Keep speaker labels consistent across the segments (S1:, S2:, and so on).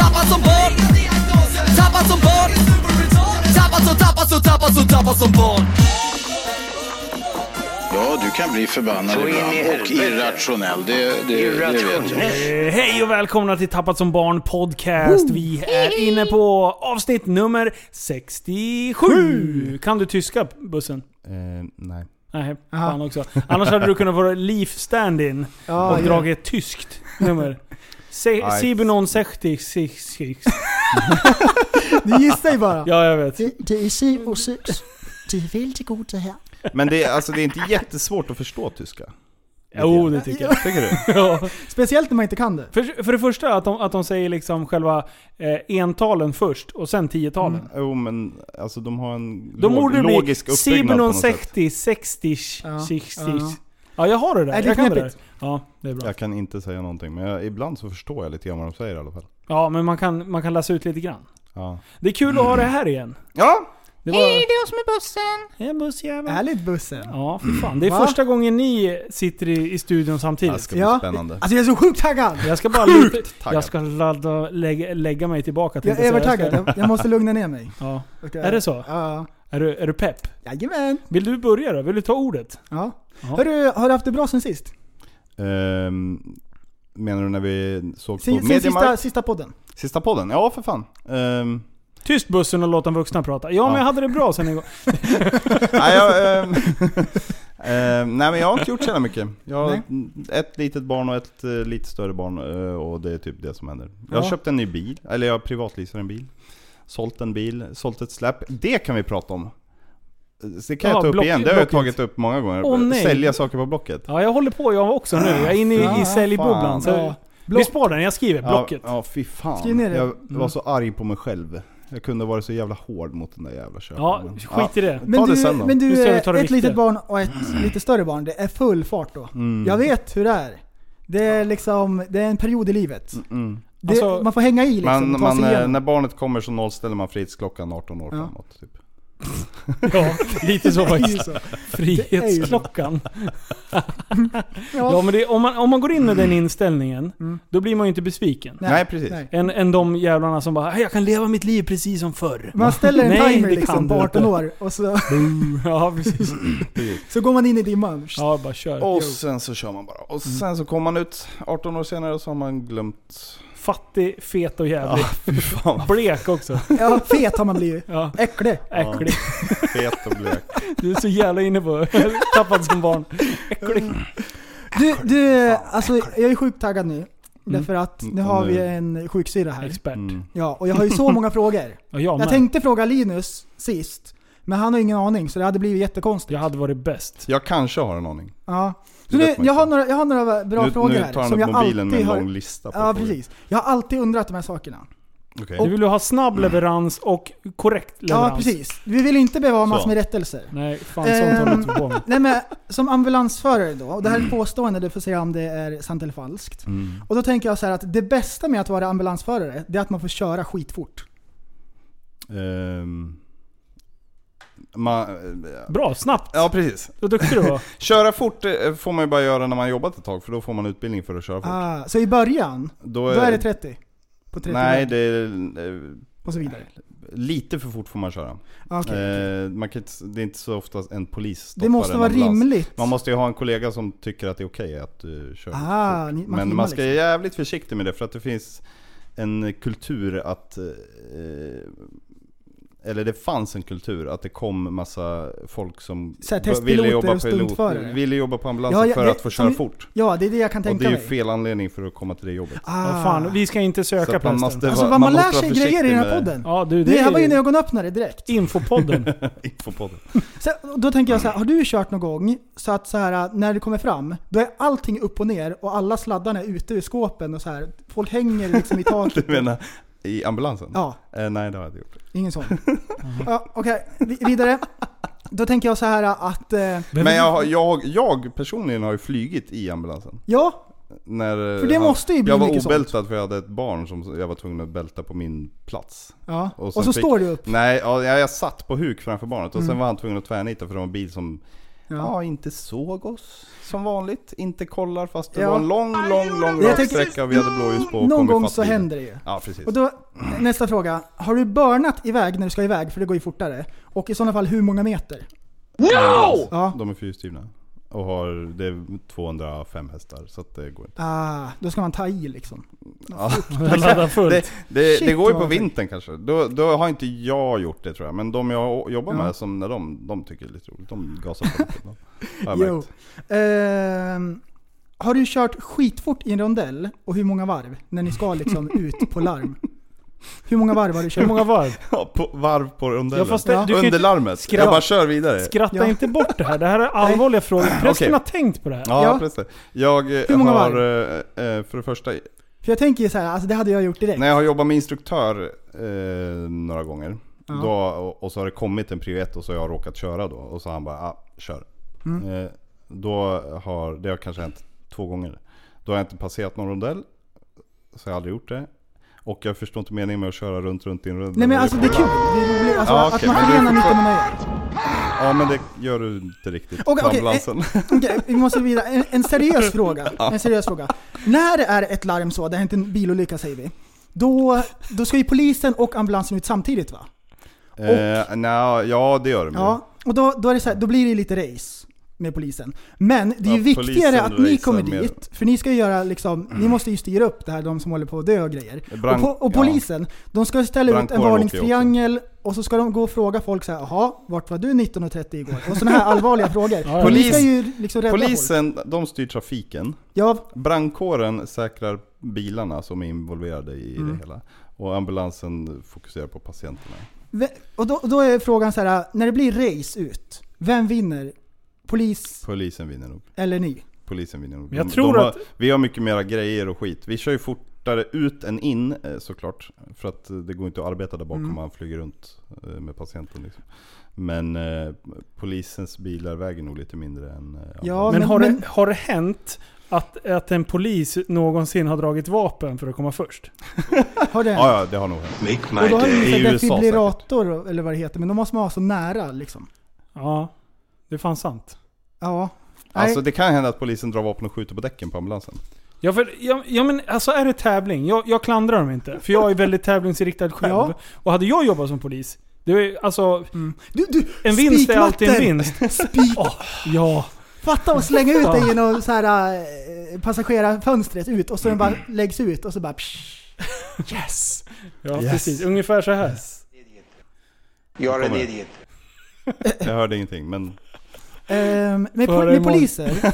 S1: Tappad som barn Tappad som barn Tappad som, tappad som, tappad som, tappad som barn
S2: Ja, du kan bli förbannad
S3: Så in i
S2: ibland och
S3: helvete.
S2: irrationell. Det, det, det vet jag.
S4: Eh, Hej och välkomna till Tappat som barn podcast. Vi är inne på avsnitt nummer 67. Kan du tyska, bussen?
S5: Eh, nej.
S4: Nej,
S6: Aha.
S4: fan också. Annars hade du kunnat vara leaf stand-in
S6: Ja,
S4: och
S6: ja.
S4: dragit ett tyskt nummer. Se-
S5: Nej.
S4: Sibenon 66.
S6: Du gissar ju bara.
S4: Ja, jag vet.
S7: Det, det er CO6. Det er vældig godt, det her.
S5: Men det är, alltså, det är inte jättesvårt att förstå tyska.
S4: Jo, oh, det tycker jag.
S5: Tycker du?
S4: Ja.
S6: Speciellt när man inte kan det.
S4: För, för det första att de, att de säger liksom själva eh, entalen först och sen tiotalen.
S5: Jo, men alltså de har en
S4: Då
S5: log-
S4: borde det bli
S5: logisk uppbyggnad på
S4: Sibenon
S5: något sätt.
S4: 60, 60, 60.
S6: ja.
S4: Ja, jag har det där.
S6: Nej, det är
S4: jag kan det där.
S6: knepigt.
S4: Ja, det är bra.
S5: Jag kan inte säga någonting, men jag, ibland så förstår jag lite grann vad de säger i alla fall.
S4: Ja, men man kan, man kan läsa ut lite grann.
S5: Ja.
S4: Det är kul att ha det här igen.
S5: ja.
S4: Det var... Hej, det är oss med bussen! Hej bussjävel!
S6: Ärligt bussen.
S4: Ja, för fan. Det är
S6: Va?
S4: första gången ni sitter i, i studion
S5: Det här
S4: samtidigt.
S5: ska bli
S6: Ja.
S5: spännande.
S6: Alltså jag är så sjukt taggad.
S4: Jag ska bara lite,
S5: taggad.
S4: Jag ska ladda, lägga, lägga mig tillbaka.
S6: Jag
S4: tänkte
S6: är
S4: jag säga.
S6: övertaggad.
S4: Jag
S6: Jag, jag måste lugna ner mig.
S4: ska- Ja.
S6: Okej.
S4: Är det så?
S6: Ja.
S4: Är du, är du pepp?
S6: Jajamän.
S4: Vill du börja då? Vill du ta ordet?
S6: Ja.
S4: Ja.
S6: Hörru, har du haft det bra sen sist?
S5: Ehm, menar du när vi såg på
S6: Sen, sen sista,
S5: Mediamarkt?
S6: sista podden?
S5: Sista podden? Ja, för fan. Ehm,
S4: Tyst bussen och låt de vuxna prata. Ja, men
S5: Ja.
S4: jag hade det bra sen igår.
S5: nej, jag, ehm, ehm, nej, men jag har inte gjort så jävla mycket. Jag har
S6: Nej.
S5: ett litet barn och ett eh, lite större barn eh, och det är typ det som händer. Jag har
S6: Ja.
S5: köpt en ny bil, eller jag privatleasar en bil. Sålt en bil, sålt ett släp. Det kan vi prata om! Så Det kan
S4: Ja,
S5: jag ta upp
S4: block-
S5: igen, det har jag
S4: Blocket.
S5: tagit upp många gånger.
S4: Åh, nej.
S5: Sälja saker på Blocket.
S4: Ja, jag håller på jag också nu. Jag är inne i, i
S5: Ja,
S4: säljbubblan.
S5: fan.
S4: Så
S5: Ja.
S4: vi spar den, jag skriver. Blocket.
S5: Ja, ja fy fan.
S6: Skriv ner det.
S5: Jag var så arg på mig själv. Jag kunde ha varit så jävla hård mot den där jävla
S4: Ja,
S5: köparen.
S4: skit i det.
S6: Men
S5: Ta det
S6: du,
S5: sen då.
S6: men
S4: Nu
S6: du eh,
S4: ska vi
S6: ett
S4: ta det viktiga.
S6: litet barn och ett lite större barn, det är full fart då.
S4: Mm.
S6: Jag vet hur det är. Det är liksom, det är en period i livet.
S5: Mm.
S6: Det,
S4: Alltså,
S6: man får hänga i liksom,
S5: Man,
S6: och ta
S5: man,
S6: sig
S5: eh,
S6: igenom.
S5: när barnet kommer så nollställer man fritidsklockan 18 år
S6: Ja.
S5: framåt. Typ.
S4: Ja, lite så
S6: Det är ju
S4: faktiskt.
S6: så.
S4: Frihetsklockan. Ja,
S6: Ja.
S4: men det, om, man, om man går in med den inställningen, då blir man ju inte besviken.
S5: Nej, precis.
S6: nej.
S4: Än, än de jävlarna som bara "Hej, 'Jag kan leva mitt liv precis som förr'
S6: Man ställer en
S4: Nej,
S6: timer
S4: det
S6: liksom
S4: kan
S6: på
S4: du
S6: 18
S4: inte.
S6: år och så,
S4: Ja, precis.
S6: så går man in i dimman.
S4: Ja, bara kör.
S5: Och sen så kör man bara. Och
S6: Mm.
S5: sen så kommer man ut 18 år senare och så har man glömt...
S4: Fattig, fet och jävlig.
S5: Fy fan vad
S4: Blek också.
S6: Ja, fet har man blivit.
S4: Ja,
S6: Äcklig.
S4: äcklig.
S5: fet och blek.
S4: Du är så jävla inne på tappad som barn. Äcklig.
S6: Du, du alltså jag är sjukt taggad nu. Därför att nu
S5: Mm,
S6: har
S5: nu-
S6: vi en sjuksyra här.
S4: Expert.
S5: Mm.
S6: Ja, och jag har ju så många frågor.
S4: Ja, jag
S6: Jag
S4: med.
S6: tänkte fråga Linus sist, men han har ingen aning så det hade blivit jättekonstigt.
S4: Jag hade varit bäst.
S5: Jag kanske har en aning.
S6: Ja.
S5: Det
S6: Så
S5: vet
S6: nu,
S5: man
S6: jag,
S5: inte.
S6: har några, jag har några bra
S5: nu,
S6: frågor
S5: nu
S6: här
S5: tar
S6: som
S5: han
S6: jag
S5: upp mobilen med
S6: alltid
S5: en
S6: har...
S5: lång lista på
S6: Ja,
S5: frågor.
S6: precis. Jag har alltid undrat de här sakerna.
S5: Okej.
S4: Du vill ju ha snabb leverans och korrekt leverans.
S6: Mm. Ja, precis. Vi vill inte behöva ha massor
S5: Så.
S6: med rättelser.
S4: Nej, fan sånt håller
S6: Ehm.
S4: inte vi på med.
S6: Nej men, som ambulansförare då, och det här är ett påstående, du får säga om det är sant eller falskt.
S5: Mm.
S6: Och då tänker jag så här att det bästa med att vara ambulansförare, det är att man får köra skitfort.
S5: Ehm, man,
S4: Bra, snabbt.
S5: ja, precis.
S4: Vad duktig du var.
S5: Köra fort eh, får man ju bara göra när man jobbat ett tag, för då får man utbildning för att köra fort.
S6: Ah, så i början,
S5: Då
S6: då är det 30? På 30
S5: Eh, Nej,
S6: Nej,
S5: det är, eh,
S6: och så vidare.
S5: lite för fort får man köra.
S6: Ah, okej.
S5: Eh, man kan inte, det är inte så ofta en polis stoppar
S6: Det måste
S5: en
S6: vara
S5: ambulans.
S6: rimligt.
S5: Man måste ju ha en kollega som tycker att det är okej att du kör lite
S6: Ah,
S5: fort.
S6: ni- man
S5: Men
S6: filmar
S5: man ska
S6: liksom.
S5: jävligt försiktig med det för att det finns en kultur att eh, eller det fanns en kultur att det kom massa folk som
S6: Så här,
S5: b-
S6: testpiloter och stuntförare.
S5: ville jobba på ambulansen
S6: Ja, ja,
S5: för
S6: det-
S5: att få köra
S6: som-
S5: fort.
S6: Ja, det är det jag kan
S5: Och
S6: tänka
S5: det är ju
S6: mig.
S5: fel anledning för att komma till det jobbet.
S6: Ah.
S4: Vad fan, vi ska inte
S5: Så
S4: söka
S5: att man
S4: prästen.
S5: måste
S6: alltså
S5: vara-
S6: vad man, lär
S5: måste vara
S6: sig grejer i
S5: försiktig
S6: den här
S5: med
S6: podden.
S4: Ja du, det,
S6: Det här
S4: är
S6: var ju en ögonöppnare direkt.
S4: infopodden.
S5: infopodden.
S6: Sen, då tänker jag så här, har du kört någon gång så att så här, när du kommer fram, då är allting upp och ner och alla sladdarna är ute ur skåpen och så här, folk hänger liksom i
S5: Du
S6: taket.
S5: menar i ambulansen?
S6: Ja,
S5: Eh, nej det har jag inte gjort.
S6: ingen sån. Ja, Okej, vi- vidare. Då tänker jag så här att, eh,
S5: Men jag, har- jag, jag personligen har ju flygit i ambulansen.
S6: ja,
S5: När eh,
S6: För det måste ju bli
S5: Jag var
S6: mycket sånt.
S5: obältad för jag hade ett barn som jag var tvungen att bälta på min plats.
S6: ja.
S5: Och
S6: Och,
S5: sen
S6: så
S5: fick-
S6: står du upp.
S5: Nej, ja, jag, jag satt på huk framför barnet och sen
S6: Mm.
S5: var han tvungen att tvärnita för det var en bil som ja.
S6: Ja.
S5: inte såg oss som vanligt. Inte kollar fast det
S6: Ja.
S5: var en lång, lång, lång
S6: Jag tänker-
S5: raksträcka och vi hade blåljus på. och
S6: Någon
S5: kom
S6: gång
S5: ifatt
S6: så
S5: bilen.
S6: händer det ju.
S5: Ja precis.
S6: Och då, nästa fråga. Har du börnat iväg när du ska iväg? För det går ju fortare. Och i sådana fall hur många meter?
S5: No!
S6: Ja.
S5: De är fyrhjulsdrivna. Och har, det är 205 hästar så att det går inte.
S6: Ah, då ska man ta i liksom.
S5: Ja.
S4: Ladda fullt.
S5: Det, det,
S6: Shit,
S5: det går ju på
S6: vad sjukt.
S5: vintern kanske. Då, då har inte jag gjort det tror jag. Men de jag jobbar
S6: Ja.
S5: med, som när de, de tycker det är lite roligt. De gasar på lite. ibland. Har jag
S6: Jo.
S5: märkt.
S6: Ehm, har du kört skitfort i en rondell? Och hur många varv? När ni ska liksom ut på larm. Hur många varv har du kört?
S4: Hur många varv?
S5: Ja, på, varv på rondellen.
S4: Ja, fast det-
S6: Ja.
S4: du kan ju
S5: Under
S4: inte,
S5: larmet.
S4: skratt.
S5: Jag bara kör vidare.
S4: skratta
S6: Ja.
S4: inte bort det här. Det här är allvarliga frågor. Prästen
S5: Ah, Okej.
S4: har tänkt på det här.
S5: Ja,
S6: Ja.
S5: precis. Jag eh,
S6: Hur många
S5: har, eh, eh, för det första,
S6: För jag tänker ju så här, alltså det hade jag gjort direkt.
S5: när jag har jobbat med instruktör eh, några gånger,
S6: Ja.
S5: då, och, och så har det kommit en prio 1 och så har jag råkat köra då. Och så har han bara, ah, kör.
S6: Mm.
S5: Eh, då har, det har kanske hänt två gånger. Då har jag inte passerat någon rondell, så jag har aldrig gjort det. Och jag förstår inte meningen med att köra runt, runt i en rondell.
S6: Nej men alltså det är kul. Det är roligt. Alltså
S5: Ja,
S6: att
S5: okej,
S6: man
S5: men du-
S6: förenar nytta med nöje.
S5: Ja men det gör du inte riktigt
S6: Okej,
S5: på
S6: okej,
S5: ambulansen.
S6: Okej, vi måste vidare. En, en seriös fråga. En seriös fråga. När det är ett larm så, det har hänt en bilolycka säger vi. Då, då ska ju polisen och ambulansen ut samtidigt va?
S5: Eh, nja, ja det gör de ju.
S6: Ja, och då, då, är det så här, då blir det lite race med polisen. Men det är ju
S5: Ja,
S6: viktigare
S5: polisen
S6: att ni
S5: racear
S6: kommer
S5: mer.
S6: dit, för ni ska ju göra liksom, ni måste ju styra upp det här, de som håller på att dö och grejer.
S5: Brand-
S6: och, po- och
S5: ja.
S6: polisen, de ska ställa ut en
S5: Brandkåren åker ju
S6: varningstriangel och så ska de gå och fråga folk så här, jaha, vart var du 19.30 igår? Och sådana här allvarliga frågor.
S4: ja.
S6: Och ni
S5: Polis-
S6: ska ju liksom rädda folk.
S5: Polisen, de styr trafiken.
S6: Ja,
S5: Brandkåren säkrar bilarna som är involverade i det
S6: Mm.
S5: hela. Och ambulansen fokuserar på patienterna.
S6: ve- och då, då är frågan så här, när det blir race ut, vem vinner? Polis
S5: Polisen vinner nog.
S6: eller ni?
S5: Polisen vinner nog.
S4: Men jag tror
S5: har,
S4: att-
S5: Vi har mycket mera grejer och skit. Vi kör ju fortare ut än in eh, såklart. För att eh, det går inte att arbeta där bakom
S6: Mm.
S5: man flyger runt eh, med patienten. Liksom. Men eh, polisens bilar väger nog lite mindre än eh,
S6: Ja,
S4: men,
S6: men-
S4: har,
S6: men-
S4: det, har det hänt att, att en polis någonsin har dragit vapen för att komma först?
S6: Har det
S5: Ja, ja, det har nog hänt.
S6: Och då har de
S5: I
S6: ju en
S5: USA säkert.
S6: defibrillator eller vad det heter, men de måste man ha så nära liksom.
S4: Ja, det är fan sant.
S6: Ja. Nej.
S5: Alltså det kan hända att polisen drar vapen och skjuter på däcken på ambulansen.
S4: Ja, för, ja, ja men alltså är det tävling? Jag, jag klandrar dem inte. För jag är väldigt tävlingsinriktad själv.
S6: Ja.
S4: Och hade jag jobbat som polis, det är, alltså,
S6: du, du,
S4: en vinst är alltid en
S6: spikmattor!
S4: vinst.
S6: Spik.
S4: Ja.
S6: Fatta och slänga ut
S4: Ja.
S6: den genom så här, eh, passagerarfönstret ut och så den bara läggs ut och så bara psh.
S4: Yes! Ja,
S5: Yes.
S4: precis. Ungefär så här.
S8: You're an
S5: Kommer.
S8: idiot.
S5: Jag hörde ingenting men...
S6: Ehm, med,
S4: Får
S6: po-
S4: höra
S6: med
S4: imorgon.
S6: poliser.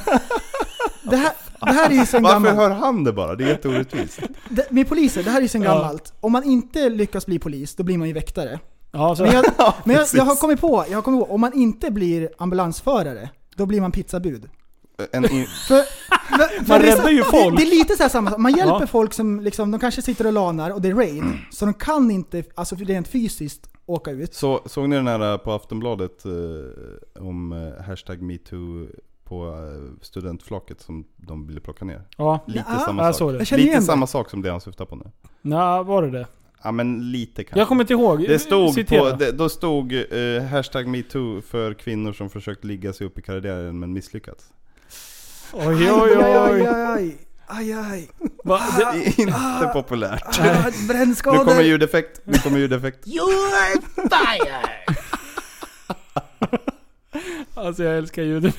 S6: Det här, det här är ju sen
S5: Varför
S6: gammalt.
S5: hör han det bara? Det är jätteorättvist.
S6: Det- Med poliser, det här är ju sen
S4: Ja.
S6: gammalt. Om man inte lyckas bli polis, då blir man ju väktare.
S4: Ja, så,
S6: Men jag, men jag, jag, har
S5: precis.
S6: kommit på, jag har kommit på, om man inte blir ambulansförare, då blir man pizzabud.
S5: En in...
S6: För, för, för
S4: Man
S6: det är så-
S4: räddar ju folk.
S6: Det, det är lite så här samma sak. Man hjälper
S4: Ja.
S6: folk som liksom, de kanske sitter och lanar och det är raid. Så de kan inte, alltså rent fysiskt, åka ut.
S5: Så, såg ni den här på Aftonbladet eh, om eh, hashtag metoo på eh, studentflaket som de ville plocka ner?
S4: ja.
S5: Lite
S6: Ja,
S5: samma
S4: jag
S5: sak.
S4: såg det.
S6: Jag känner
S5: Lite
S6: igen
S5: samma sak som det han syftar på nu.
S4: Nå, var det det?
S5: Ja men lite kanske.
S4: Jag kommer inte ihåg.
S5: Det stod på,
S4: Citera.
S5: det, då stod eh, hashtag metoo för kvinnor som försökt ligga sig upp i karriären men misslyckats.
S4: Oj, oj,
S6: Aj,
S4: oj.
S6: aj, aj. Aj, aj.
S4: Va, det,
S5: Det är inte populärt.
S6: Ah,
S5: Nu kommer
S6: Brännskador.
S5: ljudeffekt, nu kommer ljudeffekt.
S7: You're fired!
S4: alltså jag älskar ljudet.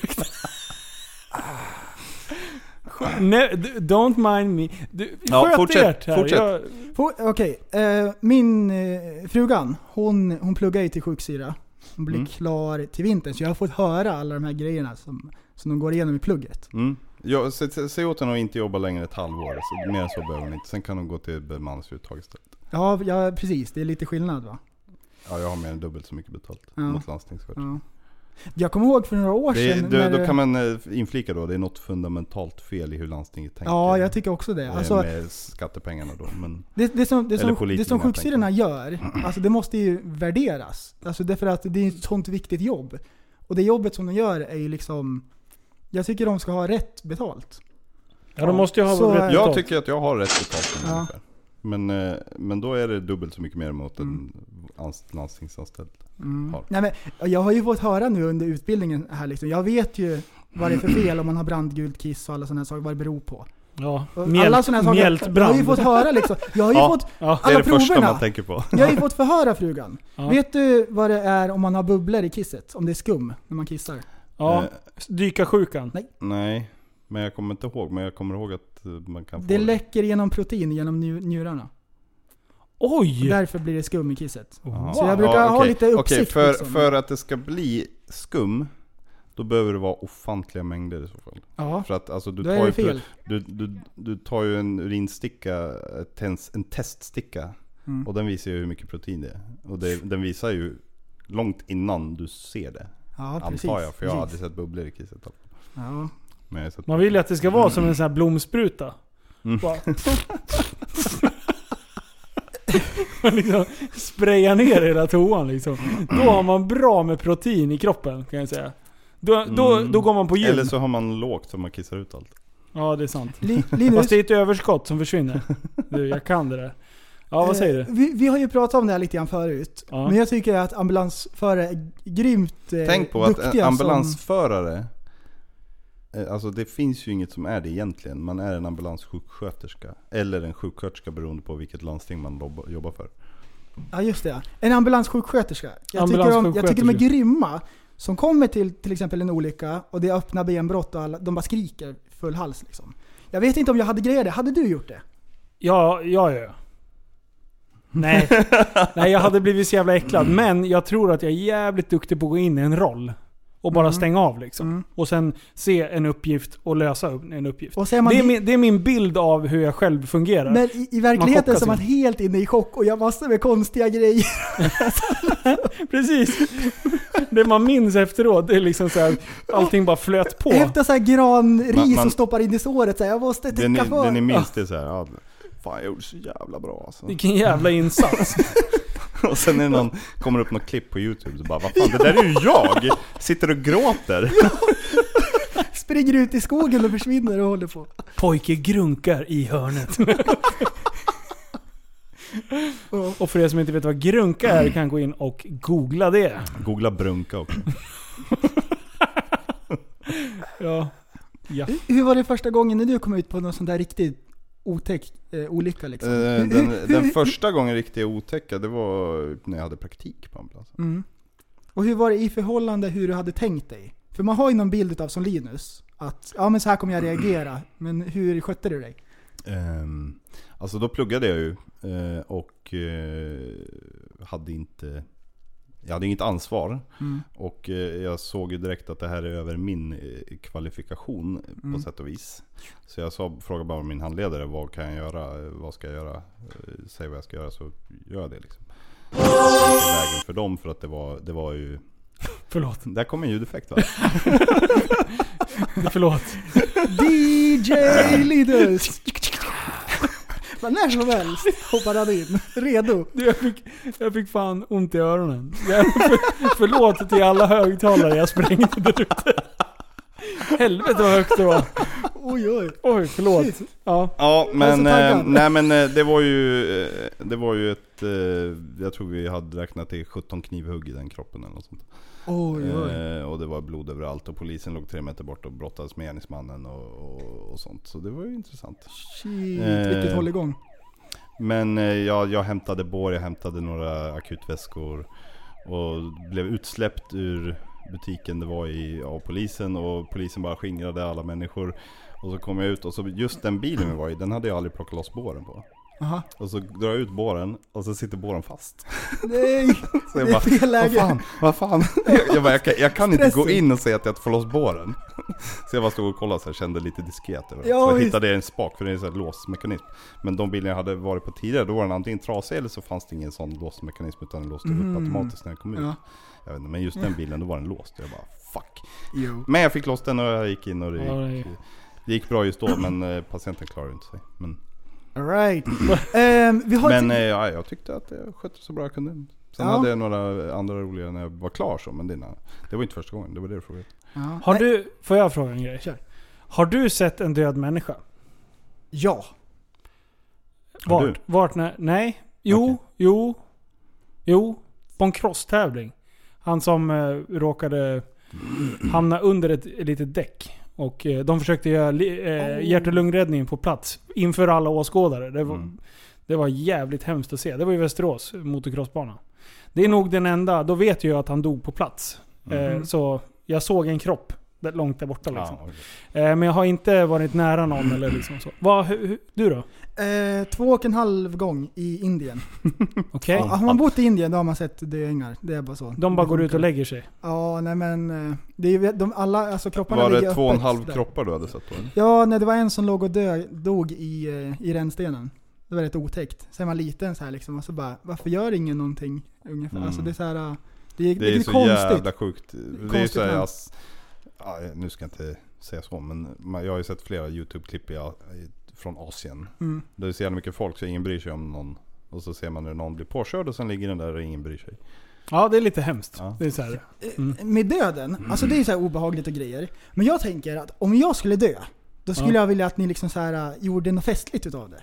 S4: Nej, d- don't mind me. Du,
S9: Ja,
S4: sköt
S9: fortsätt,
S4: ert här.
S9: fortsätt.
S4: Jag,
S6: Få- Okej, eh, min eh, frugan, hon, hon pluggar ju till sjuksyra. Hon blir
S5: Mm.
S6: klar till vintern, så jag har fått höra alla de här grejerna som, som de går igenom i plugget.
S5: Mm. Ja, sä- sä- säg åt henne att inte jobba längre än ett halvår. Så mer än så behöver hon inte. Sen kan hon gå till bemanningsföretag istället.
S6: Ja, ja, precis. Det är lite skillnad va?
S5: Ja, jag har mer än dubbelt så mycket betalt
S6: Ja.
S5: mot landstingssköterska.
S6: Ja. Jag kommer ihåg för några år
S5: Det,
S6: sedan...
S5: då,
S6: när-
S5: då kan man eh, inflika då, det är något fundamentalt fel i hur landstinget tänker.
S6: ja, jag tycker också det.
S5: eh,
S6: Alltså,
S5: Med skattepengarna då. Men,
S6: det, det som, det
S5: eller
S6: som, det
S5: politikerna,
S6: som sjuksyrrorna gör, alltså, det måste ju värderas. Alltså, därför att det är ett sånt viktigt jobb. Och det jobbet som de gör är ju liksom... Jag tycker de ska ha rätt betalt.
S4: ja, de måste ju ha
S6: Så-
S4: rätt
S5: jag
S4: betalt.
S5: tycker att jag har rätt betalt
S6: Ja.
S5: ja. ungefär. Men, eh, men då är det dubbelt så mycket mer mot
S6: Mm.
S5: en ans- landstingsanställd. Har.
S6: Nej, men jag har ju fått höra nu under utbildningen här liksom. Jag vet ju vad det är för fel om man har brandgult kiss och alla sådana här saker, vad det beror på.
S4: Ja,
S6: Och
S4: mjält,
S6: alla sådana här saker. Jag har ju fått höra liksom. Jag har ju
S5: Ja.
S6: fått,
S5: Det
S4: Ja.
S5: är
S6: alla
S5: det första
S6: proverna.
S5: man tänker på.
S6: jag har ju fått förhöra frugan.
S4: Ja.
S6: Vet du vad det är om man har bubblor i kisset? Om det är skum när man kissar?
S4: Ja,
S5: Eh,
S4: dyka sjukan.
S5: nej, men jag kommer inte ihåg. Men jag kommer ihåg att eh, man kan få
S6: Det läcker genom protein genom nju- njurarna.
S4: Oj! Oh.
S6: Därför blir det skum i kisset.
S5: Ja.
S6: Så jag brukar ha
S5: okej.
S6: lite uppsikt
S5: Okej, för,
S6: liksom.
S5: för att det ska bli skum, då behöver det vara ofantliga mängder i så fall.
S6: Ja,
S5: För att alltså, du,
S6: då
S5: tar
S6: är
S5: ju,
S6: det fel.
S5: Du, du, du tar ju en urinsticka, ett tens, en teststicka,
S6: Mm.
S5: och den visar ju hur mycket protein det är. Och det, den visar ju långt innan du ser det.
S6: Ja, precis.
S5: antar jag, för jag har
S6: precis.
S5: aldrig sett bubblor i kisset.
S6: Ja.
S5: Men jag har sett
S4: Man vill ju att det ska vara som en sån här blomspruta.
S5: Mm.
S4: Bara- Man liksom sprayar ner hela toan liksom. Då har man bra med protein i kroppen kan jag säga. Då, då,
S5: Mm.
S4: då går man på gym.
S5: Eller så har man lågt så man kissar ut allt.
S4: Ja, det är sant.
S6: Li-
S4: Fast
S6: Linus,
S4: det är ett överskott som försvinner. Du, jag kan det där. Ja, vad säger du?
S6: Eh, Vi, vi har ju pratat om det här lite grann förut.
S4: Ja.
S6: Men jag tycker att ambulansförare är grymt eh,
S5: Tänk på att en
S6: duktiga som,
S5: ambulansförare, eh, alltså det finns ju inget som är det egentligen. Man är en ambulanssjuksköterska. Eller en sjuksköterska beroende på vilket landsting man lob- jobbar för.
S6: Ja just det. En ambulanssjuksköterska. Jag, tycker de, jag tycker de är
S4: Ambulanssjuksköterska.
S6: grymma. Som kommer till till exempel en olycka och det är öppna benbrott och alla, de bara skriker full hals liksom. Jag vet inte om jag hade grejat det. Hade du gjort det?
S4: Ja, ja, ja. Nej. Nej, jag hade blivit så jävla äcklad.
S6: Mm.
S4: Men jag tror att jag är jävligt duktig på att gå in i en roll. Och
S6: Mm.
S4: bara stänga av liksom. Och sen se en uppgift och lösa upp- en uppgift.
S6: Och så är man
S4: det, är
S6: he-
S4: min, det är min bild av hur jag själv fungerar.
S6: Men i, i verkligheten
S4: chockas
S6: så är man
S4: ju.
S6: helt inne i chock och jag massor med konstiga grejer.
S4: Precis. Det man minns efteråt, det är liksom så här, allting bara flöt på.
S6: Hämtar såhär granris
S5: Man- man-
S6: och stoppar in i såret. Så här, jag måste
S5: Det ni,
S6: täcka för.
S5: det ni minns det är såhär, ja, fan jag gjorde så jävla bra alltså.
S4: Vilken jävla insats.
S5: Och sen är det någon, kommer upp något klipp på youtube så bara, vad fan det där är ju jag! Sitter och gråter!
S6: Springer ut i skogen och försvinner och håller på.
S4: Pojke grunkar i hörnet. och för er som inte vet vad grunka är kan gå in och googla det.
S5: Googla brunka också.
S4: Ja. ja.
S6: Hur var det första gången när du kom ut på någon sån där riktigt otäck eh, olycka liksom?
S5: Eh, Den, den första gången riktigt otäcka, det var när jag hade praktik på ambulansen.
S6: Mm. Och hur var det i förhållande hur du hade tänkt dig? För man har ju någon bild av som Linus, att ja men så här kommer jag reagera, men hur skötte du dig?
S5: Ehm, alltså då pluggade jag ju eh, och eh, hade inte jag hade inget ansvar och eh, jag såg ju direkt att det här är över min eh, kvalifikation eh, på sätt och vis. Så jag sa, frågade bara min handledare, vad kan jag göra? Eh, Vad ska jag göra? Eh, Säg vad jag ska göra så gör jag det. Liksom. Jag gick i Vägen för dem för att det var, det var ju...
S4: Förlåt.
S5: Där kom en ljudeffekt va?
S4: Förlåt.
S6: DJ Linus! Men när som helst hoppar han in, redo.
S4: Du, jag, fick, jag fick fan ont i öronen. Jag, för, förlåt till alla högtalare jag sprängde där ute. Helvete vad högt det var.
S6: Oj oj.
S4: Oj, förlåt. Ja.
S5: Ja men,
S6: så taggad.
S5: eh, nej, men eh, det var ju, eh, det var ju ett, eh, jag tror vi hade räknat till 17 knivhugg i den kroppen eller något sånt.
S6: Oj oj.
S5: Eh, och det var blod överallt och polisen låg tre meter bort och brottades med gärningsmannen och, och, och sånt. Så det var ju intressant.
S6: Shit, vilket
S5: eh,
S6: hålligång.
S5: Men eh, jag, jag hämtade bår, jag hämtade några akutväskor och blev utsläppt ur butiken det var i av polisen och polisen bara skingrade alla människor. Och så kom jag ut och så just den bilen vi var i, den hade jag aldrig plockat loss båren på.
S6: Aha.
S5: Och så drar jag ut båren och så sitter båren fast.
S6: Nej!
S5: Så jag
S6: Det är
S5: bara,
S6: fel
S5: vad
S6: läge."
S5: fan, vad fan. Jag, jag, bara, jag, kan, jag kan inte gå
S6: Stressigt.
S5: in och säga att jag får loss båren. Så jag bara stod och kollade så jag kände lite diskret över det.
S6: Ja,
S5: så jag
S6: visst.
S5: hittade en spak, för det är en sån här låsmekanism. Men de bilar jag hade varit på tidigare, då var den antingen trasig eller så fanns det ingen sån låsmekanism utan den låste upp automatiskt när den kom ut.
S6: Mm. Ja.
S5: Jag vet inte, men just den bilen, då var den låst. Jag bara fuck.
S6: Jo.
S5: Men jag fick loss den och jag gick in och det
S4: Ja, det
S5: gick, det gick bra just då, men eh, patienten klarade inte sig. Men,
S6: Alright. Ehm, vi har
S5: men
S6: ett...
S5: eh, ja, jag tyckte att jag skötte så bra jag kunde. Sen
S6: Ja.
S5: hade jag några andra roliga när jag var klar så, men dina, det var inte första gången. Det var det eh, du frågade.
S6: Ja.
S4: Har
S6: Nej,
S4: du, får jag fråga en grej?
S6: Kör.
S4: Har du sett en död människa?
S6: Eh, Ja.
S5: Har
S4: Vart? Vart när? Nej. Jo, jo, jo. På en crosstävling. Han som eh, råkade hamna under ett litet däck. Och eh, de försökte göra li- eh, hjärt och lungräddningen på plats inför alla åskådare. Det var,
S5: Mm.
S4: det var jävligt hemskt att se. Det var i Västerås motocrossbana. Det är nog den enda, då vet jag att han dog på plats.
S5: Mm.
S4: Eh, så jag såg en kropp där, långt där borta liksom.
S5: Ja, okej.
S4: Eh, men jag har inte varit nära någon eller liksom så. Vad, hu, hu, du då?
S6: Eh, två och en halv gång i Indien.
S4: Okej?
S6: Ja, har man bott i Indien då har man sett döingar. Det är bara så.
S4: De bara
S6: Det
S4: går ut
S6: funkar.
S4: och lägger sig.
S6: Ja, nej men... eh, Det är, ju- de, alla, alltså kropparna
S5: Var
S6: ligger
S5: det två och en
S6: öppet
S5: halv
S6: där.
S5: kroppar du hade sett då? eller?
S6: Ja, nej, det var en som låg och dö, dog i, eh, i rännstenen. Det var rätt otäckt. Sen var man liten så här liksom och så bara, varför gör ingen någonting? Ungefär.
S5: Mm.
S6: Alltså det är så här, eh, det är, det
S5: Det är
S6: är
S5: så
S6: konstigt.
S5: jävla sjukt. Det är ju
S6: Konstigt
S5: så här,
S6: men-
S5: ass- ja, nu ska jag inte säga så, men man- jag har ju sett flera YouTube-klipp i- i- från Asien.
S6: Mm.
S5: Där det är så jävla mycket folk så ingen bryr sig om någon. Och så ser man hur någon blir påkörd och sen ligger den där och ingen bryr sig.
S4: Ja, det är lite hemskt.
S5: Ja.
S4: Det är så här. Mm.
S6: Eh, Med döden, alltså det är så här obehagligt och grejer. Men jag tänker att om jag skulle dö, då skulle
S4: Ja.
S6: jag vilja att ni liksom så här, eh, gjorde något festligt utav det.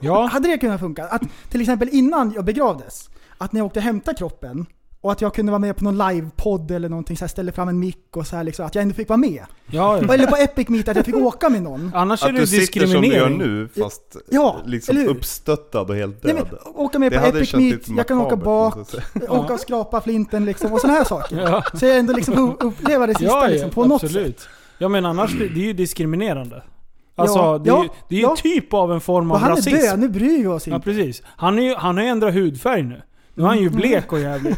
S4: Ja,
S6: Hade det kunnat funka? Att till exempel innan jag begravdes, att ni åkte och hämtade kroppen och att jag kunde vara med på någon livepodd eller någonting, så här, ställde fram en mick och så här, liksom, att jag ändå fick vara med.
S4: ja.
S5: Mm.
S4: ja.
S6: Eller på Epic Meet, att jag fick åka med någon.
S4: Annars är
S5: Att
S4: det
S5: du sitter som
S4: diskriminering.
S5: du gör nu fast
S6: Ja,
S5: liksom
S6: eller hur?
S5: uppstöttad och helt
S6: Nej,
S5: död.
S6: men, åka med
S5: det
S6: på
S5: hade
S6: Epic
S5: känts
S6: Meet,
S5: lite
S6: jag kan åka
S5: makabert,
S6: bak,
S5: måste jag
S6: åka och skrapa flinten liksom och sådana här saker.
S4: Ja,
S6: Så jag ändå liksom u- uppleva det sista
S4: ja, ja
S6: liksom, på något sätt.
S4: absolut. Ja men annars, det det är ju diskriminerande. Alltså,
S6: Ja,
S4: det är ju,
S6: ja,
S4: det är ju
S6: ja.
S4: typ av en form
S6: Och
S4: av
S6: han är
S4: rasism.
S6: död, nu bryr vi oss
S4: Ja
S6: inte.
S4: precis. Han har ju, han har ju ändrat hudfärg nu. Nu är han ju
S6: Mm.
S4: blek och jävlig.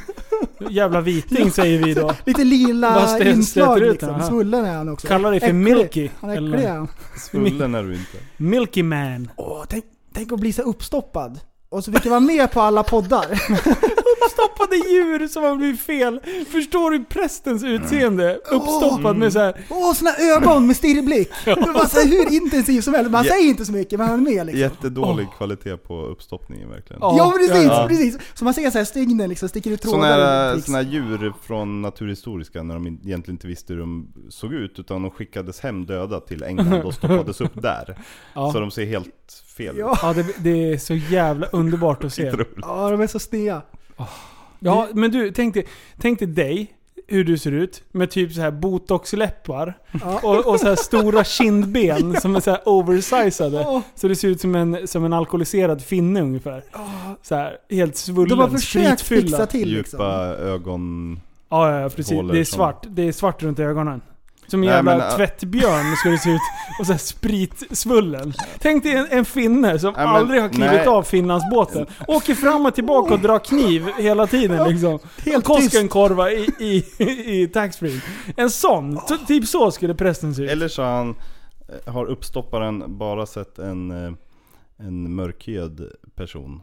S4: Jävla viting säger vi då.
S6: Lite
S4: Vad
S6: lila
S4: stöter
S6: inslag
S4: ut
S6: liksom.
S4: den här?
S6: Svullen är han också.
S4: Kallar dig för
S6: Äcklig.
S4: Milky.
S6: Han är äcklig
S4: Eller
S6: han.
S5: Svullen är du inte.
S4: Milky Man.
S6: Åh, tänk, tänk att bli så uppstoppad. Och så fick jag vara med på alla poddar.
S4: Uppstoppade djur som har blivit fel. Förstår du prästens utseende? Uppstoppad med så här.
S6: Åh, såna ögon med stirrig blick. Det var så här hur intensiv som helst. Man
S5: Ja.
S6: säger inte så mycket, men han är med liksom.
S5: Jättedålig kvalitet på uppstoppningen verkligen.
S4: Ja.
S6: Ja, precis,
S4: ja, ja.
S6: precis. Så man ser så här stygnen liksom, sticker ut trådar.
S5: Sådana här,
S6: och tricks.
S5: såna här djur från Naturhistoriska när de in- egentligen inte visste hur de såg ut utan de skickades hem döda till England och stoppades upp där.
S4: Ja.
S5: Så de ser helt fel
S6: Ja.
S4: Ja, det, det är så jävla underbart att se.
S5: ut. Otroligt.
S6: Ja, de är så snea.
S4: Ja, men du, tänk dig, tänk dig dig, hur du ser ut, med typ så här botoxläppar
S6: Ja.
S4: och, och så här stora kindben som är så här oversizade.
S6: Åh,
S4: Så du ser ut som en, som en alkoholiserad finne ungefär. Så här, helt
S6: de har
S4: svullen,
S6: försökt
S4: spritfylld.
S6: fixa
S4: Ja,
S6: till liksom.
S5: Djupa ögon...
S4: ja, ja, precis.
S5: Håller
S4: Det är
S5: som-
S4: svart. Det är svart runt ögonen. Som en
S5: Nej,
S4: jävla
S5: men, äh,
S4: tvättbjörn ska du se ut. Och så här spritsvullen. Tänk dig en, en finne som
S5: Nej, men-
S4: aldrig har klivit
S5: nej.
S4: av Finlandsbåten. Åker fram och tillbaka och drar kniv hela tiden liksom.
S6: Helt tyst.
S4: Koskenkorva i, i, i taxfree. En sån. Så, typ så skulle prästen se ut.
S5: Eller så har han, eh, har uppstopparen bara sett en, eh, en mörkhyad person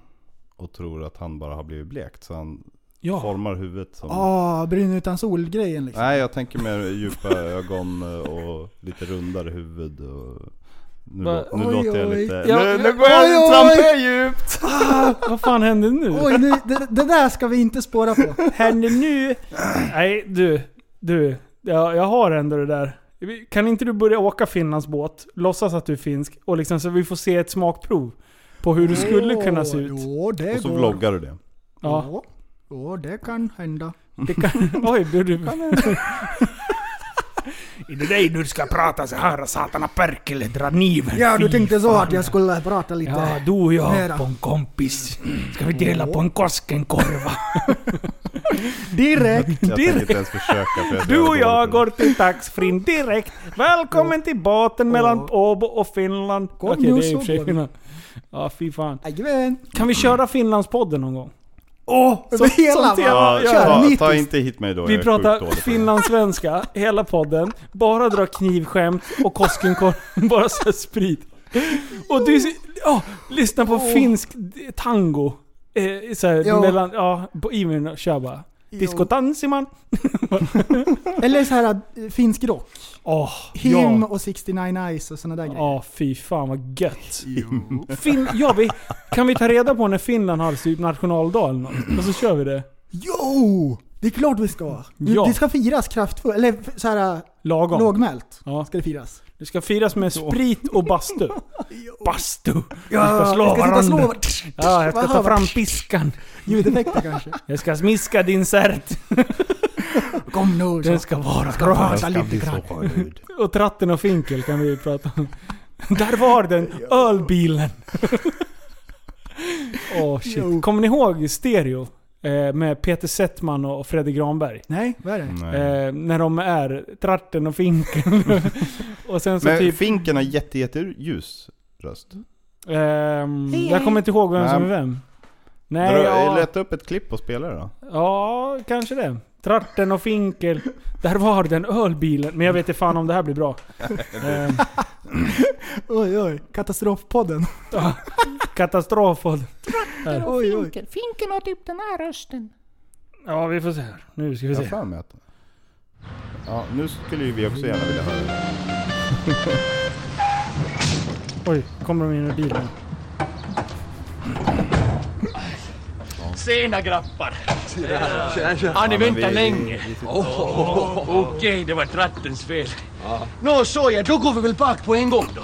S5: och tror att han bara har blivit blekt så han
S4: Ja.
S5: formar huvudet som...
S6: Ja, brun Ah, utan sol-grejen liksom.
S5: Nej jag tänker mer djupa ögon och lite rundare huvud och... Nu,
S4: Va-
S5: lå- nu
S6: Oj,
S5: låter jag
S6: oj.
S5: lite...
S4: Ja,
S5: nu, nu
S4: ja,
S5: går jag
S6: oj,
S5: och trampar
S6: oj.
S5: djupt!
S4: Vad fan hände nu?
S6: Oj, nu, det, det där ska vi inte spåra på.
S4: Händer nu? Nej du, du. Jag, jag har ändå det där. Kan inte du börja åka Finlands båt, låtsas att du är finsk och liksom så vi får se ett smakprov på hur du skulle kunna se ut?
S6: Jo, det
S5: Och så
S6: går.
S5: vloggar du det.
S4: Ja.
S6: Ja. Jo, det kan hända.
S4: Det kan, oj, blev du...
S9: Är det dig du ska prata så här satana perkele, dra kniven.
S6: Ja, du
S9: Fy
S6: tänkte så
S9: fan.
S6: att jag skulle prata lite.
S9: Ja, du och jag
S6: Mera.
S9: på en kompis. Ska vi dela på en Koskenkorva?
S4: Direkt!
S5: Jag tänker
S4: direkt.
S5: inte ens försöka. För jag är så
S4: Du och
S5: jävla dålig
S4: jag
S5: på
S4: går till taxfrin direkt. Välkommen till båten mellan Åbo och Finland.
S6: Kom
S4: Okej,
S6: nu
S4: det är i och för sig
S6: så.
S4: Finland. Ja, fy fan.
S6: Jajamän!
S4: Kan vi köra Finlandspodden någon gång? Åh! Oh,
S6: Över hela, va?
S5: Ja,
S6: Kör,
S5: ta, ta
S6: 90.
S5: inte hit mig då. jag
S4: Vi
S5: är sjukt
S4: pratar
S5: dålig på det.
S4: finlandssvenska, hela podden. Bara dra knivskämt och Koskenkorv. bara så här sprit. Och du... ja, lyssna på finsk d- tango. Eh, så här,
S6: Jo.
S4: mellan... Ja, på Ivern. Kör bara. Disco Tansiman.
S6: Eller så här eh, finsk rock.
S4: Åh,
S6: Him
S4: ja.
S6: och 69 Ice och såna där grejer.
S4: Ja, fy fan vad gött. Fin- ja, vi, kan vi ta reda på när Finland har typ nationaldag eller något? Och så kör vi det.
S6: Jo! Det är klart vi ska!
S4: Ja.
S6: Ja. Det ska firas kraftfullt, eller f- så här eh,
S4: Lagom.
S6: lågmält.
S4: Ja.
S6: Ska det firas.
S4: Det ska firas med sprit och bastu. Bastu! slå
S6: Ja, jag ska sitta och slå
S4: varandra.
S6: varandra.
S4: Ja, jag ska
S6: Vad
S4: ta
S6: hör man?
S4: fram piskan.
S6: Ljudeffekter kanske.
S4: Jag ska smiska din särt.
S6: Kom nu
S4: Den
S6: så.
S4: ska vara
S6: Ska
S4: bra.
S6: prata lite grann.
S4: Och tratten och finkel kan vi prata om. Där var den! Ölbilen! Åh shit. Kommer ni ihåg Stereo? Eh, med Peter Settman och Fredrik Granberg.
S6: Nej, vad är det?
S5: Nej.
S4: Eh, när de är tratten och finken. och sen så
S5: Men
S4: typ...
S5: finken har jätte, jätte ljus röst.
S4: ehm, jag kommer inte ihåg vem som är
S5: Nej.
S4: vem. Nej,
S5: Nej,
S4: ja.
S5: Leta upp ett klipp och spela det då.
S4: Ja, kanske det. Tratten och finkel. Där var den ölbilen. Men jag vet inte fan om det här blir bra. Ehm,
S6: Oj, oj. Katastrofpodden.
S4: Katastrof. och-
S6: Oj, oj.
S7: Finken har typ den här rösten.
S4: Ja, vi får se här. Nu ska vi
S5: Jag har
S4: se.
S5: för mig att... Ja, nu skulle ju vi också gärna vilja höra det.
S4: Oj, kommer de in i bilen.
S10: Tjena grappar!
S3: tjena.
S10: Har ni väntat
S5: vi-
S10: länge? Okej, det var trattens fel. Nå såja, då går vi väl bak på en gång då.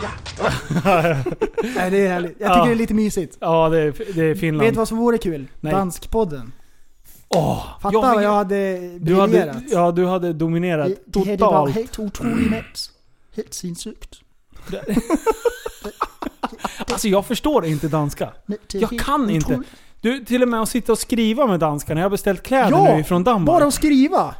S6: Nej, det är härligt. Jag tycker
S4: Ja.
S6: det är lite mysigt.
S4: Ja, det är, det är Finland.
S6: Vet du vad som vore kul?
S4: Nej.
S6: Danskpodden.
S4: Åh,
S6: Fatta
S4: jag
S6: vad
S4: vet-
S6: jag hade
S4: du
S6: briljerat.
S4: hade, ja, du hade dominerat
S7: Det, det här det var
S4: totalt. Mm.
S7: helt otroligt nätt. Helt sinnessjukt.
S4: Alltså jag förstår inte danska.
S7: Nej, det är
S4: Jag
S7: helt
S4: kan inte. Oh
S7: otroligt.
S4: Du, till och med att sitta och skriva med danskarna. Jag har beställt kläder
S6: Ja,
S4: nu från Danmark.
S6: Bara att skriva!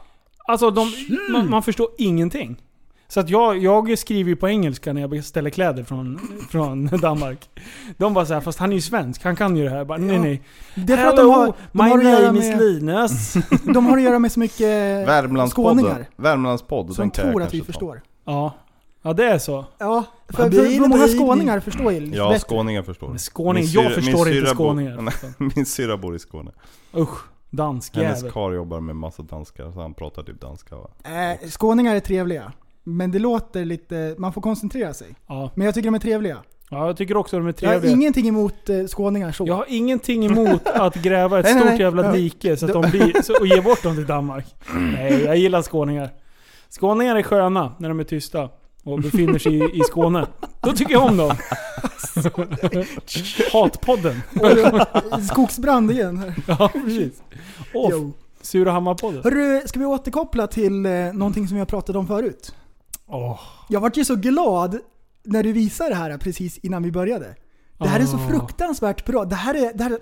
S4: Alltså de, man, man förstår ingenting. Så att jag, jag skriver ju på engelska när jag beställer kläder från, från Danmark. De bara såhär, fast han är ju svensk, han kan ju det här. Jag Bara, nej nej.
S6: Det är för att de
S4: Hello,
S6: har, de har,
S4: my
S6: att göra
S4: name is
S6: med,
S4: Linus.
S6: de har att göra med så mycket
S5: Värmlandspodden.
S6: Eh, skåningar.
S5: Värmlandspodden.
S6: Som
S5: den kan jag
S6: tror att
S5: kanske
S6: vi
S5: ta.
S6: förstår.
S4: ja. ja, det är så.
S6: Ja, för, för, för många skåningar förstår ju lite
S5: Ja,
S6: bättre.
S5: skåningar förstår.
S4: skåning-
S5: Min
S4: jag
S5: syra- min
S4: förstår inte
S5: syra bo-
S4: skåningar. alltså.
S5: Nej, Min syrra bor i Skåne.
S4: Usch, dansk
S5: Hennes
S4: jävel.
S5: karl jobbar med massa danskar, så han pratar typ danska va?
S6: Eh, skåningar är trevliga. Men det låter lite... Man får koncentrera sig.
S4: Ja.
S6: Men jag tycker de är trevliga.
S4: ja, jag tycker också de är
S6: Jag har
S4: trevliga.
S6: ingenting emot eh, skåningar så.
S4: Jag har ingenting emot att gräva ett
S6: Nej, nej,
S4: stort
S6: nej.
S4: jävla
S6: Ja.
S4: dike så att de blir, så, och ge bort dem till Danmark. Nej, jag gillar skåningar. Skåningar är sköna när de är tysta och befinner sig i, i Skåne. Då tycker jag om dem. Hatpodden.
S6: Oj, eh, Skogsbrand igen. här.
S4: Ja, precis. Och
S6: Jo.
S4: Surahammarpodden.
S6: Hörru, ska vi återkoppla till eh, någonting som jag pratade om förut?
S4: Åh.
S6: Jag vart ju så glad när du visade det här precis innan vi började. Det här är så
S4: Ah.
S6: fruktansvärt bra. Det här är... Det här är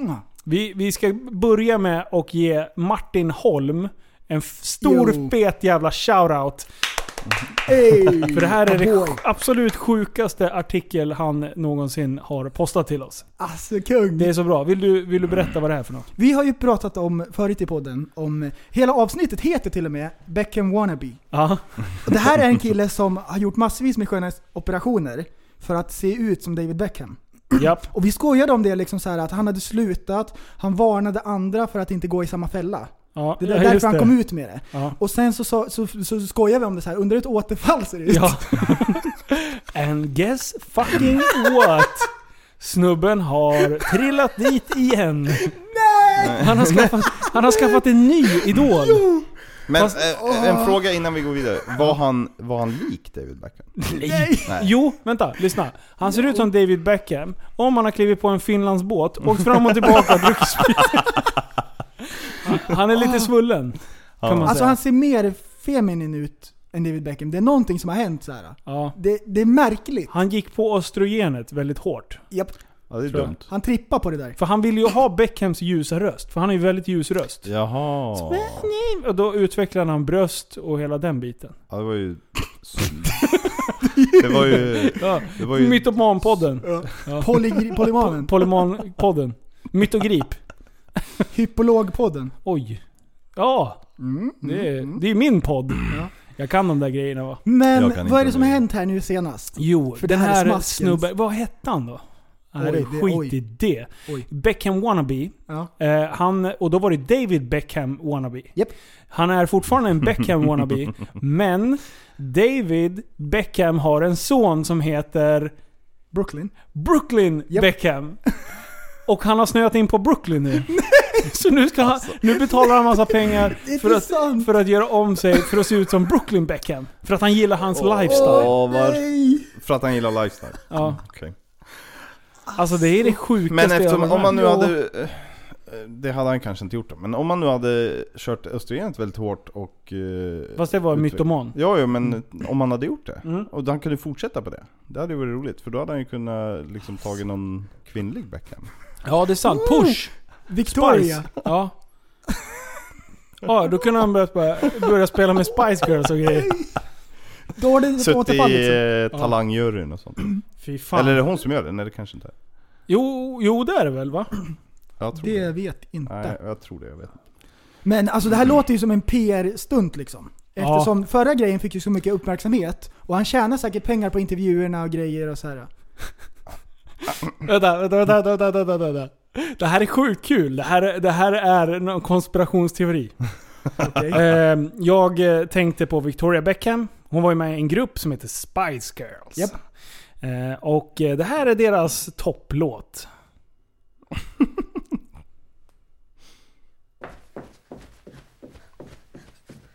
S6: mm.
S4: Vi, vi ska börja med att ge Martin Holm en f- stor
S6: Jo.
S4: fet jävla shoutout.
S6: Ey,
S4: För det här är det
S6: boy.
S4: absolut sjukaste artikel han någonsin har postat till oss.
S6: Alltså kung.
S4: Det är så bra. Vill du, vill du berätta vad det är för något?
S6: Vi har ju pratat om förut i podden, om eh, hela avsnittet heter till och med Beckham Wannabe.
S4: Ja.
S6: Och det här är en kille som har gjort massvis med sköna operationer för att se ut som David Beckham.
S4: Japp.
S6: Och vi skojade om det liksom så här att han hade slutat, han varnade andra för att inte gå i samma fälla.
S4: Ja,
S6: Det är därför
S4: just
S6: han kom ut med det.
S4: Ja.
S6: Och sen så, så, så, så skojade vi om det så här, under ett återfall ser det ut.
S4: Ja. And guess fucking what? Snubben har trillat dit igen. Han, har skaffat, han har skaffat en ny idol.
S5: Men
S4: Fast-
S5: eh, en fråga innan vi går vidare. Var han, var han lik David Beckham?
S4: Nej. Jo, vänta. Lyssna. Han ser ut som David Beckham om han har klivit på en Finlandsbåt, åkt fram och tillbaka och druckit sprit. Han är lite svullen. Kan man
S6: Alltså
S4: säga.
S6: han ser mer feminin ut än David Beckham. Det är någonting som har hänt så här.
S4: Ja.
S6: Det, det är märkligt.
S4: Han gick på östrogenet väldigt hårt.
S6: Japp.
S5: Ja, det är
S4: Tror jag.
S5: dumt.
S6: Han trippar på det där.
S4: För han vill ju ha Beckhams ljusa röst, för han har ju väldigt ljus röst.
S5: Jaha.
S4: Och då utvecklade han bröst och hela den biten.
S5: Ja, det var ju synd. Det var ju...
S4: Ja.
S5: Det var ju
S4: Mytomanpodden.
S6: Polygri- Polymanen.
S4: Polymanpodden. Mytogrip.
S6: Hypologpodden.
S4: Oj. Ja,
S6: Mm,
S4: det är, det är min podd. Jag kan de där grejerna va?
S6: Men
S5: Jag kan
S6: vad är
S5: inte
S6: det som har
S5: nu.
S6: hänt här nu senast?
S4: Jo,
S6: För
S4: den
S6: det här är
S4: här
S6: smaskens.
S4: snubben, vad hette han då? Nej,
S6: Oj,
S4: det,
S6: det-
S4: skit
S6: oj.
S4: i det.
S6: Oj.
S4: Beckham wannabe.
S6: Ja.
S4: Eh, han, och då var det David Beckham wannabe.
S6: Japp.
S4: Han är fortfarande en Beckham wannabe, men David Beckham har en son som heter
S6: Brooklyn.
S4: Brooklyn
S6: Japp.
S4: Beckham. Och han har snöat in på Brooklyn nu. Så nu, ska han, nu betalar han massa pengar
S6: Det är
S4: för
S6: inte
S4: att,
S6: sant.
S4: för att göra om sig för att se ut som Brooklyn Beckham. För att han gillar hans lifestyle.
S5: Åh, var...
S6: Nej!
S5: För att han gillar lifestyle.
S4: Ja.
S5: Okej.
S4: Alltså det är det sjukaste
S5: Men
S4: jag
S5: eftersom,
S4: har
S5: om man nu
S4: hört.
S5: hade... eh, Det hade han kanske inte gjort då, men om man nu hade kört östrogenet väldigt hårt och... eh,
S4: Fast det var
S5: utveck-
S4: mytoman.
S5: Ja, ja, men om han hade gjort det.
S4: Mm.
S5: Och han kunde fortsätta på det. Det hade ju varit roligt, för då hade han ju kunnat liksom tagit någon kvinnlig Beckham.
S4: Ja det är sant. Push!
S6: Victoria.
S4: Spice. Ja. Ja, då kunde han börjat bara, börja spela med Spice Girls och grejer.
S6: Då har det
S5: Suttit
S6: återfall
S5: i
S6: liksom.
S5: eh, talangjuryn och sånt.
S4: Fy fan.
S5: Eller är det hon som gör det? Nej, det kanske inte är.
S4: Jo, jo det är det väl va?
S5: Jag tror
S6: Det
S5: det.
S6: vet inte.
S5: Nej, jag tror det. Jag vet inte.
S6: Men alltså det här låter ju som en PR-stunt liksom.
S4: Mm. Ja.
S6: Eftersom förra grejen fick ju så mycket uppmärksamhet och han tjänar säkert pengar på intervjuerna och grejer och så här.
S4: Vänta, vänta, vänta, vänta, vänta, vänta, vänta. Det här är sjukt kul. Det här, det här är någon konspirationsteori. Eh, jag eh, tänkte på Victoria Beckham. Hon var ju med i en grupp som heter Spice Girls.
S6: Japp.
S4: Eh, och eh, det här är deras topplåt.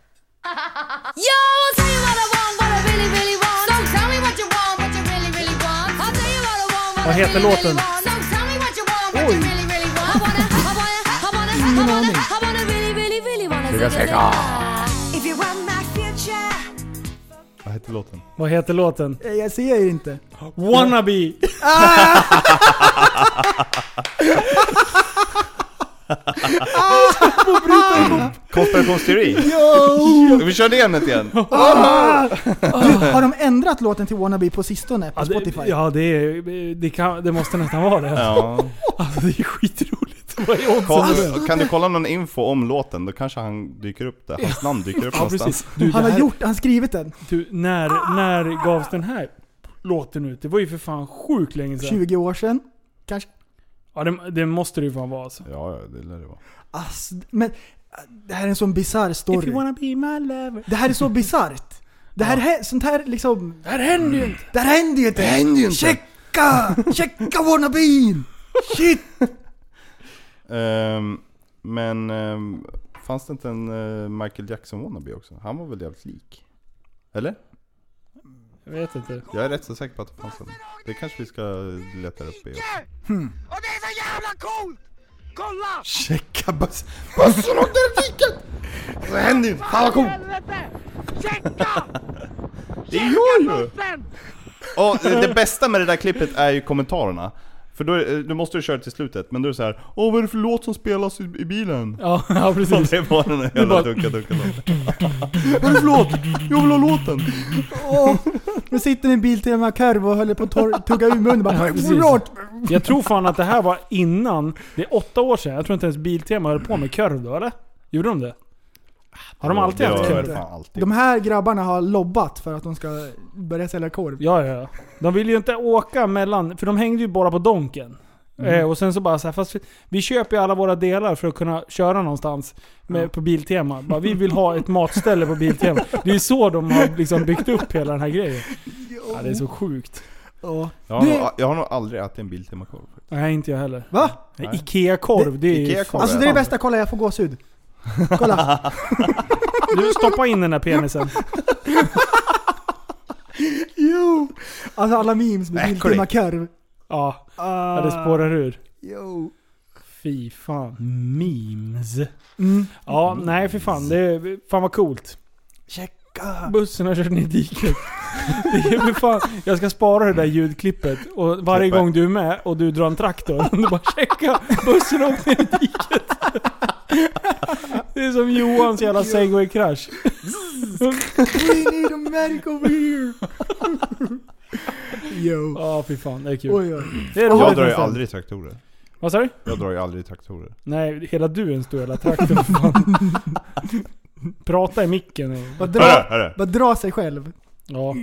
S11: Yo, I'll tell you what I want, what I really, really want. So tell me what you want, what you really, really want. I'll tell you what I want, what I
S4: Vad heter
S11: really, really
S4: låten?
S11: want. So tell me what you want, what you really, really want. I wanna, I wanna, I wanna, I
S6: Ingen
S11: wanna,
S6: aning.
S11: I wanna really, really, really wanna
S1: Det är
S11: zigga,
S1: ganska-
S11: zigga. If you want my future.
S5: Vad hette låten?
S4: Vad heter låten?
S6: Eh, Jag ser ju inte.
S4: Wannabe!
S5: Konspirationsteori! Vi körde ämnet igen!
S6: Har de ändrat låten till Wannabe på sistone på
S4: Ja, det,
S6: Spotify?
S4: ja, det, är- det, kan, det måste nästan vara det.
S5: Ja.
S4: Alltså, det är skitroligt. Vad är oddsen?
S5: Kolla, kan du kolla någon info om låten? Då kanske han dyker upp där. Hans namn dyker upp
S4: Ja, precis.
S5: någonstans.
S4: Du,
S6: han
S4: det
S6: har
S4: här-
S6: gjort, han skrivit den.
S4: Du, när, när gavs den här låten ut? Det var ju för fan sjukt länge sedan.
S6: 20 år sedan. Kanske.
S4: Ja, det, det måste det ju fan vara alltså.
S5: Ja, ja, det lär det vara.
S6: Ass, men eh, det här är en sån bisarr
S4: If you
S6: story.
S4: wanna be my lover.
S6: Det här är så bisarrt. Det här, hä- sånt här liksom... Det här händer ju inte! Det här händer ju inte! Checka! Checka wannabeen! Shit!
S5: Ehm, men ehm, fanns det inte en eh, Michael Jackson wannabe också? Han var väl jävligt lik? Eller?
S4: Jag vet inte.
S5: Jag är rätt så säker på att det fanns en. Det kanske vi ska leta upp i. Hmm.
S9: Och det är så jävla coolt! Kolla!
S5: Checka buss, bussen åkte ur diket! Det händer ju inte! Fan vad coolt!
S9: Helvete! Checka!
S5: Det gör ju!
S9: Sen!
S5: Och det bästa med det där klippet är ju kommentarerna. För då, är- du måste ju köra till slutet, men då är det så här. Åh vad är det för låt som spelas i, i bilen?
S4: Ja, ja
S5: Och
S4: precis.
S5: det var den där
S4: bara-
S5: jävla dunka dunka låten. Vad är det för låt? Jag vill ha låten!
S6: Åh, nu sitter ni i en Biltema-korv och håller på att tor- tugga ur munnen bara.
S4: Ja, precis.
S6: "Rart."
S4: Jag tror fan att det här var innan. Det är åtta år sedan. Jag tror inte ens Biltema höll på med korv då eller? Gjorde de det? Har de alltid
S5: Ja,
S4: haft
S5: det har
S4: korv?
S5: jag fan alltid.
S6: De här grabbarna har lobbat för att de ska börja sälja korv.
S4: Ja, ja, ja. De ville ju inte åka mellan... För de hängde ju bara på Donken. Eh, och sen så bara så här, fast vi, vi köper ju alla våra delar för att kunna köra någonstans med, på Biltema. Bara, vi vill ha ett matställe på Biltema. Det är så de har liksom byggt upp hela den här grejen. Ja, det är så sjukt.
S6: Ja.
S5: Jag har,
S6: Det-
S5: nog, jag har nog aldrig ätit en Biltema-korv.
S4: Nej, inte jag heller.
S6: Va?
S4: Nej,
S5: Nej.
S4: Ikea-korv, det är ju...
S5: Ikea-korv.
S6: Alltså det är det bästa, kolla jag får gåshud. Kolla.
S4: Du, stoppa in den där penisen.
S6: Jo. Alltså alla memes med
S5: Äckligt.
S6: Biltema-korv.
S4: Ja, ja,
S6: Ah,
S4: det spårar ur.
S6: Jo.
S4: Fy fan. Memes.
S6: Mm.
S4: Ja, nej för fan. Det, fan vad coolt.
S6: Checka.
S4: Bussen har kört ner i diket. Det är för fan, jag ska spara det där ljudklippet och varje
S5: Klippa.
S4: gång du är med och du drar en traktor, du bara checka bussen åkte ner i diket. Det är som Johans jävla segway-krasch.
S6: We need a medic over here! Yo.
S4: Ja, fy fan. Det är kul.
S6: Oj, oj.
S4: Det är roligt
S5: Jag drar ju
S4: nästan.
S5: aldrig traktorer.
S4: Vad sa du?
S5: Jag drar ju aldrig traktorer.
S4: Nej, hela du är en stor jävla traktor för fan. Prata i micken. och-
S6: Bara dra, bara dra sig själv.
S4: Ja.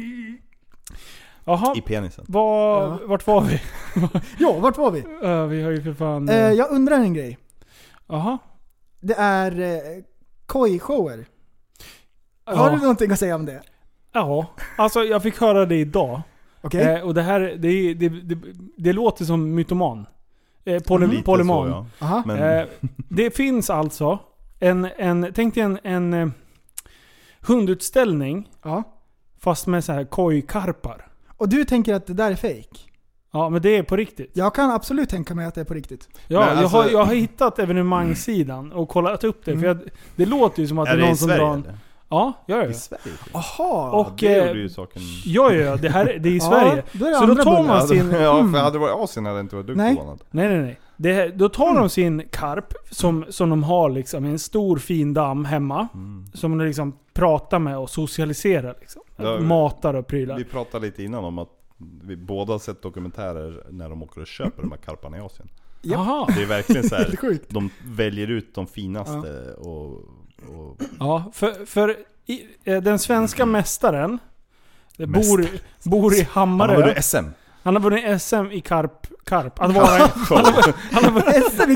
S4: Jaha,
S5: I penisen.
S4: var, vart var vi?
S6: Ja, vart var vi?
S4: Ja, vi har ju för fan...
S6: Eh, jag undrar en grej.
S4: Jaha.
S6: Det är eh, kojshower. Har du någonting att säga om det?
S4: Ja, alltså jag fick höra det idag.
S6: Okej.
S4: Eh, och det här, det, är- det, det, det låter som mytoman. Eh, poly,
S5: Mm. Lite
S4: polyman.
S5: så, ja.
S6: Aha.
S5: Men-
S4: Eh, det finns alltså en, en tänk dig en, en eh, hundutställning.
S6: Ja.
S4: Fast med så här kojkarpar.
S6: Och du tänker att det där är fake?
S4: Ja, men det är på riktigt.
S6: Jag kan absolut tänka mig att det är på riktigt.
S4: Ja,
S5: Men alltså-
S4: jag, har, jag har hittat evenemangssidan och kollat upp det. För jag, det låter ju som att det
S5: Mm. Är det
S4: är någon
S5: i
S4: som
S5: Sverige
S4: drar en...
S5: eller?
S4: Ja, gör
S5: I
S4: det.
S5: Sverige?
S6: Aha!
S5: Ja,
S4: Och,
S5: det
S4: eh,
S5: gjorde ju saken...
S4: Ja, ja, det här det är i
S6: Ja,
S4: Sverige.
S6: då är det
S4: Så då
S6: andra
S4: tar
S6: bullar.
S4: man
S5: Ja, det-
S4: sin... Mm.
S5: Ja, för hade det varit Asien hade jag inte varit
S6: Nej.
S5: dugg förvånad.
S4: Nej, nej, nej. Det, då
S5: Mm.
S4: tar de sin karp som, som de har liksom i en stor fin damm hemma. Som de liksom pratar med och socialiserar. Liksom.
S5: Mm. Ja,
S4: Matar och prylar.
S5: Vi pratade lite innan om att vi båda har sett dokumentärer när de åker och köper de här karparna i Asien.
S4: Jaha.
S5: Det är verkligen så
S6: Helt
S5: här.
S6: sjukt.
S5: de väljer ut de finaste och... och
S4: Ja, för, för i, eh, den svenska mästaren eh,
S5: Mm. Mästare.
S4: bor, bor i
S5: han har
S4: Hammarö.
S5: varit SM.
S4: Han har vunnit SM i karp. karp. Att vara, en- han, har, vunnit-
S6: SM i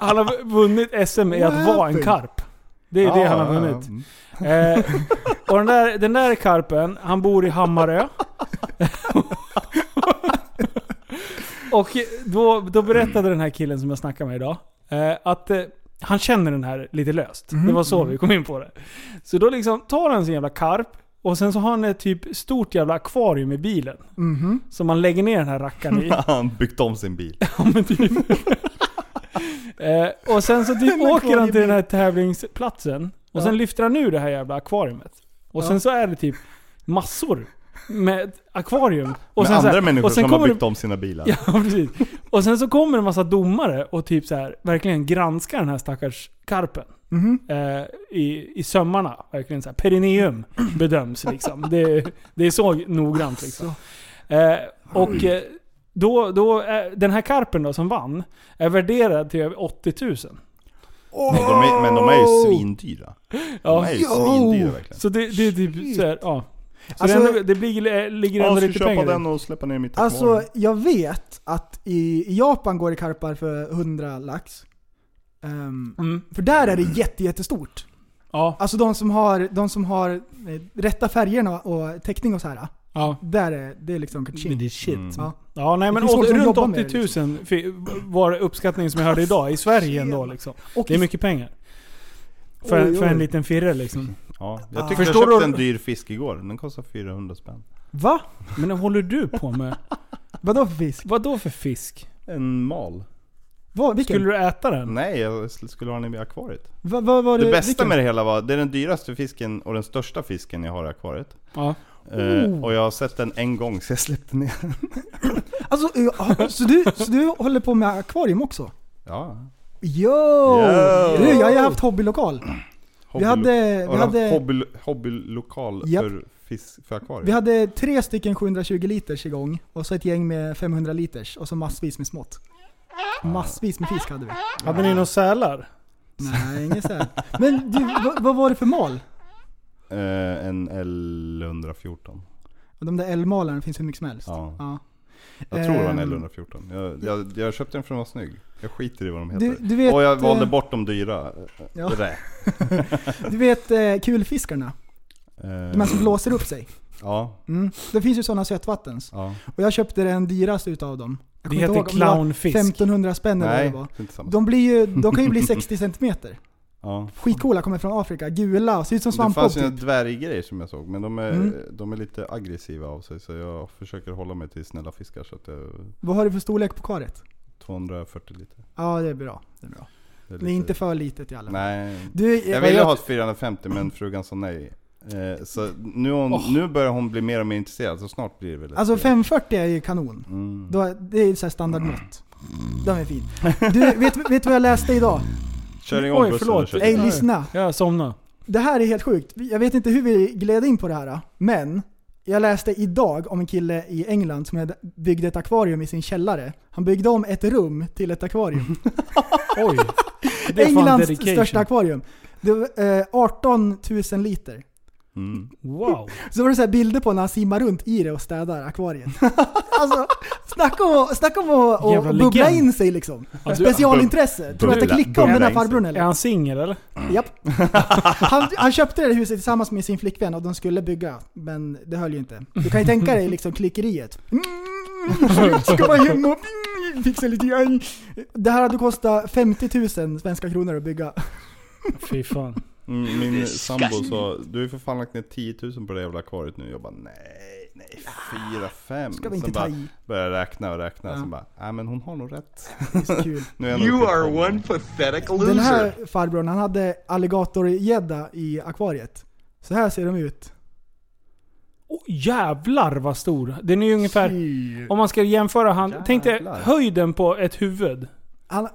S4: han har vunnit SM i att
S6: What
S4: vara en
S6: happened?
S4: karp. Det är det han har vunnit. Eh, och den där, den där karpen, han bor i Hammarö. och då, då berättade den här killen som jag snackade med idag, eh, att eh, han känner den här lite löst. Det var så vi kom in på det. Så då liksom tar han sin jävla karp, och sen så har han ett typ stort jävla akvarium i bilen.
S6: Mhm.
S4: Som man lägger ner den här rackaren i.
S5: Han har byggt om sin bil.
S4: Ja, men typ. eh, och sen så typ åker han till den här tävlingsplatsen. Och sen lyfter han ur det här jävla akvariumet. Och sen så är det typ massor med ett akvarium. Och
S5: Med
S4: sen så
S5: andra
S4: här-
S5: människor
S4: och sen
S5: som har
S4: kommer det-
S5: byggt om sina bilar.
S4: Ja, precis. Och sen så kommer en massa domare och typ så här, verkligen granskar den här stackars karpen.
S5: Mhm.
S4: Eh, i, I sömmarna. Verkligen så här, perineum bedöms liksom. Det, det är så noggrant liksom. Eh, och eh, då, då är, den här karpen då som vann är värderad till över 80 000.
S5: Men, de är, men de är ju svindyra. De
S4: Ja.
S5: är ju svindyra verkligen.
S4: Så det, det är typ så här, ja. Så
S6: Alltså-
S4: det, ändå, det blir, ligger
S5: Ja,
S4: ändå
S5: ska
S4: lite
S5: köpa
S4: pengar i.
S5: den och släppa ner mitt
S6: Alltså,
S5: akvarium.
S6: jag vet att i i Japan går det karpar för 100 lax. Ehm,
S4: Mm.
S6: för där är det jätte, jättestort.
S4: Ja,
S6: Alltså de som har, de som har eh, rätta färgerna och täckning och så här.
S4: ja.
S6: Där är det är liksom kaching.
S4: Det är shit. Mm.
S6: Ja.
S4: Ja, nej men
S6: finns folk
S4: åt,
S6: som
S4: runt
S6: jobbar med
S4: 80
S6: det,
S4: 000 fi- var uppskattningen som jag hörde idag i Sverige ändå liksom.
S6: Och
S4: Det är
S6: i-
S4: mycket pengar. För,
S6: Oj,
S4: för en
S6: oj.
S4: liten firre liksom.
S5: Ja, jag tyckte
S4: Förstår
S5: jag köpte
S4: du-
S5: en dyr fisk igår. Den kostar 400 spänn.
S6: Va?
S4: Men vad håller du på med?
S6: Vadå för fisk?
S4: Vad då för fisk?
S5: En mal.
S6: Vad, vilken?
S4: Skulle du äta den?
S5: Nej, jag sl- skulle ha den i akvariet.
S6: Va, vad var det?
S5: Det bästa
S6: vilken?
S5: med det hela var, det är den dyraste fisken och den största fisken jag har i akvariet.
S4: Ja. Oh.
S5: Eh, och jag har sett den en gång så jag släppte ner den.
S6: Alltså, ja, så, du, så du håller på med akvarium också?
S5: Ja.
S6: Yo! Du, jag har ju haft hobbylokal.
S5: Hobby-
S6: hade-
S5: och
S6: vi
S5: de-
S6: hade-
S5: hobby, hobbylokal
S6: Japp.
S5: för, fisk, för akvariet.
S6: Vi hade tre stycken 720 liters igång och så ett gäng med 500 liters och så massvis med smått.
S5: Ah.
S6: Massvis med fisk hade vi.
S4: Hade ni några sälar?
S6: Nej, inget så här. Men du, vad, vad var det för mal?
S5: Eh, en L114.
S6: De där älgmalarna finns hur mycket som helst.
S5: Ja.
S6: Ja.
S5: Jag tror det var en
S6: Ehm.
S5: L114. Jag, jag, jag köpte den för den var snygg. Jag skiter i vad de heter.
S6: Du- du vet,
S5: och jag
S6: eh,
S5: valde bort de dyra.
S6: Ja.
S5: Det där.
S6: Du vet eh, kulfiskarna?
S5: Eh,
S6: De här som blåser upp sig.
S5: Ja,
S6: Mm. Det finns ju sådana sötvattens.
S5: ja.
S6: Och jag köpte den dyraste utav dem. Jag
S4: Det
S6: kommer inte
S4: heter
S6: ihåg om det var
S4: clownfisk.
S6: 1500 spänn eller vad
S5: Nej,
S6: det
S5: det
S6: var.
S5: är inte samma.
S6: De, blir ju, de kan ju bli 60 centimeter.
S5: ja.
S6: Skitcoola, kommer från Afrika. Gula och ser ut som
S5: Det
S6: svampbob
S5: fanns ju
S6: typ.
S5: några dvärggrejer som jag såg, men de är,
S6: Mm.
S5: de är lite aggressiva av sig så jag försöker hålla mig till snälla fiskar så att jag...
S6: Vad har du för storlek på karet?
S5: 240 liter.
S6: Ja, det är bra. Det är, bra.
S5: Det är,
S6: Det är
S5: lite-
S6: inte för litet i alla fall.
S5: Nej.
S6: Du,
S5: Jag
S6: vad
S5: ville
S6: jag-
S5: ha ett 450 men frugan sa nej. Eh, så nu, har hon, nu börjar hon bli mer och mer intresserad, så snart blir det väl ett
S6: Alltså
S5: spel.
S6: 540 är ju kanon.
S5: Mm.
S6: Då, är- det är ju så här standardmått. Den är fin. Du, vet, vet du vad jag läste idag?
S5: Kör igång bussen och kör.
S6: Ey, lyssna.
S4: Jag somnade.
S6: Det här är helt sjukt. Jag vet inte hur vi gled in på det här, men jag läste idag om en kille i England som hade- byggde ett akvarium i sin källare. Han byggde om ett rum till ett akvarium.
S4: Oj. Det är fan
S6: Englands
S4: dedication.
S6: största akvarium. Det var, eh, 18 000 liter.
S4: Wow.
S6: Så var det så här bilder på när han simmar runt i det och städar akvariet. alltså, snacka om, att- snacka om att och
S4: Jävla
S6: bubbla
S4: legend.
S6: in sig liksom.
S4: Ja, du-
S6: Specialintresse. Tror du att det
S4: Bubbla-
S6: klickade om den
S4: bubbla
S6: här
S4: in sig.
S6: farbrorn eller?
S4: Är han singel eller?
S6: Japp. Han, han köpte det här huset tillsammans med sin flickvän och de skulle bygga, men det höll ju inte. Du kan ju tänka dig liksom klickeriet. Mm, ska vara hemma och mm, fixa lite grann. Det här hade kostat 50 000 svenska kronor att bygga.
S4: Fy fan.
S5: Mm, Min sambo sa, du har ju för fan lagt ner 10 000 på det jävla akvariet nu. Jag bara nej, nej, 4, 5.
S6: Ska vi inte
S5: sen
S6: ta
S5: bara
S6: i?
S5: började jag räkna och räkna,
S6: Ja.
S5: sen bara, nej men hon har nog rätt.
S6: kul.
S5: nu är jag nog typ
S12: You
S5: uppe i
S12: are
S5: fem.
S12: one pathetic
S6: Den
S12: loser.
S6: här farbrorn, han hade alligatorgädda i akvariet. Så här ser de ut.
S4: Jävlar vad stor. Den är ju ungefär... Om man ska jämföra han... Tänk dig höjden på ett huvud.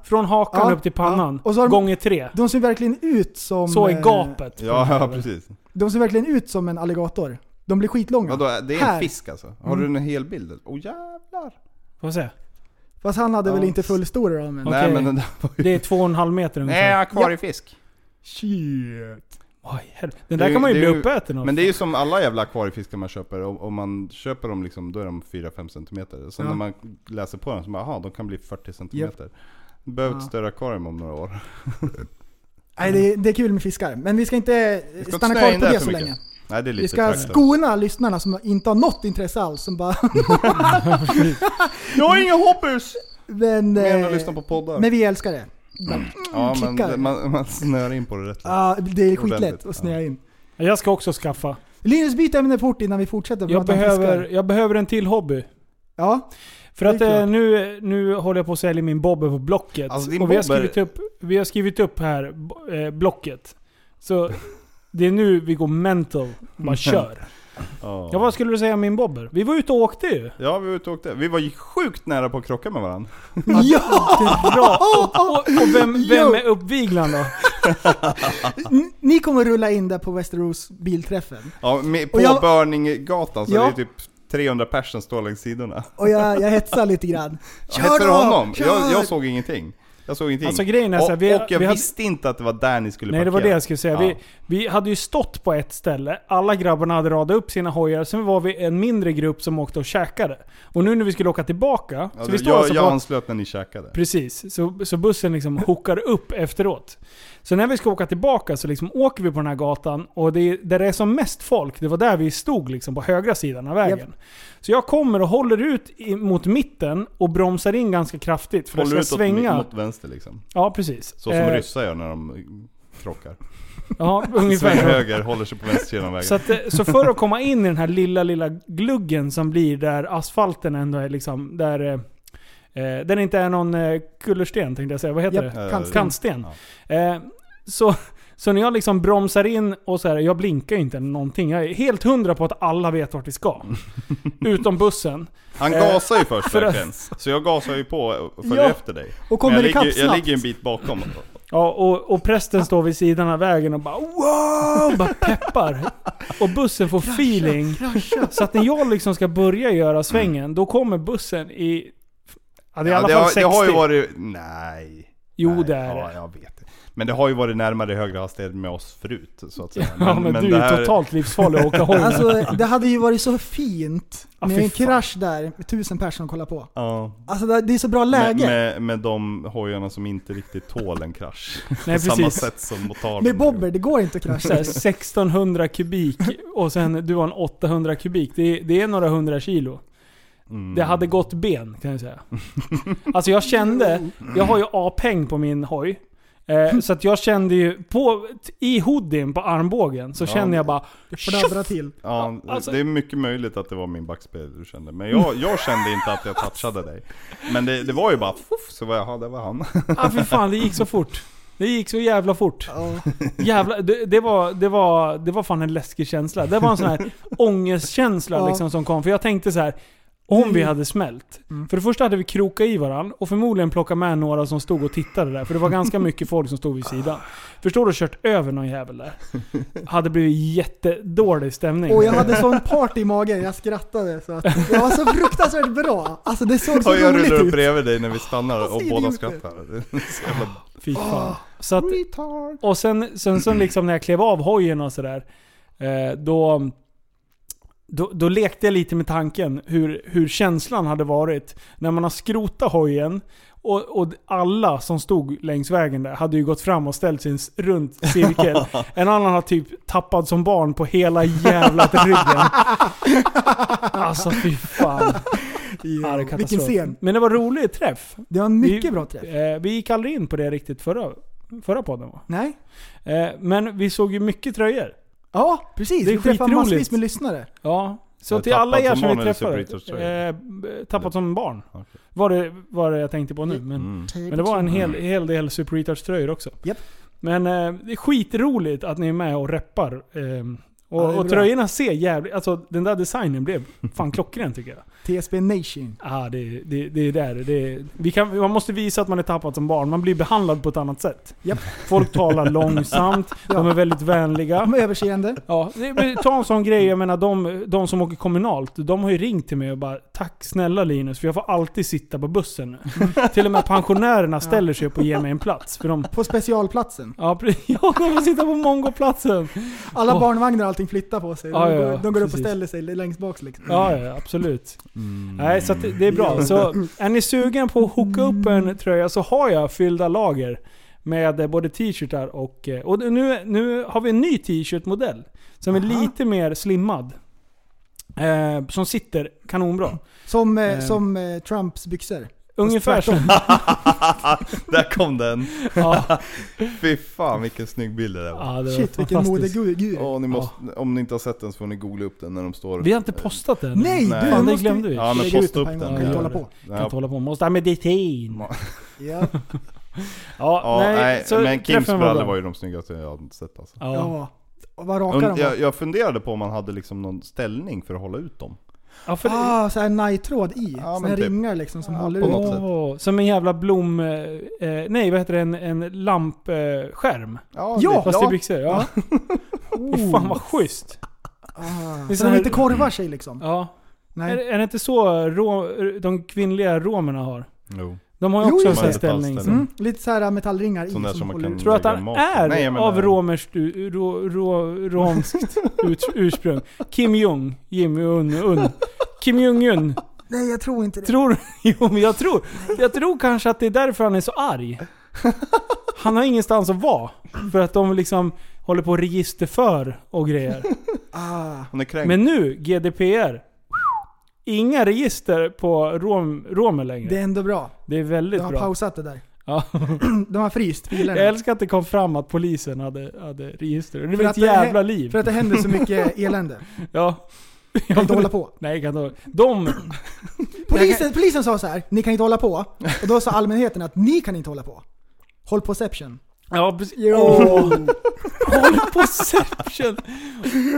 S4: Från hakan
S6: Ja,
S4: upp till pannan.
S6: Och så har de-
S4: gånger tre.
S6: De ser verkligen ut som...
S4: Så är
S6: eh,
S4: gapet.
S5: Ja, ja precis.
S6: De ser verkligen ut som en alligator. De blir skitlånga.
S5: Vadå, det är en
S6: Här.
S5: fisk alltså? Har
S6: Mm.
S5: du en hel bild? Åh jävlar!
S4: Får jag se?
S6: Fast han hade
S5: Ja.
S6: väl inte fullstora då? Men...
S5: Nej, men den där var ju-
S4: Det är två och en halv meter ungefär.
S5: Nej, akvariefisk.
S6: Shit.
S4: Oj, helvete. Den
S5: Det är
S4: där kan man ju
S5: det
S4: bli
S5: är
S4: uppäten av.
S5: Men det är ju som alla jävla akvariefiskar man köper. Om, om man köper dem liksom, då är de 4-5 cm. Sen
S6: Ja.
S5: när man läser på dem så bara, aha, de kan bli 40 cm. Behöver ett
S6: Ja.
S5: större akvarium om några år.
S6: Nej, det, är- det är kul med fiskar. Men vi ska inte
S5: Vi ska inte
S6: stanna
S5: snöa
S6: kvar
S5: in
S6: på
S5: där
S6: det
S5: för
S6: så
S5: mycket.
S6: länge.
S5: Nej, det är lite
S6: Vi ska
S5: traktor.
S6: skona lyssnarna som inte har något intresse alls. Som bara...
S5: Jag har inga
S4: Eh,
S5: hobbys!
S6: Men,
S5: Mer än
S6: eh,
S5: att lyssna på poddar.
S6: men vi älskar det. Mm,
S5: Ja, men
S6: klickar.
S5: det- man, man snör in på det rätt lätt.
S4: Ah.
S6: Ja, det är skitlätt
S5: Ordentligt,
S6: att snöa in.
S4: Jag ska också skaffa.
S6: Linus, byt ämne fort innan vi fortsätter
S4: Jag
S6: prata om
S4: behöver,
S6: fiskar.
S4: jag behöver en till hobby.
S6: Ja.
S4: För
S6: det är
S4: att eh,
S6: klart.
S4: nu, nu håller jag på att sälja min bobber på Blocket.
S5: Alltså, din
S4: och vi har,
S5: bobber-
S4: skrivit upp, vi har skrivit upp här, bo- eh, Blocket. Så det är nu vi går mental. Bara kör.
S5: Ja.
S4: Ja, vad skulle du säga om min bobber? Vi var ute och åkte ju.
S5: Ja, vi var ute och åkte. Vi var ju sjukt nära på att krocka med varandra.
S4: Bra. Och, och, och vem, vem
S6: Jo.
S4: är uppviglaren då?
S6: N- Ni kommer rulla in där på Västerås bilträffen.
S5: Ja, med, på
S6: Och jag-
S5: Börninggatan så
S6: Ja.
S5: det är typ 300 personer som står längs sidorna.
S6: Och jag, jag hetsar lite grann.
S5: Ja, Hetsar du
S6: då!
S5: honom?
S6: Kör!
S5: Jag, jag såg ingenting. Jag såg ingenting.
S4: Alltså, grejen är
S5: och,
S4: så här, vi-
S5: och jag
S4: vi hade-
S5: visste inte att det var där ni skulle
S4: Nej det
S5: parkera.
S4: var det jag skulle säga.
S5: Ja.
S4: Vi, vi hade ju stått på ett ställe, alla grabbarna hade radat upp sina hojar, sen var vi en mindre grupp som åkte och käkade. Och nu när vi skulle åka tillbaka,
S5: Ja,
S4: så vi
S5: det-
S4: står
S5: jag
S4: alltså
S5: jag
S4: på...
S5: anslöt när ni käkade.
S4: Precis, så, så bussen liksom hookar upp efteråt. Så när vi ska åka tillbaka så liksom åker vi på den här gatan och det, är- där det är som mest folk, det var där vi stod liksom på högra sidan av vägen. Så jag kommer och håller ut i, mot mitten och bromsar in ganska kraftigt för
S5: Håller
S4: det
S5: ut
S4: ska
S5: åt,
S4: svänga.
S5: mot vänster liksom.
S4: Ja, precis.
S5: Så som
S4: Eh,
S5: ryssar gör när de krockar.
S4: Ja, ungefär
S5: Svänger
S4: så.
S5: höger, håller sig på vänster sida av vägen.
S4: Så, att, eh, så för att komma in i den här lilla, lilla gluggen som blir där asfalten ändå är liksom, där... eh, Eh, den inte är någon eh, kullersten tänkte jag säga, vad heter
S6: Japp,
S4: det?
S5: kantsten.
S4: Kantsten. Eh, så, så när jag liksom bromsar in och så här, jag blinkar ju inte eller någonting. Jag är helt hundra på att alla vet vart vi ska. Utom bussen.
S5: Han
S4: Eh,
S5: gasar ju först
S4: för att-
S5: verkligen. Så jag gasar ju på och följer
S4: Ja,
S5: efter dig.
S6: och kommer
S5: Men jag,
S6: ikapp
S5: ligger, jag
S6: snabbt.
S5: ligger en bit bakom.
S4: Ja, och, och prästen står vid sidan av vägen och bara wow! Bara peppar. Och bussen får feeling. Så att när jag liksom ska börja göra svängen, då kommer bussen i... Ja, det är i alla
S5: det,
S4: fall
S5: har,
S4: 60.
S5: det har ju varit... Nej.
S4: Jo,
S5: nej,
S4: det är
S5: ja,
S4: det.
S5: jag vet det. Men det har ju varit närmare högre hastighet med oss förut, så att säga.
S4: Ja, men, du är
S5: det
S4: ju
S5: här-
S4: totalt livsfarlig att åka hoj med.
S6: Alltså det hade ju varit så fint
S4: Ja,
S6: med
S4: fy
S6: en
S4: fan.
S6: krasch där med tusen personer som kollar på.
S5: Ja.
S6: Alltså det det är så bra läge.
S5: Med, med, med de hojarna som inte riktigt tål en krasch.
S4: Nej,
S5: På samma
S4: precis.
S5: sätt som motarden.
S6: Med bobber, det går inte att
S4: Så här,
S6: krascha.
S4: 1600 kubik och sen du har en 800 kubik. Det är, det är några hundra kilo. Det hade gått ben kan jag säga. Alltså jag kände, jag har ju A-peng på min hoj. Eh, så att jag kände ju, på, i hoodien på armbågen så
S5: Ja.
S4: kände jag bara
S6: Fladdra till.
S5: Ja,
S4: Alltså-
S5: det är mycket möjligt att det var min backspegel du kände. Men jag, jag kände inte att jag touchade dig. Men det, det var ju bara fuff, så var jag, "Jaha, där var han.
S4: ah, för fan det gick så fort. Det gick så jävla fort. Jävla, det, det, var, det, var, det var fan en läskig känsla. Det var en sån här ångestkänsla
S6: Ja.
S4: liksom, som kom. För jag tänkte så här. Om vi hade smält.
S6: Mm.
S4: För det första hade vi krokat i varann och förmodligen plockat med några som stod och tittade där. För det var ganska mycket folk som stod vid sidan. Förstår du? Kört över någon jävel där. Hade blivit jättedålig stämning.
S6: Och jag hade sån party i magen, jag skrattade så att jag var så fruktansvärt bra. Alltså det såg så
S5: Och jag
S6: roligt
S5: rullar upp
S6: ut.
S5: bredvid dig när vi stannar och
S6: ser
S5: båda
S6: idiot ut.
S5: skrattar. Det är så jävla-
S4: Fy fan. Så att,
S6: Retard.
S4: och sen, sen, sen liksom när jag klev av hojen och sådär. eh, Då, då, då lekte jag lite med tanken hur, hur känslan hade varit. När man har skrotat hojen och, och alla som stod längs vägen där hade ju gått fram och ställt sig i en s- rund cirkel. En annan har typ tappat som barn på hela jävla ryggen. Alltså fy fan. Ja, det är katastrof.
S6: Vilken scen.
S4: Men det var rolig träff.
S6: Det var en mycket bra träff.
S4: Eh, vi gick aldrig in på det riktigt förra, förra podden va?
S6: Nej.
S4: Eh, men vi såg ju mycket tröjor.
S6: Ja, precis.
S4: Det är
S6: vi träffade
S4: skitroligt.
S6: massvis med lyssnare.
S4: Ja. Så
S5: Var det
S4: till alla
S5: Tappat
S4: er
S5: som barn
S4: som vi
S5: eller
S4: träffade.
S5: Superhitters-tröjor?
S4: Eh, b- tappat som barn. Var, det, var det jag tänkte på nu. Men,
S7: Mm.
S4: men det var en hel, hel del Super Retouch tröjor också.
S6: Japp.
S4: Men eh, det är skitroligt att ni är med och reppar. ehm, och,
S6: Ja, det är
S4: och
S6: bra.
S4: tröjorna ser jävligt... Alltså den där designen blev fan klockren tycker jag.
S6: TSB Nation.
S4: Ah, det, det, det är där. Det, vi kan, man måste visa att man är tappad som barn. Man blir behandlad på ett annat sätt.
S6: Japp.
S4: Folk talar långsamt, de är väldigt vänliga.
S6: De är överseende.
S4: Ja, det- men ta en sån grej, jag menar de, de som åker kommunalt, de har ju ringt till mig och bara Tack snälla Linus, för jag får alltid sitta på bussen nu. Till och med pensionärerna ställer sig upp och ger mig en plats. För de,
S6: På specialplatsen.
S4: ja, pre- ja, de får sitta på mongoplatsen.
S6: Alla
S4: Åh.
S6: barnvagnar och allting flyttar på sig. De,
S4: Ja, ja,
S6: går,
S4: ja,
S6: de går upp och
S4: precis.
S6: ställer sig längst bak liksom.
S4: Ja, ja, absolut. Nej, så att det- det är bra. Så är ni sugen på att hooka upp en tröja så har jag fyllda lager. Med eh, både t-shirtar och... eh, Och nu, nu har vi en ny t-shirt-modell. Som är lite mer slimmad. Eh, som sitter kanonbra.
S6: Som, eh,
S4: Eh.
S6: som eh, Trumps byxor.
S4: Ungefär så.
S5: Där kom den!
S4: Ja,
S5: Fy fan vilken snygg bild det där var.
S4: ja, det var
S6: Shit vilken
S4: fantastiskt.
S6: modegur.
S5: Åh, ni måste, Om ni inte har sett den så får ni googla upp den när de står...
S4: Vi har inte postat den.
S6: Nej,
S5: Nej.
S6: du,
S5: Fan,
S6: den
S4: det
S6: måste
S4: glömde vi.
S5: Ja men
S6: lägga ut
S5: posta upp
S6: den på en
S5: den.
S6: gång.
S4: Ja,
S6: Kan
S4: gör
S6: inte hålla
S4: det.
S6: på.
S4: Kan
S5: Ja,
S4: inte hålla på. Måste ha med detain.
S6: Ja.
S4: Ja,
S5: ja, nej,
S4: så
S5: men Kims
S4: träffen var
S5: brallor
S4: bra.
S5: var ju de snyggaste jag har sett alltså.
S4: Ja,
S6: ja. Och Vad raka
S5: Und,
S6: de var.
S5: jag, jag funderade på om man hade liksom någon ställning för att hålla ut dem.
S4: ja för det,
S6: Ah, så här nighttråd i.
S5: Ja,
S6: Såna
S5: men
S6: här
S5: typ.
S6: ringar liksom som
S5: Ja,
S6: håller
S5: på
S6: ut.
S5: något
S6: Åh.
S5: sätt.
S4: Åh, som en jävla blom... eh, Eh, nej, vad heter det? En, en lampskärm. Eh,
S6: Ja,
S4: Fast i
S6: ja.
S4: byxor. Ja. Fy fan vad schysst.
S6: Ah,
S4: Det är
S6: så
S4: sån här-
S6: de inte korvar sig liksom.
S4: Ja. Är,
S6: Nej.
S4: är det inte så rå, de kvinnliga romerna har?
S5: Jo.
S4: De har ju
S6: Jo,
S4: också
S6: jo.
S4: en sån här
S5: Man har en
S4: ställning.
S5: fast
S4: Mm.
S6: Mm, lite så här metallringar i.
S5: Sån där som man
S6: håller
S5: kan...
S6: ut.
S4: Tror du att
S5: lägga
S4: han
S5: mat i.
S4: är
S5: Nej, jag menar-
S4: av romerskt u- ro, ro, romskt ut, ursprung? Kim Jong, Jim Un, un. Kim Jong-Un.
S6: Nej jag tror inte det.
S4: Tror Jo men jag tror, jag tror kanske att det är därför han är så arg. Han har ingenstans att vara. För att de liksom håller på och registerför och grejer.
S6: Ah,
S5: Han är kränkt.
S4: Men nu, GDPR. Inga register på rom, romer längre.
S6: det är
S4: Det,
S6: ändå bra.
S4: är
S6: De
S4: väldigt
S6: har
S4: bra.
S6: pausat det där.
S4: Ja.
S6: De har fryst
S4: Jag
S6: filerna.
S4: älskar att det kom fram att polisen hade, hade register. Det
S6: För
S4: blev
S6: att
S4: ett
S6: det-
S4: jävla liv.
S6: För att det händer så mycket elände.
S4: Ja.
S6: Jag kan inte hålla på.
S4: Nej, jag kan inte De...
S6: Polisen, polisen sa så här, ni kan inte hålla på. Och då sa allmänheten att ni kan inte hålla på. Håll poception.
S4: Ja, precis. Åh. Håll perception!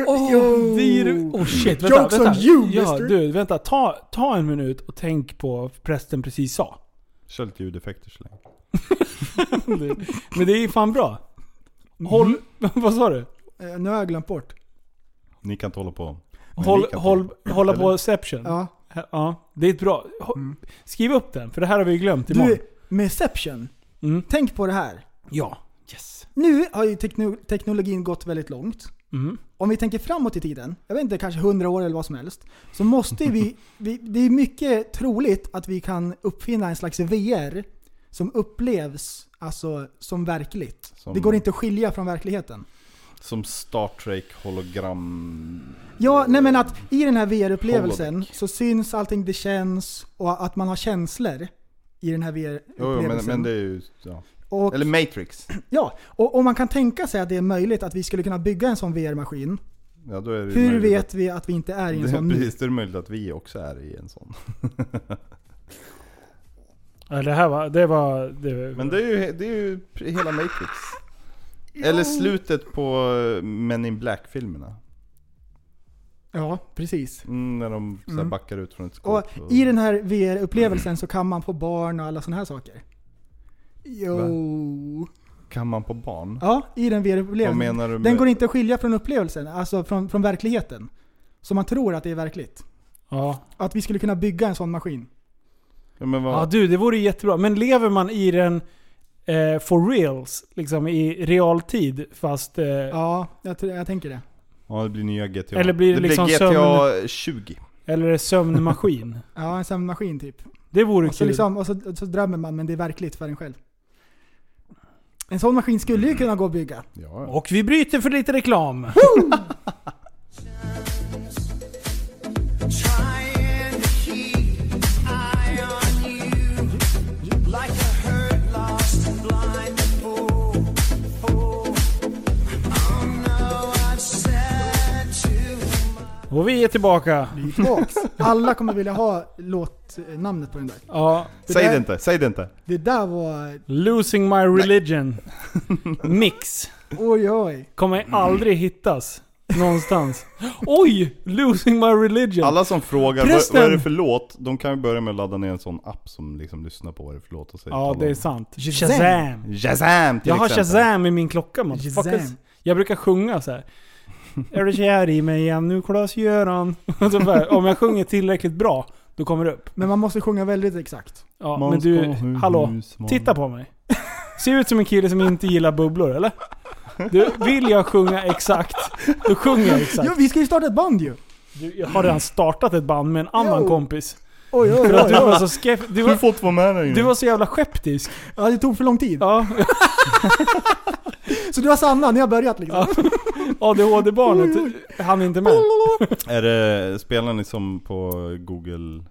S4: Åh,
S6: Jo.
S4: det är ju- Åh shit, vänta.
S6: Jokes on
S4: vänta.
S6: you,
S4: ja,
S6: mister.
S4: du, vänta. Ta, ta en minut och tänk på vad prästen precis sa.
S5: Kör lite ljudeffekter så länge.
S4: Men det är ju fan bra.
S6: Mm.
S4: Håll... Vad sa du?
S6: Eh, nu har jag glömt bort.
S5: Ni kan inte hålla på. Men
S4: Håll,
S5: ni kan
S4: håll,
S5: inte
S4: hålla
S5: Eller?
S4: på perception. Ja.
S6: Ja. Mm.
S4: det är ett bra... Hå- Skriv upp den, för det här har vi ju glömt imorgon.
S6: Du, meception.
S4: Mm.
S6: Tänk på det här.
S4: Ja. Yes.
S6: Nu har ju tekno- teknologin gått väldigt långt.
S4: Mm.
S6: Om vi tänker framåt i tiden, jag vet inte, kanske 100 år eller vad som helst. Så måste vi, vi det är mycket troligt att vi kan uppfinna en slags VR som upplevs alltså, som verkligt.
S5: Som-
S6: Det går inte att skilja från verkligheten.
S5: Som Star Trek hologram...
S6: Ja, nej men att i den här VR-upplevelsen
S5: Holodeck.
S6: så syns allting det känns och att man har känslor i den här
S5: Jo, jo, men,
S6: VR-upplevelsen.
S5: men det är ju... Ja.
S6: och,
S5: Eller Matrix.
S6: ja, och om man kan tänka sig att det är möjligt att vi skulle kunna bygga en sån VR-maskin.
S5: Ja, då är det ju
S6: Hur
S5: möjligt
S6: vet vi att vi inte är i en
S5: Det,
S6: sån nu?
S5: precis, det är möjligt att vi också är i en sån.
S4: Ja, det här var... Det var det,
S5: Men det är ju, det är ju hela Matrix. Eller slutet på eh, Men in Black-filmerna.
S6: Ja, precis.
S5: Mm, när de så här
S6: Mm.
S5: backar ut från ett skåp.
S6: Och i den här VR-upplevelsen så kan man få barn och alla sådana här saker. Jo...
S5: Kan man på barn?
S6: Ja, i den
S5: Vad
S6: VR-upplevelsen.
S5: menar du
S6: Den
S5: med-
S6: går inte att skilja från upplevelsen, alltså från, från verkligheten. Så man tror att det är verkligt.
S4: Ja.
S6: Att vi skulle kunna bygga en sån maskin.
S5: Ja, men vad,
S4: Ja du, det vore jättebra. Men lever man i den eh, for reals? Liksom i realtid fast... Eh,
S6: ja, jag, tror- jag tänker det.
S5: ja, det blir nya GTA.
S4: Eller blir det liksom
S5: GTA
S4: sömn-
S5: 20.
S4: Eller sömnmaskin.
S6: Ja, en sömnmaskin typ.
S4: Det vore
S6: och så
S4: kul.
S6: Liksom, och så, och så drömmer man, men det är verkligt för en själv. En sån maskin skulle
S4: Mm.
S6: ju kunna gå att bygga.
S4: Och vi bryter för lite reklam. Och vi är tillbaka.
S6: Tillbaks. Alla kommer vilja ha låtnamnet på den där.
S4: Ja.
S5: Säg det inte, säg det inte.
S6: Det där var...
S4: Losing my religion. Mix.
S6: Oj oj.
S4: Kommer aldrig hittas. Någonstans. Oj! Losing my religion.
S5: Alla som frågar vad,
S4: Förresten.
S5: vad är det för låt, de kan ju börja med att ladda ner en sån app som liksom lyssnar på vad det är för låt och säger
S4: Ja,
S5: talar
S4: det är
S5: om.
S4: sant.
S6: Shazam.
S4: Shazam!
S5: Shazam till
S4: Jag har
S5: exempel.
S4: Shazam i min klocka motherfuckers.
S6: Shazam.
S4: Jag brukar sjunga så här. Är du kär i mig igen nu Klas-Göran? Och så bara, Om jag sjunger tillräckligt bra, då kommer det upp.
S6: Men man måste sjunga väldigt exakt.
S4: Ja,
S5: Man
S4: men
S5: ska
S4: du,
S5: ha
S4: hallå.
S5: husman.
S4: Titta på mig. Ser ut som en kille som inte gillar bubblor, eller? Du, vill jag sjunga exakt, då sjunger jag exakt.
S6: Jo, vi ska ju starta ett band ju!
S4: Du, jag har redan startat ett band med en annan
S6: Jo.
S4: kompis.
S6: Oj, oj,
S4: För att du
S6: oj.
S4: var så skepp... Du
S5: Du
S4: var,
S5: får inte vara med längre.
S4: du var så jävla skeptisk.
S6: Ja, det tog för lång tid.
S4: Ja,
S6: Så du har Sanna, ni har börjat liksom.
S4: ADHD-barnet hann inte med.
S5: Är det, spelar ni som på Google?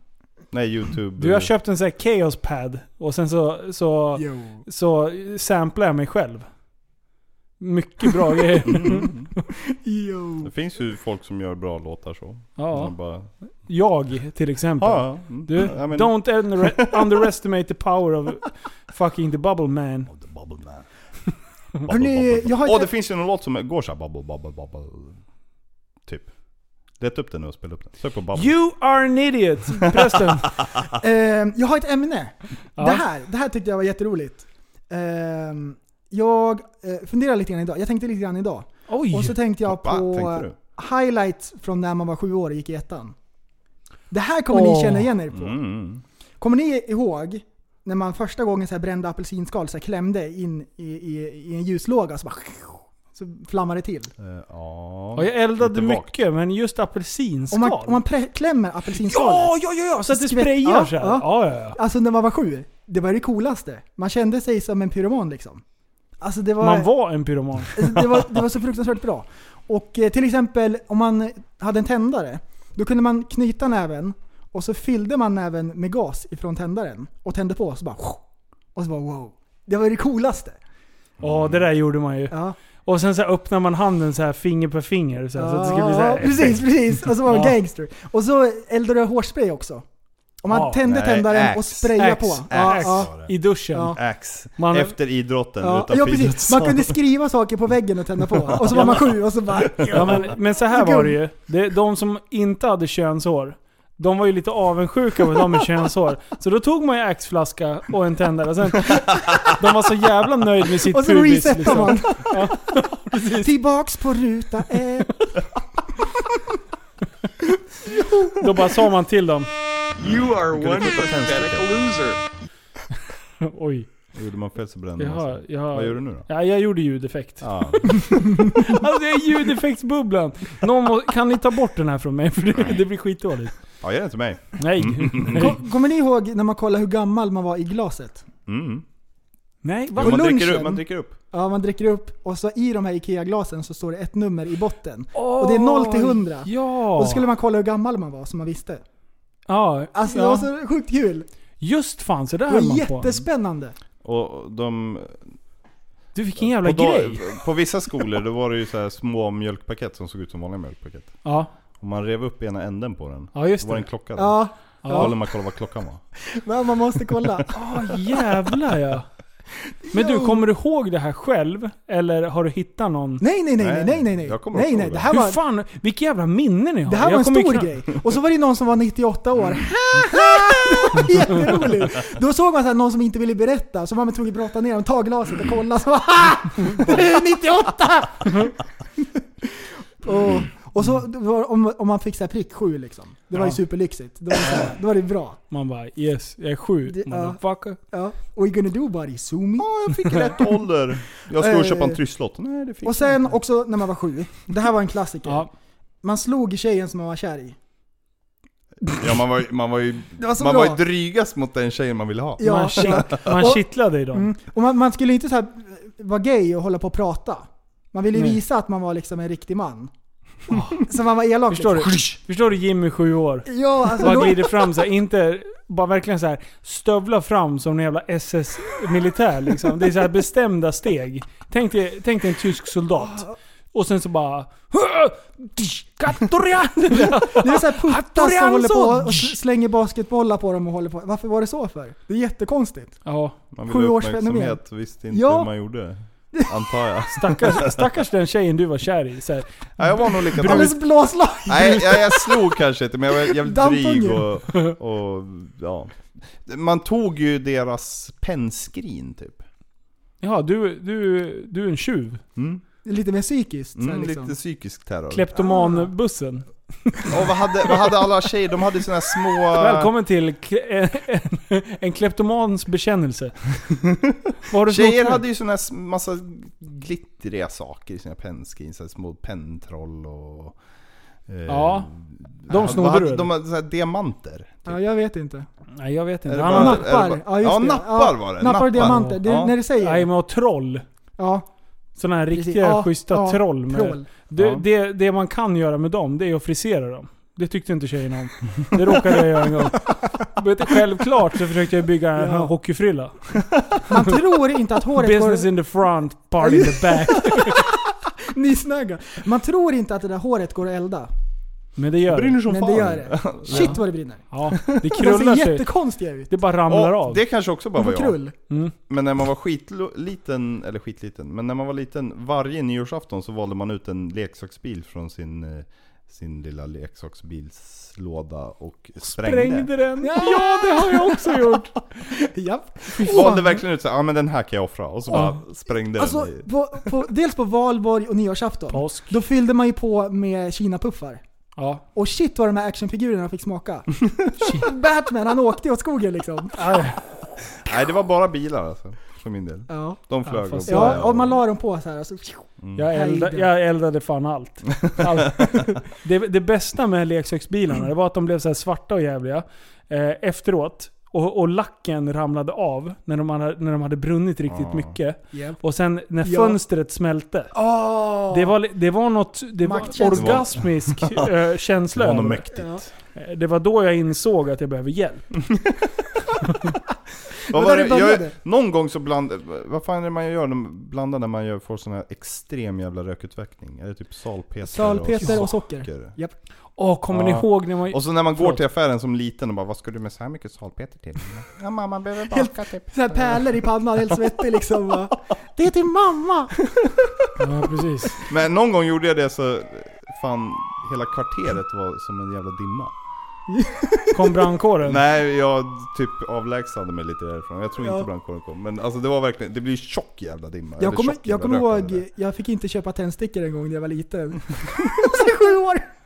S5: Nej, Youtube?
S4: Du, jag köpte en sån här Chaos Pad och sen så, så,
S6: Jo.
S4: så samplar jag mig själv. Mycket bra grejer.
S6: Jo.
S5: Det finns ju folk som gör bra låtar så.
S4: Ja.
S5: Man bara,
S4: Jag till exempel.
S5: ja, ja.
S4: Du,
S5: ja, men-
S4: don't under- underestimate the power of fucking the bubble man.
S6: Hörrni, jag har
S5: Åh,
S6: inte-
S5: det finns ju någon låt som går så här bubble, bubble, bubble. Typ. Leta upp den nu och spela upp den. Sök på bubble.
S4: You are an idiot! Prästen.
S6: Ehm, jag har ett ämne.
S4: Ja.
S6: Det, här, det här tyckte jag var jätteroligt. Ehm, jag eh, funderar lite grann idag. Jag tänkte lite grann idag. Och så
S4: Oj!
S6: tänkte jag
S5: Va,
S6: på
S5: tänkte du?
S6: highlights från när man var sju år och gick i ettan. Det här kommer
S4: Åh.
S6: ni känna igen er på.
S5: Mm.
S6: Kommer ni ihåg när man första gången så här brände apelsinskal så här klämde in i, i, i en ljuslåga så bara... Så flammade det till.
S5: Eh, ja.
S4: Ja, jag eldade
S5: Lite vagt.
S4: mycket, men just
S6: Om
S4: apelsinskal.
S6: man, om man pre- klämmer apelsinskalet.
S4: ja, ja, ja, ja! Så att det
S6: Skvätt-
S4: sprayar
S6: ja,
S4: så här.
S6: ja.
S4: Ja, ja, ja.
S6: Alltså när man var sju, det var det coolaste. Man kände sig som en pyroman liksom. Alltså det var,
S4: Man var en pyroman.
S6: alltså, det var, det var så fruktansvärt bra. Och eh, till exempel om man hade en tändare, då kunde man knyta näven och så fyllde man näven med gas ifrån tändaren och tände på och så bara Och så bara wow. Det var det coolaste.
S4: Ja, det där gjorde man ju.
S6: Ja,
S4: Och sen så här öppnar man handen så här finger per finger så, här, så att Alltså, det skulle bli så här.
S6: Ja, precis, precis. Och så var man
S4: Ja.
S6: gangster. Och så eldade jag hårspray också. Om man
S4: Ja.
S6: tände
S5: Nej,
S6: tändaren och
S5: axe.
S6: sprayade
S4: Axe.
S6: på.
S5: Axe
S6: ja.
S5: var det.
S4: I duschen.
S6: Ja.
S5: Ax.
S4: Man-
S5: Efter idrotten,
S6: Ja,
S5: utanför
S6: ja precis.
S5: idrottssalen.
S6: Man kunde skriva saker på väggen och tända på. Och så var man sju och så bara...
S4: Ja, men, men så här var det ju. Det- De som inte hade könshår, de var ju lite avundsjuka på de med könshår. Så då tog man ju axflaska och en tändare. Sen, de var så jävla nöjd med sitt
S6: Och så
S4: pubis. liksom.
S6: resetar man.
S4: precis.
S6: Tillbaks på ruta ett.
S4: Då bara sa man till dem.
S10: You are
S5: kunde
S10: one
S5: putta
S10: pathetic
S5: tändstickor.
S10: loser.
S4: Oj.
S5: Gjorde man fel så brände
S4: Jag
S5: man
S4: har,
S5: sig.
S4: jag har,
S5: Vad gör du nu då?
S4: Ja, jag gjorde ljudeffekt.
S5: Ja.
S4: Alltså det är ljudeffektsbubblan. Någon må, kan ni ta bort den här från mig? För det, det blir skitdåligt.
S5: ja, ge den till mig.
S4: Nej.
S5: Mm.
S4: Nej.
S6: Kom- Kommer ni ihåg när man kollade hur gammal man var i glaset?
S5: Mm.
S4: Nej, va?
S5: Jo, man, dricker
S6: lunchen?
S5: upp, man dricker upp.
S6: Ja, man dricker upp och så i de här IKEA-glasen så står det ett nummer i botten. Och det är 0 till 100.
S4: Ja!
S6: Och så skulle man kolla hur gammal man var så man visste.
S4: ja,
S6: Alltså det
S4: ja.
S6: var så sjukt kul.
S4: Just fan, så där
S6: Det
S4: höll
S6: var
S4: man på.
S6: jättespännande.
S5: Och de
S4: Du fick en jävla
S5: på, dag-
S4: grej.
S5: på vissa skolor då var det ju så här små mjölkpaket som såg ut som vanliga mjölkpaket.
S4: Ja,
S5: Om man rev upp ena änden på den,
S4: ja just
S5: då var det
S4: det.
S5: en klocka där.
S6: Ja,
S4: Ja.
S5: Kolla man kollar vad klockan var.
S6: Men man måste kolla.
S4: Åh jävlar ja. Men du, kommer du ihåg det här själv? Eller har du hittat någon?
S6: Nej, nej, nej, nej, nej, nej. nej.
S4: Jag
S6: kommer Nej, ihåg nej, det. det här var-
S4: Hur fan, vilka jävla minnen ni har.
S6: Det här
S4: Jag
S6: var en
S4: kommer
S6: stor
S4: knappt-
S6: grej. Och så var det någon som var 98 år. Det var Jätteroligt! Då såg man så här, någon som inte ville berätta, så man tog brottade ner dem, tog glaset och kollade. Så bara, "Ha! 98! och, och så det var, om, om man fick så här prick 7 liksom. Det var ju
S4: Ja.
S6: superlyxigt. Då var det, så här, då var det bra.
S4: Man bara yes, jag är sju.
S6: Det- ja.
S4: Motherfucker.
S6: Ja. What you gonna do buddy? Zoom me?
S5: jag fick rätt ålder. Jag skulle köpa en trisslott. Nej, det fick
S6: Och sen också när man var sju. Det här var en klassiker.
S4: Ja.
S6: Man slog tjejen som man var kär i.
S5: Ja, man var, ju- man var ju,
S6: Det var så
S5: man var ju
S6: bra.
S5: drygast mot den tjejen man ville ha.
S6: Ja.
S4: Man, kitt, man
S6: Och-
S4: kittlade i dem.
S6: Mm. Och man, man skulle inte så här eh, vara gay och hålla på och prata. Man ville ju
S4: Nej.
S6: visa att man var liksom en riktig man. så man var elak.
S4: Förstår du?
S6: liksom.
S4: Förstår du Jimmy, sju år?
S6: Ja, alltså
S4: Bara
S6: då,
S4: glider fram så här, inte bara verkligen så här stövla fram som en jävla SS-militär liksom. Det är så här bestämda steg. Tänk dig, tänk dig en tysk soldat. Och sen så bara... Kattorian!
S6: det är så här puttar som
S4: Hattorian
S6: håller på
S4: son!
S6: och sl- slänger basketbollar på dem och håller på. Varför var det så för? Det är jättekonstigt.
S4: Ja,
S5: Man
S6: Sju
S5: ville ha
S6: års
S5: uppmärksamhet, visste inte
S6: Ja.
S5: hur man gjorde. Antar jag.
S4: stackars, stackars den tjejen du var kär i. Så här,
S5: Nej, jag var nog likadan.
S6: Alldeles blåslag!
S5: Nej, jag, jag slog kanske inte, men jag var jävligt
S6: Dampungen.
S5: dryg och, och... Ja. Man tog ju deras pennskrin typ.
S4: ja, du, du, du är en tjuv.
S5: Mm.
S6: Lite mer psykiskt. så här,
S5: Mm,
S6: liksom.
S5: lite psykisk terror.
S4: Kleptomanbussen.
S5: Och vad hade, vad hade alla tjejer? De hade såna här små...
S4: Välkommen till kle- en, en kleptomans bekännelse. Vad har du snott
S5: Tjejer
S4: nu?
S5: hade ju såna här sm- massa glittriga saker i sina pennskrin. Så här små penntroll och... eh,
S4: Ja.
S5: vad
S4: De snodde
S5: hade-
S4: du
S5: De
S4: eller?
S5: hade så här diamanter.
S6: Ja, jag vet inte.
S4: Nej jag vet
S5: Är
S4: inte.
S5: det
S4: Han
S5: bara-
S4: hade-
S5: är det bara-
S6: Nappar. Ja, just
S5: ja,
S6: det.
S5: nappar
S6: Ja,
S5: var det.
S6: Nappar och diamanter. Det är
S5: Ja.
S6: när du
S4: Nej
S6: säger.
S4: men och troll.
S6: Ja,
S4: Sådana här
S6: precis.
S4: riktiga
S6: Ja,
S4: schyssta
S6: ja,
S4: troll. Med,
S6: troll.
S4: Det,
S5: Ja.
S4: det, det man kan göra med dem, det är att frisera dem. Det tyckte inte tjejerna om. Det råkade jag göra en gång. Men Självklart så försökte jag bygga en
S6: Ja.
S4: hockeyfrilla.
S6: Man tror inte att håret går...
S4: Business in the front, party in the back.
S6: Nissnagga. Man tror inte att det där håret går att elda.
S4: Men det gör det.
S5: Brinner som
S6: Men
S5: fan.
S6: det gör det. Shit vad det brinner.
S4: Ja, det
S6: De ser
S4: krullar sig.
S6: jättekonstiga ut.
S4: Det bara ramlar
S5: Och
S4: av.
S5: det kanske också bara
S6: De
S5: var
S6: får
S5: jag.
S6: krull.
S5: Men när man var skitliten, eller skitliten, men när man var liten, varje nyårsafton så valde man ut en leksaksbil från sin, eh, sin lilla leksaksbilslåda och sprängde.
S4: Sprängde den. Ja, det har jag också gjort.
S6: Japp.
S5: Valde verkligen ut såhär, ja men den här kan jag offra. Och så bara sprängde
S6: Alltså,
S5: den. i-
S6: på, på, dels på valborg och nyårsafton.
S4: Påsk.
S6: Då fyllde man ju på med kinapuffar.
S4: Ja.
S6: Och shit vad de här actionfigurerna fick smaka. Batman han åkte åt skogen liksom.
S5: Nej det var bara bilar alltså, för min del.
S6: Ja.
S5: De flög
S4: fast
S5: och
S4: så är
S6: Ja,
S4: det.
S6: och man la dem på så här. Alltså,
S5: Mm.
S4: Jag, elda,
S6: Hejda.
S4: jag eldade fan allt. allt. Det, det bästa med leksaksbilarna det var att de blev så här svarta och jävliga eh, efteråt. Och, och lacken ramlade av när de hade, när de hade brunnit riktigt
S5: Ah.
S4: mycket.
S6: Yep.
S4: Och sen när
S6: Ja.
S4: fönstret smälte.
S6: Oh.
S4: Det var, li- det var något det var
S6: Maktkänsla.
S4: orgasmisk eh,
S5: Det
S4: känsla.
S5: var nog
S4: över
S5: mäktigt.
S6: Ja.
S4: det. Eh, det var då jag insåg att jag behöver hjälp.
S5: Vad
S6: Men
S5: var
S6: där
S5: det?
S6: det började.
S5: Jag, någon gång så bland... Vad fan är det man gör? De blandar när man gör, får sån här extrem jävla rökutveckling. Är det typ salpeter? och
S6: Salpeter och socker.
S5: socker?
S4: Åh, kommer ni
S5: Ja.
S4: ihåg när man...
S5: Ah. Och så när man går
S4: Förlåt.
S5: till affären som liten och bara Vad ska du med så här mycket salpeter till? Ja mamma behöver baka typ.
S6: Så här pärlor i pannan, helt svettig liksom. va. Det är till mamma!
S4: Ja, precis.
S5: Men någon gång gjorde jag det så fan hela kvarteret var som en jävla dimma.
S4: Kom brandkåren?
S5: Nej jag typ avlägsnade mig lite därifrån. Jag tror
S6: Ja.
S5: inte brandkåren kom. Men alltså det var verkligen, det blir tjock jävla dimma.
S6: Jag
S5: Eller
S6: kommer,
S5: tjock
S6: jag
S5: jävla
S6: kommer
S5: rök av det där.
S6: ihåg, jag fick inte köpa tändstickor en gång när jag var liten. Så sju år!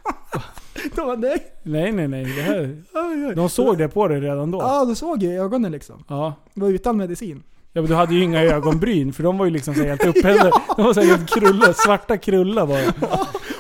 S6: Då var det,
S4: Nej, nej, nej. Det här, de såg det på dig redan då.
S6: ja, då såg jag i ögonen liksom.
S4: Ja.
S6: Jag var utan medicin.
S4: Ja men du hade ju inga ögonbryn för de var ju liksom så här helt upphällda. De var så här helt krulla, svarta krulla bara.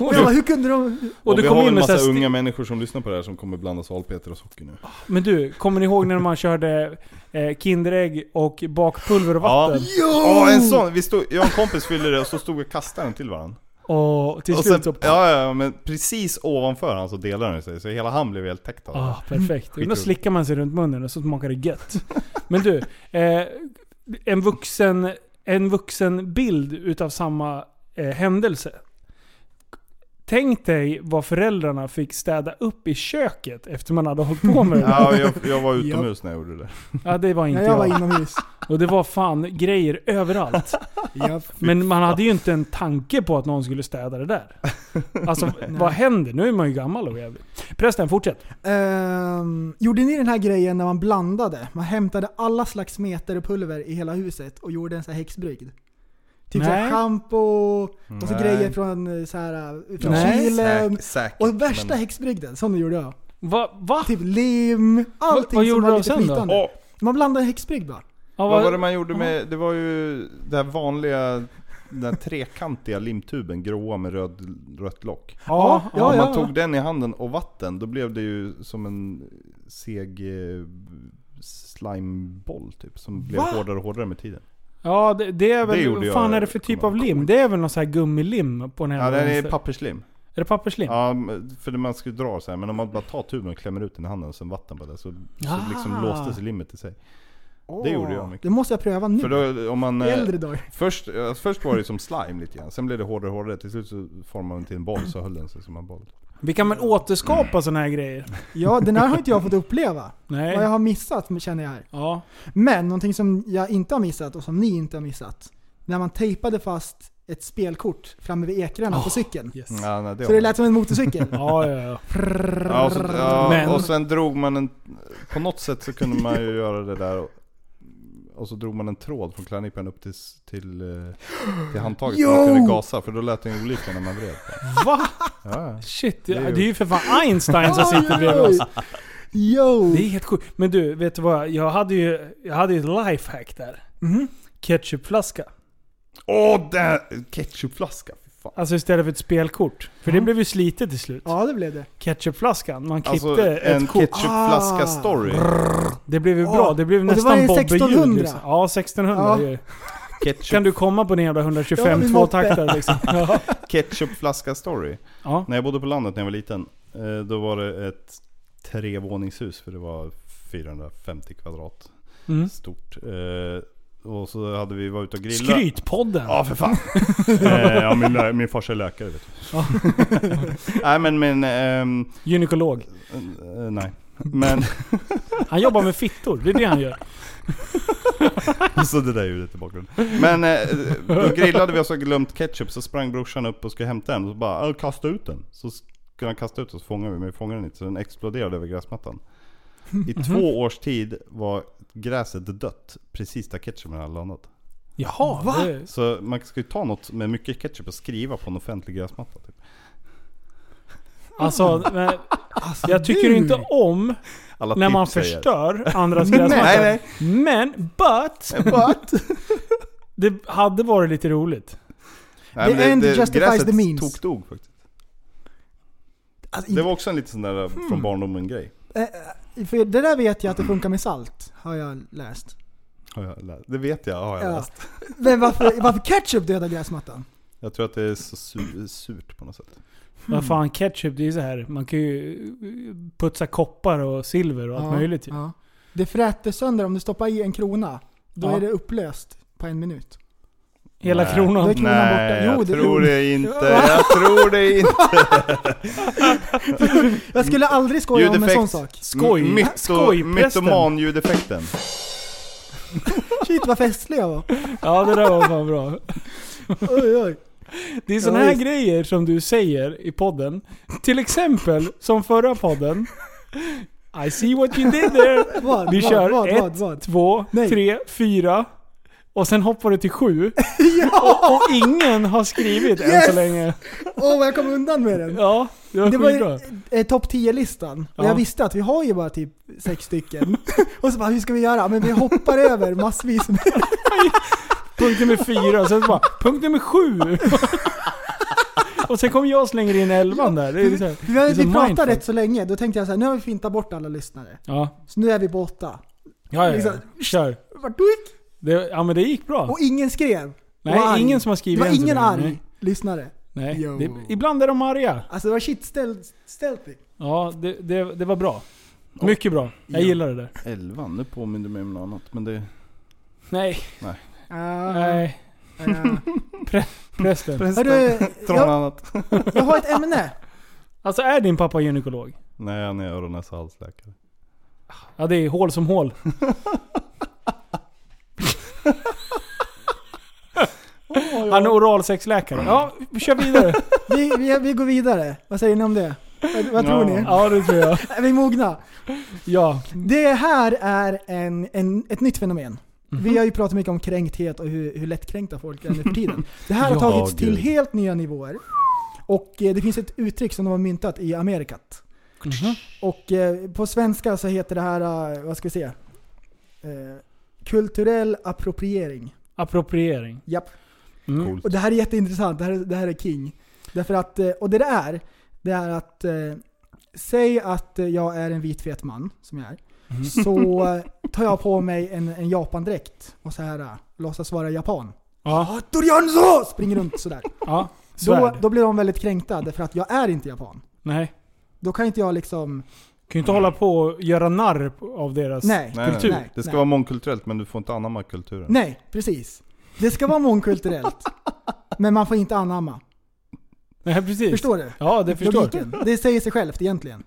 S6: Och jag bara, hur kunde de...
S5: Och,
S4: Och du
S5: vi
S4: kom
S5: har
S4: in
S5: en
S4: med så
S5: massa
S4: här sti-
S5: unga människor som lyssnar på det här som kommer blanda salpeter och socker nu.
S4: Men du, kommer ni ihåg när man körde eh, Kinderägg och bakpulver och vatten?
S5: Ja, en sån. Vi stod, jag och en kompis fyllde det och så stod vi och kastade den till varandra.
S4: Och till
S5: Och
S4: slut
S5: sen,
S4: så...
S5: ja, ja, men precis ovanför han så delade den sig, så hela han blev helt täckt av det.
S4: Ah, perfekt. Då
S5: Skitroligt.
S4: slickar man sig runt munnen och så smakar det gött. Men du, eh, en, vuxen, en vuxen bild utav samma eh, händelse. Tänk dig vad föräldrarna fick städa upp i köket efter man hade hållit på med det
S5: Ja, jag, jag var utomhus när jag gjorde det.
S4: Ja, det var inte
S6: Ja, jag var inomhus.
S4: Och det var fan grejer överallt. Men man hade ju inte en tanke på att någon skulle städa det där. Alltså, vad händer? Nu är man ju gammal och jävlig. Prästen, fortsätt.
S6: Ehm, gjorde ni den här grejen när man blandade? Man hämtade alla slags meter och pulver i hela huset och gjorde en så här häxbrygd. Typ såhär
S4: Nej.
S6: schampo och så
S4: Nej.
S6: grejer från, eh, så här, eh, från
S4: Nej.
S6: Chile.
S4: Säk- säkert,
S6: och värsta
S4: men-
S6: häxbrygden, sån gjorde jag.
S4: Va?
S6: Typ lim, allting
S4: vad
S6: som
S4: gjorde
S6: var
S4: de
S6: lite
S4: sen då?
S6: flytande.
S4: Åh.
S6: Man blandade häxbrygd bara.
S5: Vad var det man gjorde med, det var ju det här vanliga, den här trekantiga limtuben, gråa med röd, rött lock.
S6: Ja,
S5: Om
S6: ja,
S5: man
S6: ja.
S5: tog den i handen och vatten, då blev det ju som en seg eh, slimeboll typ, som blev
S4: Va?
S5: hårdare och hårdare med tiden.
S4: Ja, det, det är väl...
S5: Det gjorde
S4: vad
S5: jag,
S4: fan är det för typ av lim? Det är väl någon sån här gummilim på den här
S5: Ja, den är
S4: vänster-
S5: papperslim.
S4: Är det papperslim?
S5: Ja, men- för det man skulle dra så här, men om man bara tar tuben och klämmer ut den i handen och sen vatten på det så, så
S6: Ah.
S5: liksom låstes limmet i sig. Det gjorde jag mycket.
S6: Det måste jag pröva nu.
S5: För då, om man,
S6: I
S5: eh,
S6: äldre dagar.
S5: Först, eh, först var det som slime lite grann, sen blev det hårdare och hårdare. Till slut så formade den till en boll så höll den sig som en boll.
S4: Vi kan väl återskapa såna här grejer?
S6: Ja, den här har inte jag fått uppleva.
S4: Nej.
S6: Vad jag har missat känner jag här.
S4: Ja.
S6: Men någonting som jag inte har missat och som ni inte har missat. När man tejpade fast ett spelkort framme vid ekrarna på cykeln.
S5: Ja, nej, det
S6: Så
S5: har
S6: det
S5: man.
S6: lät som en motorcykel.
S4: ja, ja, ja.
S5: Ja, och, så,
S6: Men-
S5: ja, och sen drog man en... På något sätt så kunde man ju göra det där och, och så drog man en tråd från klänningen upp till, till, eh, till handtaget så man
S4: Jo!
S5: kunde gasa för då lät den ju olika när man vred på den.
S4: Va?
S5: Ja.
S4: Shit, det är ju för fan Einstein som sitter bredvid oss. Det är helt sjukt. Men du, vet du vad? Jag hade ju, jag hade ju ett lifehack där.
S6: Mhm.
S4: Ketchupflaska.
S5: Åh, där! Ketchupflaska. fy fan.
S4: Alltså istället för ett spelkort. För det blev ju slitet till slut.
S6: Ja, det blev det.
S4: Ketchupflaskan. Man klippte
S5: Alltså en
S4: ett kort. Ah.
S5: ketchupflaska-story.
S4: Det blev ju bra. Det blev
S6: Och det
S4: nästan
S6: var ju
S4: Bobby-ljud.
S6: 1600.
S4: Liksom. Ja, 1600
S6: Ja.
S4: ju. Kan du komma på din jävla
S6: Ja,
S4: 125
S6: min moppe.
S4: tvåtaktare liksom? Ja.
S5: Ketchupflaska story.
S4: Ja.
S5: När jag bodde på landet när jag var liten, eh, då var det ett trevåningshus för det var 450 kvadrat
S4: Mm.
S5: stort. Eh, Och så hade vi varit ute och grilla.
S4: Skrytpodden!
S5: Ja för fan. Eh, ja, min, lä- min farsa är läkare vet du.
S4: Ja.
S5: nej men... men ehm,
S4: Gynekolog.
S5: eh, nej. Men...
S4: Han jobbar med fittor, det är det han gör.
S5: Så det där ljudet i bakgrunden. Men eh, då grillade vi och så glömt ketchup så sprang brorsan upp och skulle hämta den och så bara "Äh, kasta ut den. Så skulle han kasta ut den så fångade vi men vi fångade den inte så den exploderade över gräsmattan. I två års tid var gräset dött precis där ketchupen hade landat.
S4: Jaha, Va? det-
S5: Så man ska ju ta något med mycket ketchup och skriva på en offentlig gräsmatta. Typ.
S4: Alltså, men, jag tycker
S5: du.
S4: inte om
S5: Alla
S4: när man
S5: tips säger.
S4: förstör andras gräsmatta.
S5: Nej, nej.
S4: Men, but,
S5: but.
S4: det hade varit lite roligt.
S5: Nej, men gräset Tok dog faktiskt. det var också en liten sån där eh, från barndomen grej.
S6: Alltså, Eh, För det där vet jag att det funkar med salt, har jag läst.
S5: Har jag läst. Det vet jag, har jag
S6: Ja.
S5: läst.
S6: Men varför, varför ketchup dödar gräsmattan?
S5: Jag tror att det är så su- surt på något sätt.
S6: Hmm.
S4: Vad fan, ketchup det är ju så här. man kan ju putsa koppar och silver och allt
S6: Ja,
S4: möjligt ju.
S6: ja. Det fräter sönder om du stoppar i en krona. Då
S4: Ja.
S6: är det upplöst på en minut.
S4: Hela
S5: Nej.
S4: kronan.
S6: Då är kronan
S5: Nej,
S6: borta.
S5: jag tror det inte.
S6: Ja.
S5: Jag tror det
S6: inte.
S4: Mm.
S6: jag skulle aldrig skoja om en sån sak.
S4: Skoj.
S5: M- myto-
S4: Skoj, prästen.
S5: Mytoman-ljudeffekten.
S6: Shit vad festlig jag var.
S4: Ja, det där var fan bra.
S6: Oj, oj.
S4: Det är såna
S6: Ja,
S4: här
S6: visst.
S4: grejer som du säger i podden. Till exempel, som förra podden. I see what you did there.
S6: Vad,
S4: Vi
S6: vad,
S4: kör
S6: vad,
S4: ett,
S6: vad, vad?
S4: två,
S6: Nej.
S4: tre, fyra. Och sen hoppar du till sju. och, och ingen har skrivit än så
S6: Yes!
S4: länge.
S6: Åh vad jag kom undan med den.
S4: Ja, det var,
S6: Det var
S4: skitbra.
S6: ju eh, topp 10-listan. Och
S4: Ja.
S6: jag visste att vi har ju bara typ sex stycken. och så bara, hur ska vi göra? Men vi hoppar över massvis med...
S4: Punkt nummer fyra, sen så bara punkt nummer sju. och sen kommer jag och slänger in elvan där. Det är så här,
S6: Vi,
S4: det är
S6: vi,
S4: så mindfuck.
S6: pratade rätt så länge, då tänkte jag så här, nu har vi fintat bort alla lyssnare.
S4: Ja,
S6: Så nu är vi på åtta.
S4: ja, ja, ja.
S6: Liksom-
S4: kör.
S6: Vart du gick?
S4: Det, ja men det gick bra.
S6: Och ingen skrev.
S4: Nej,
S6: Var arg.
S4: ingen som har skrivit
S6: Det var
S4: än så
S6: ingen
S4: länge,
S6: arg
S4: nej.
S6: lyssnare.
S4: Nej,
S6: Jo.
S4: det, ibland är de arga.
S6: Alltså det var shit ställt. ställt i.
S4: Ja, det, det, det var bra. Mycket bra. Jag
S5: Ja.
S4: gillar det där.
S5: Elvan, nu påminner mig om något annat. Men det...
S6: Ah.
S4: Nej.
S5: Nej.
S4: Nej. Prä- Prästen.
S6: Eh, Hörru,
S5: Från annat.
S6: jag, jag har ett ämne.
S4: Alltså är din pappa gynekolog?
S5: Nej, han är öron näsa halsläkare.
S4: Ja det är hål som hål. Han är oralsexläkare. Ja, vi kör vidare.
S6: Vi, vi, vi går vidare. Vad säger ni om det? Vad, vad tror ni?
S4: Ja det tror jag.
S6: Är vi mogna?
S4: Ja.
S6: Det här är en, en, ett nytt fenomen. Vi har ju pratat mycket om kränkthet och hur, hur lättkränkta folk är nu för tiden. Det här har
S5: Ja,
S6: tagits till
S5: gud.
S6: helt nya nivåer. Och eh, det finns ett uttryck som de har myntat i Amerikat.
S4: Mhm.
S6: Och eh, på svenska så heter det här, eh, vad ska vi säga? Eh, kulturell appropriering.
S4: Appropriering.
S6: Japp.
S4: Mm.
S5: Coolt.
S6: Och det här är jätteintressant, det här, är- det här är king. Därför att, eh, och det det är, det är att, eh, säg att eh, jag är en vit fet man, som jag är. Så eh, tar jag på mig en, en japandräkt och så här eh, låtsas vara japan.
S4: Ja.
S6: Torianzo! Springer runt sådär.
S4: ja.
S6: Då,
S4: Svärd.
S6: då blir de väldigt kränkta därför att jag är inte japan.
S4: Nej.
S6: Då kan inte jag liksom...
S4: Kan ju inte hålla på och göra narr av deras...
S6: Nej.
S5: Nej,
S4: Kultur.
S5: Nej, nej. Det ska
S6: Nej.
S5: vara mångkulturellt men du får inte anamma kulturen.
S6: Nej, precis. Det ska vara mångkulturellt. men man får inte anamma.
S4: Nej precis.
S6: Förstår du?
S4: Ja det förstår
S6: Logiken. Det säger sig självt egentligen.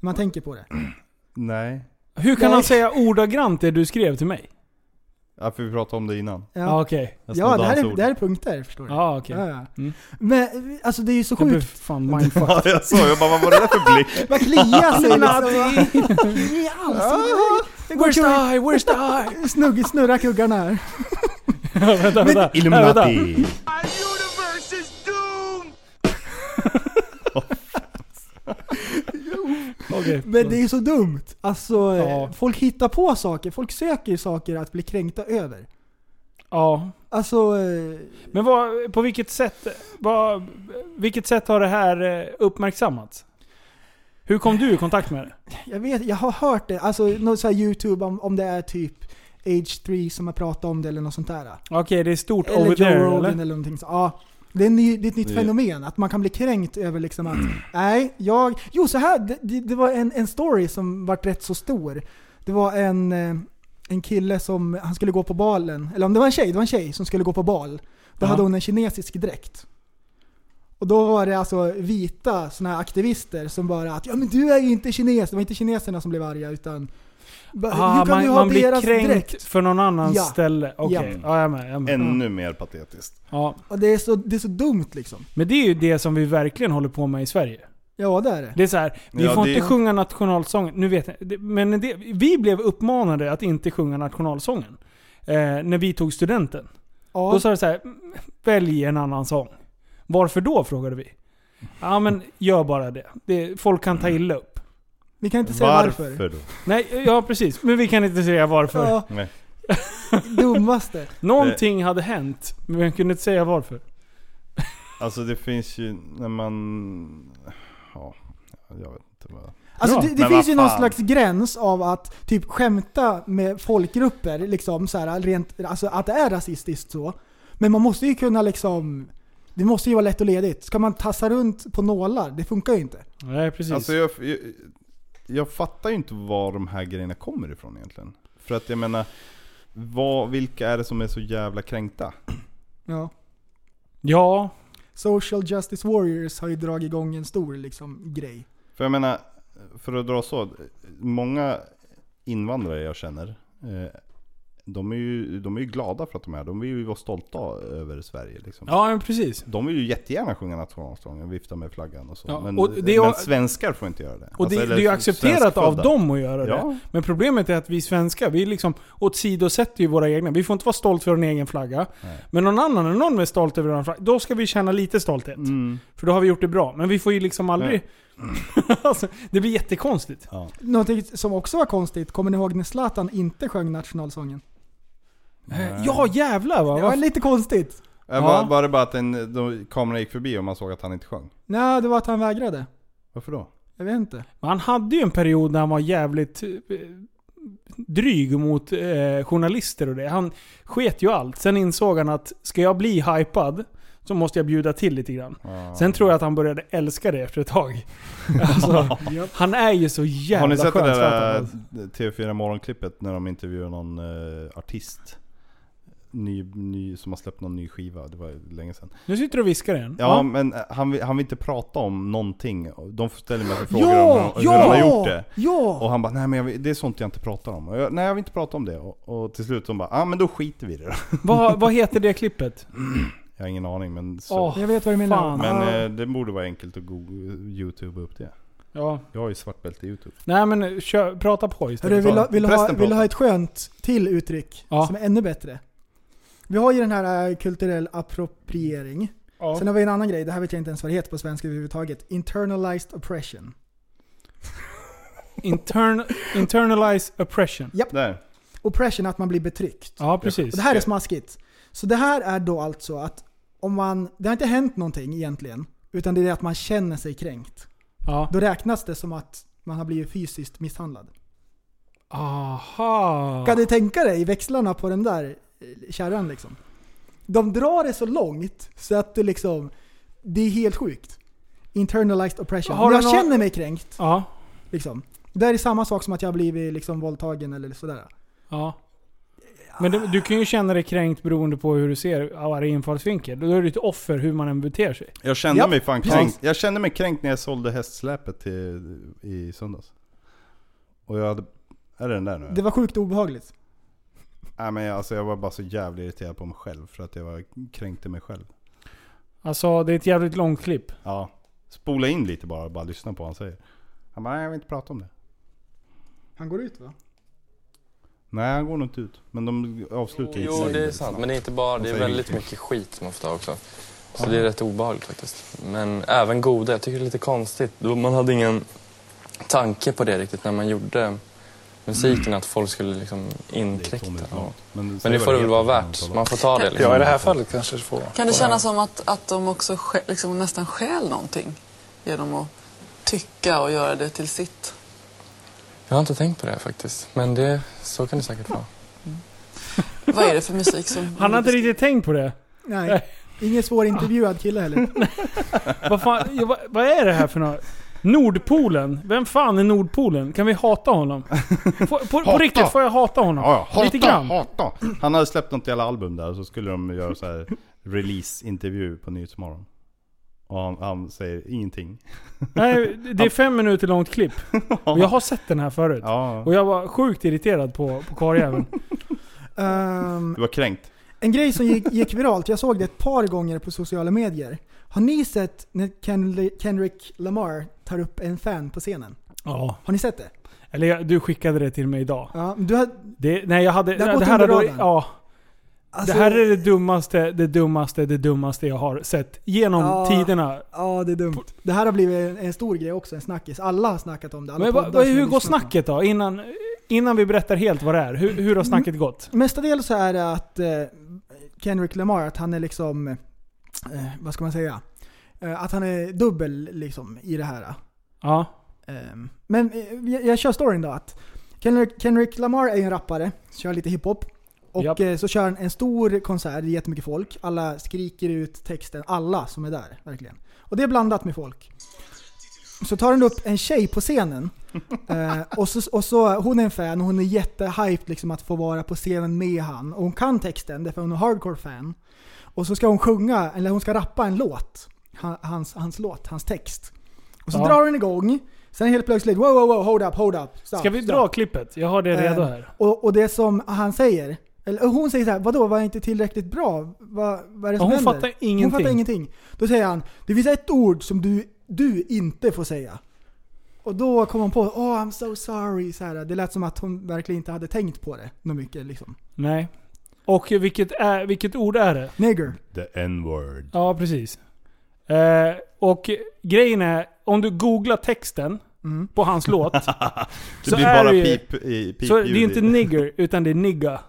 S6: Man tänker på det.
S5: Nej.
S4: Hur kan
S6: Nej.
S4: han säga ordagrant det du skrev till mig?
S5: Ja, för vi pratade om det innan.
S6: Ja.
S4: Ja, okej.
S5: Jag
S6: Ja,
S5: snodde
S6: det här,
S5: hans
S6: är,
S5: ord.
S6: det här är punkter förstår du.
S4: Ja okej.
S6: Ja, ja.
S4: Mm.
S6: Men alltså det är ju så
S4: Jag blev
S6: sjukt.
S4: fan mindfuck.
S5: Ja, jag sa jag bara, vad var det där för blick?
S6: Vad kliar sig liksom. I alls. Det går kul.
S4: eye? Ah, Where's the eye?
S6: Snugg, snurra kuggarna här.
S4: vänta, vänta. Nej, vänta.
S5: Illuminati!
S4: Okej.
S6: Men det är så dumt. Alltså,
S4: Ja.
S6: folk hittar på saker. Folk söker saker att bli kränkta över.
S4: Ja.
S6: Alltså, eh,
S4: Men vad, på vilket sätt, vad, vilket sätt har det här eh, uppmärksammats? Hur kom du i kontakt med det?
S6: jag vet, jag har hört det. Alltså, något så här YouTube om, om det är typ Age 3 som har pratat om det eller något sånt där.
S4: Okej, det är stort
S6: Eller
S4: over
S6: Joe
S4: there
S6: Rogan eller,
S4: eller?
S6: någonting så. Ja. Det är, en ny, det är ett nytt
S5: Det-
S6: fenomen, att man kan bli kränkt över liksom att, nej, jag... Jo, så här, det- det, det var en, en story som vart rätt så stor. Det var en, eh, en kille som, han skulle gå på balen, eller om det var en tjej, det var en tjej som skulle gå på bal.
S4: Ja.
S6: Då hade hon en kinesisk dräkt. Och då var det alltså vita sådana här aktivister som bara att ja men du är ju inte kines, det var inte kineserna som blev arga utan... bara,
S4: Ah, man man blir kränkt för någon annans
S6: Ja.
S4: ställe. Okej,
S6: Ja.
S4: ja. jag är med. Jag är med.
S5: Ännu mer patetiskt.
S4: Ja.
S6: Och det är, så, det är så dumt liksom.
S4: Men det är ju det som vi verkligen håller på med i Sverige.
S6: Ja det är det.
S4: Det är så här, vi
S5: Ja,
S4: får
S5: det-
S4: inte sjunga nationalsången. Nu vet jag, det- men det, vi blev uppmanade att inte sjunga nationalsången. Eh, när vi tog studenten.
S6: Ja.
S4: Då sa det så här, "Mm, välj en annan sång. Varför då? frågade vi. Ja men gör bara det. det folk kan ta illa upp.
S6: Vi kan inte säga varför.
S5: Varför då?
S4: Nej, ja precis. Men vi kan inte säga varför.
S6: Ja,
S5: Nej.
S6: dummaste.
S4: Någonting hade hänt, men vi kunde inte säga varför.
S5: Alltså det finns ju när man... Ja, jag vet inte vad...
S6: Alltså,
S4: Ja,
S6: det det
S5: men
S6: finns
S5: vad
S6: ju någon
S5: fan.
S6: slags gräns av att typ skämta med folkgrupper, liksom så här, rent, alltså att det är rasistiskt så. Men man måste ju kunna liksom, det måste ju vara lätt och ledigt. Ska man tassa runt på nålar? Det funkar ju inte.
S4: Nej precis.
S5: Alltså jag, jag, jag fattar ju inte var de här grejerna kommer ifrån egentligen. För att jag menar, vad, vilka är det som är så jävla kränkta?
S6: Ja.
S4: Ja.
S6: Social Justice Warriors har ju dragit igång en stor liksom, grej.
S5: För jag menar, för att dra så. Många invandrare jag känner, eh, de är ju, de är ju glada för att de är här. De vill ju vara stolta över Sverige liksom.
S4: Ja men precis.
S5: De vill ju jättegärna sjunga nationalsången, vifta med flaggan och så.
S4: Ja,
S5: men,
S4: och det är-
S5: men svenskar får inte göra det.
S4: Och det,
S5: Alltså,
S4: det
S5: eller
S4: är ju accepterat av
S5: svenskfödda.
S4: dem att göra det.
S5: Ja.
S4: Men problemet är att vi svenskar, vi liksom åsidosätter ju våra egna. Vi får inte vara stolta över en egen flagga. Men någon annan, när någon är stolt över en flagga, då ska vi känna lite stolthet.
S5: Mm.
S4: För då har vi gjort det bra. Men vi får ju liksom aldrig... alltså, det blir jättekonstigt.
S6: Någonting som också var konstigt, kommer ni ihåg när Zlatan inte sjöng nationalsången?
S4: Ja jävlar va?
S6: Det var
S4: Varför-
S6: lite konstigt.
S5: Ja, Äh, Var,
S4: Ja.
S5: var det bara att en, då, kameran gick förbi och man såg att han inte sjöng?
S6: Nej, det var att han vägrade.
S5: Varför då?
S6: Jag vet inte.
S4: Men Han hade ju en period när han var jävligt eh, dryg mot eh, journalister och det. Han sket ju allt. Sen insåg han att ska jag bli hypad så måste jag bjuda till lite grann.
S5: Ja.
S4: Sen tror jag att han började älska det efter ett tag. Alltså, han är ju så
S5: Har
S4: jävla
S5: ni sett det
S4: skön
S5: där
S4: Zlatan.
S5: eh, TV4 morgonklippet när de intervjuar någon eh, artist? ny, ny, som har släppt någon ny skiva. Det var länge sedan.
S4: Nu sitter du och viskar igen.
S5: Ja, men eh, han vill, han vill inte prata om någonting. De ställer mig frågor
S4: Ja,
S5: om hur, hur
S4: ja,
S5: han har gjort det.
S4: ja.
S5: Och han bara, nej men jag vill, det är sånt jag inte pratar om. Och jag, nej jag vill inte prata om det. Och, och till slut så bara, ja ah, men då skiter vi i det då.
S4: Vad, vad heter det klippet?
S5: Jag har ingen aning men... Så,
S4: Åh,
S6: Jag vet vad du menar.
S4: fan.
S5: men
S6: Ah.
S5: eh, det borde vara enkelt att googla, youtube upp det.
S4: Ja.
S5: Jag har ju svart bälte i youtube.
S4: Nej men kör, prata på
S6: Hörru,
S4: istället.
S6: vill, du- vill, du ha,
S5: Prästen
S6: vill du ha
S5: pratar.
S6: ett skönt till uttryck
S4: Ja.
S6: som är ännu bättre? Vi har ju den här eh, kulturell appropriering.
S4: Ja.
S6: Sen har vi en annan grej, det här vet jag inte ens vad det heter på svenska överhuvudtaget. Internalized oppression.
S4: Intern, internalize oppression.
S5: Där.
S6: Oppression, att man blir betryckt.
S4: Ja, precis.
S6: Och det här är smaskigt. Så det här är då alltså att om man, det har inte hänt någonting egentligen, utan det är det att man känner sig kränkt.
S4: Ja.
S6: Då räknas det som att man har blivit fysiskt misshandlad.
S4: Aha.
S6: Kan du tänka dig växlarna på den där eh, kärran liksom? De drar det så långt så att det liksom, det är helt sjukt. Internalized oppression.
S4: Har
S6: Har
S4: du
S6: jag
S4: nå-
S6: känner mig kränkt.
S4: Ja.
S6: Liksom. Det här är samma sak som att jag har blivit liksom våldtagen eller sådär.
S4: Ja. Men du, du kan ju känna dig kränkt beroende på hur du ser varje infallsvinkel. Då är du ett offer hur man än beter sig.
S5: Jag kände,
S6: Ja,
S5: mig fan
S6: precis.
S5: kränkt, jag kände mig kränkt när jag sålde hästsläpet till, i söndags. Och jag hade... Är det den där nu?
S6: Det var sjukt obehagligt.
S5: Nej men jag, alltså, jag var bara så jävligt irriterad på mig själv för att jag var, kränkte mig själv.
S4: Alltså det är ett jävligt långt klipp.
S5: Ja. Spola in lite bara och bara lyssna på vad han säger. Han bara, nej jag vill inte prata om det.
S6: Han går ut va?
S5: Nej han går nog inte ut. Men de avslutar inte
S12: Jo,
S5: längre.
S12: det är sant. Men det är inte bara, det är väldigt mycket skit som ofta också. Så det är rätt obehagligt faktiskt. Men även goda, jag tycker det är lite konstigt. Då- Man hade ingen tanke på det riktigt när man gjorde musiken, att folk skulle liksom inkräkta. Ja. Men
S5: säg
S12: det
S5: vad
S12: får
S5: det
S12: det väl vara
S5: heter,
S12: värt. Man får ta det liksom.
S13: Ja, i det här fallet kanske det får vara.
S14: Kan det kännas som att, att de också skä- liksom nästan stjäl någonting genom att tycka och göra det till sitt?
S12: Jag har inte tänkt på det här faktiskt. Men det, så kan det säkert vara.
S14: Vad är det för musik som...
S4: Han har inte riktigt tänkt på det.
S6: Nej. Ingen svårintervjuad kille heller.
S4: Vad fan, ja, vad, vad är det här för något? Nordpolen? Vem fan är Nordpolen? Kan vi hata honom? Får, på, på
S5: Hata.
S4: riktigt, får jag hata honom?
S5: Ja, ja.
S4: Lite
S5: Hata,
S4: grann.
S5: hata. Han hade släppt något jävla album där och så skulle de göra så här release-intervju på Nyhetsmorgon. Och han, han säger ingenting.
S4: Nej, det är fem minuter långt klipp. Och jag har sett den här förut. Och jag var sjukt irriterad på, på karljäveln.
S6: Ehm,
S5: Du var kränkt.
S6: En grej som gick, gick viralt, jag såg det ett par gånger på sociala medier. Har ni sett när Ken, Kendrick Lamar tar upp en fan på scenen?
S4: Ja.
S6: Har ni sett det?
S4: Eller jag, du skickade det till mig idag.
S6: Ja, men du hade,
S4: Det, nej jag hade...
S6: Det har
S4: Det,
S6: gått
S4: här,
S6: under
S4: hade-
S6: radarn.
S4: ja,
S6: Alltså-
S4: det här är det dummaste, det dummaste, det dummaste jag har sett genom
S6: Ja.
S4: tiderna.
S6: Ja, det är dumt. Det här har blivit en, en stor grej också, en snackis. Alla har snackat om det. Alla
S4: Men vad,
S6: poddar
S4: vad,
S6: som
S4: hur
S6: har
S4: går
S6: lyssnat på
S4: snacket då? Innan, innan vi berättar helt vad det är. Hur, hur har snacket gått?
S6: det. Mestadels så är det att eh, Kendrick Lamar, att han är liksom, eh, vad ska man säga? Eh, att han är dubbel liksom i det här.
S4: Ja.
S6: Ehm, Men eh, jag, jag kör storyn då. Att Kendrick, Kendrick Lamar är ju en rappare, kör lite hiphop. Och
S4: Japp.
S6: eh, så kör han en stor konsert, det är jättemycket folk. Alla skriker ut texten, alla som är där. Verkligen. Och det är blandat med folk. Så tar han upp en tjej på scenen. Eh, och, så, och så, Hon är en fan, hon är jättehyped liksom att få vara på scenen med han. Och hon kan texten, därför hon är hardcore fan. Och så ska hon sjunga, eller hon ska rappa en låt. Han- Hans, hans låt, hans text. Och så
S4: Ja.
S6: drar den igång. Sen helt plötsligt, wow, wow, wow, hold up, hold up. Stop,
S4: Ska vi
S6: stop.
S4: dra klippet? Jag har det redo
S6: Eh,
S4: här.
S6: Och, och det som han säger, eller hon säger så här, vadå var jag inte tillräckligt bra? Vad, vad är det
S4: Ja,
S6: som
S4: hon
S6: händer?
S4: fattar
S6: Hon
S4: ingenting.
S6: fattar ingenting. Då säger han, det finns ett ord som du, du inte får säga. Och då kom hon på, oh I'm so sorry. Så här, det lät som att hon verkligen inte hade tänkt på det något mycket. Liksom.
S4: Nej. Och vilket, är, vilket ord är det?
S6: Nigger.
S5: The n-word.
S4: Ja, precis. Eh, och grejen är, om du googlar texten
S6: Mm.
S4: på hans låt.
S5: Det
S4: så
S5: blir
S4: är
S5: bara
S4: det ju-
S5: pip i pip
S4: Så det är inte nigger, utan det är nigga.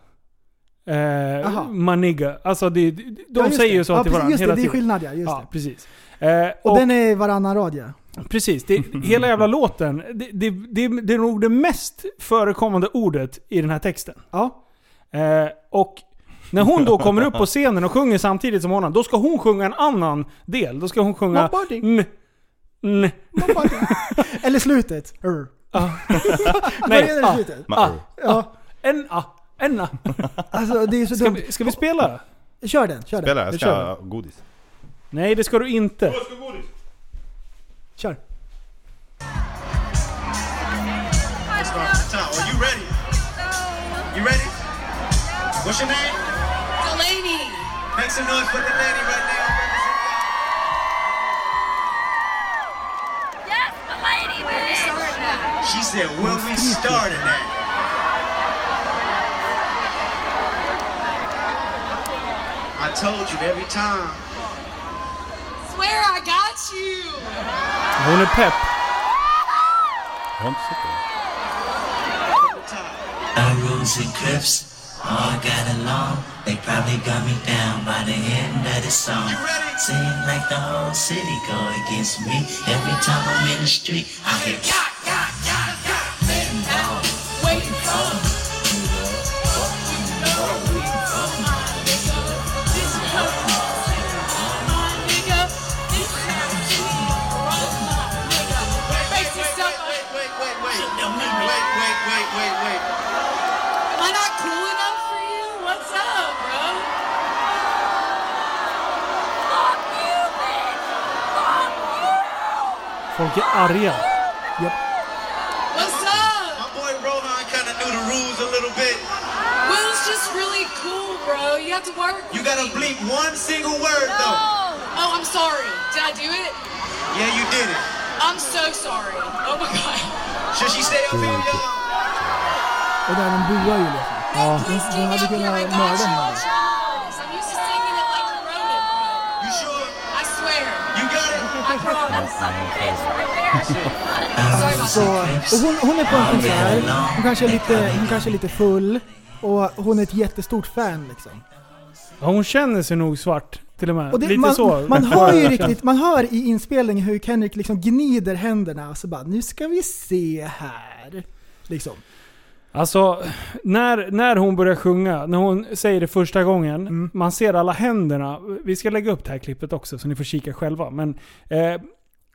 S4: Eh, manigga. Alltså det, de
S6: Ja, just
S4: säger ju
S6: det.
S4: så
S6: Ja,
S4: till
S6: precis,
S4: varandra
S6: just det,
S4: hela
S6: det är
S4: tiden.
S6: skillnad, ja, just
S4: ja,
S6: det.
S4: precis. Eh,
S6: Och,
S4: och-
S6: den är varannan rad ja.
S4: Precis. Det, hela jävla låten, det, det, det, det är nog det mest förekommande ordet i den här texten.
S6: Ja.
S4: Eh, och när hon då kommer upp på scenen och sjunger samtidigt som honom, då ska hon sjunga en annan del. Då ska hon sjunga...
S6: My body.
S4: N, n,
S6: Eller slutet. Urr.
S4: ah.
S6: Vad är
S4: Nej,
S6: det
S4: ah,
S6: slutet?
S4: ah,
S6: Ja.
S4: en, ah, Enna!
S6: Alltså det är så
S4: Ska
S6: dumt.
S4: vi- ska vi spela?
S6: Kör den, kör
S5: Spela,
S6: den.
S5: jag
S6: Nu
S5: ska
S6: kör
S5: ha godis.
S4: vi. Nej, det ska du inte.
S6: Kör.
S13: Start the town. Are you ready? You ready? What's your name? Delaney. Make some noise for Delaney right now.
S11: Yes, the lady, bitch!
S13: She said, "Where we started at." I told you every time.
S11: Swear I got you!
S4: Hon är pepp.
S5: Jag har inte sett det.
S13: Our rules and grips all got along. They probably got me down by the end of the song. Seem like the whole city go against me. Every time I'm in the street, I hear yacht, yacht, yacht, yacht. Letting down, waiting for me.
S11: Am I not cool enough for you? What's up, bro? Fuck you, bitch! Fuck you!
S4: Folk är arga.
S13: What's up? My boy Rohan kind of knew the rules a little bit.
S14: Will's just really cool, bro. You have to work.
S13: You gotta bleep one single word
S14: No.
S13: though.
S14: Oh, I'm sorry. Did I do it?
S13: Yeah, you did it.
S14: I'm so sorry. Oh my god.
S13: Should she stay up here, y'all?
S6: Och där de buar ju liksom. De, de hade kunnat mörda henne.
S11: Charles, I'm used to singing it like Corona, bro.
S13: You sure?
S11: I swear.
S13: You got it?
S11: I promise.
S6: Så, och hon, hon är på en konsert, hon kanske är, lite, hon kanske är lite full och hon är ett jättestort fan liksom.
S4: Ja, hon känner sig nog svart till och med.
S6: Och det,
S4: Lite
S6: man,
S4: så.
S6: man hör ju riktigt, man hör i inspelningen hur Kendrick liksom gnider händerna och så bara nu ska vi se här. Liksom.
S4: Alltså, när, när hon börjar sjunga, när hon säger det första gången,
S6: Mm.
S4: man ser alla händerna. Vi ska lägga upp det här klippet också så ni får kika själva. Men, eh,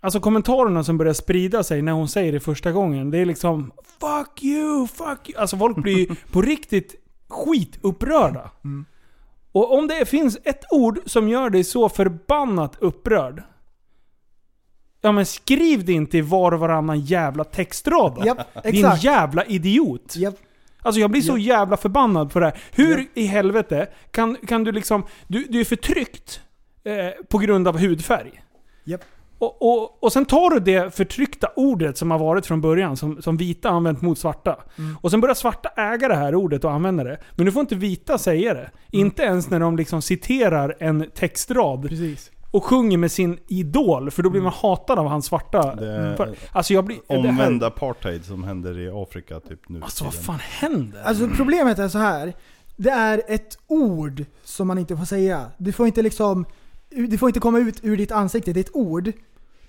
S4: alltså kommentarerna som börjar sprida sig när hon säger det första gången, det är liksom Fuck you, fuck you. Alltså folk blir ju på riktigt skitupprörda.
S6: Mm.
S4: Och om det finns ett ord som gör dig så förbannat upprörd. Ja men skriv det inte i var och varannan jävla textrad då.
S6: Japp,
S4: Din
S6: exakt.
S4: jävla idiot. Alltså jag blir så jävla förbannad på det här. Hur i helvete kan, kan du liksom... Du, du är förtryckt eh, på grund av hudfärg.
S6: Japp.
S4: Och, och, och sen tar du det förtryckta ordet som har varit från början, som, som vita har använt mot svarta. Och sen börjar svarta äga det här ordet och använda det. Men nu får inte vita säga det. Inte ens när de liksom citerar en textrad. Och sjunger med sin idol, för då blir man hatad av hans svarta.
S5: Det-
S4: alltså jag blir... det här-
S5: Omvänd apartheid som händer i Afrika typ nu. Alltså
S4: vad fan händer?
S6: Alltså problemet är så här. Det är ett ord som man inte får säga. Du får inte liksom, det får inte komma ut ur ditt ansikte. Det är ett ord.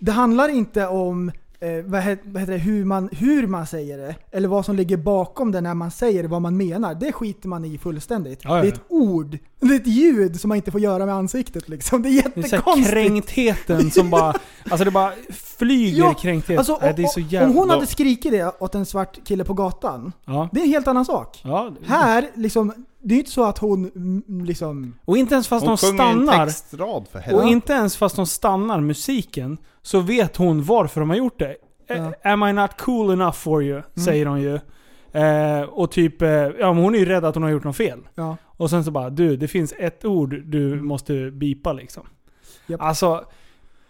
S6: Det handlar inte om eh, vad he- vad heter det, hur, man, hur man säger det, eller vad som ligger bakom det när man säger det, vad man menar. Det skiter man i fullständigt.
S4: Ja, ja,
S6: Det är
S4: ja.
S6: ett ord. Det är ett ljud som man inte får göra med ansiktet liksom. Det är
S4: Det är så här
S6: jättekonstigt.
S4: kränktheten som bara... Alltså det bara flyger
S6: Ja,
S4: kränkthet.
S6: Alltså,
S4: Nej, det är så jävla...
S6: Om hon hade skrikit det åt en svart kille på gatan,
S4: Ja.
S6: det är en helt annan sak.
S4: Ja.
S6: Här, liksom, det är ju inte så att hon mm, liksom...
S4: Och inte ens fast
S6: Hon
S4: de
S6: sjunger en
S4: stannar...
S6: textrad, för
S4: och
S6: helvete.
S4: inte ens fast de stannar musiken så vet hon varför de har gjort det. Eh, Am I not cool enough for you?
S6: Mm.
S4: Säger hon ju. Eh, och typ, eh, ja men hon är ju rädd att hon har gjort något fel.
S6: Ja.
S4: Och sen så bara, du det finns ett ord du måste bipa liksom. Alltså,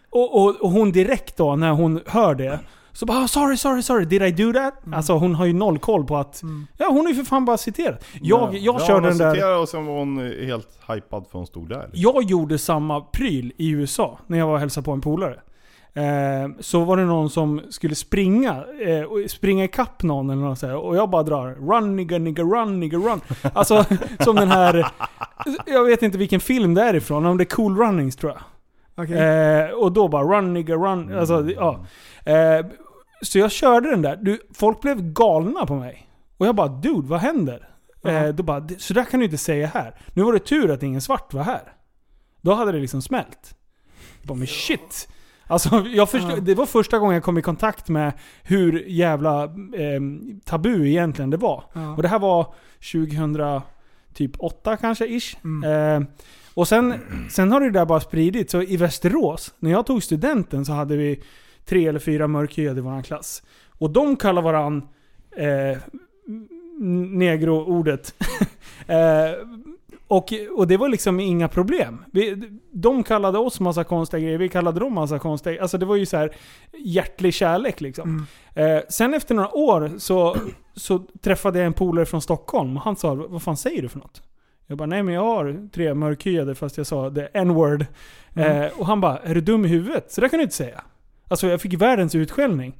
S4: och, och, och hon direkt då när hon hör det. Så bara "Ah, “Sorry, sorry, sorry, did I do that?” Alltså hon har ju noll koll på att... Ja hon är ju för fan bara citerat. Jag, jag körde den där...
S5: Och sen var hon eh, helt hypad för hon stod där. liksom.
S4: Jag gjorde samma pryl i USA när jag var och hälsade på en polare. Eh, så var det någon som skulle springa, eh, och springa ikapp någon eller något så här, Och jag bara drar “Run nigga nigga run nigga run”. Alltså som den här... Jag vet inte vilken film det är ifrån, om det är Cool Runnings tror jag.
S6: Okej.
S4: Eh, och då bara “Run nigga run”. Alltså, ja. eh, så jag körde den där. Du, folk blev galna på mig. Och jag bara “Dude, vad händer?” eh, då bara, "Det- “Så där kan du inte säga här”. Nu var det tur att ingen svart var här. Då hade det liksom smält. Jag bara “Men shit”. Alltså, jag förstod,
S6: Ja.
S4: Det var första gången jag kom i kontakt med hur jävla eh, tabu egentligen det var.
S6: Ja.
S4: Och det här var 2008 typ åtta kanske ish.
S6: Mm.
S4: Eh, och sen, sen har det där bara spridits. Så i Västerås, när jag tog studenten så hade vi tre eller fyra mörkhyade i vår klass. Och de kallar varann eh, n- negro-ordet. eh, och, och det var liksom inga problem. Vi, de kallade oss massa konstiga grejer, vi kallade dem massa konstiga grejer. Alltså det var ju så här hjärtlig kärlek liksom.
S6: Mm.
S4: Eh, sen efter några år så, så träffade jag en polare från Stockholm och han sa Vad fan säger du för något? Jag bara nej men jag har tre mörkhyade fast jag sa the n-word.
S6: Mm.
S4: Eh, och han bara är du dum i huvudet? Så det kan du inte säga. Alltså jag fick världens utskällning.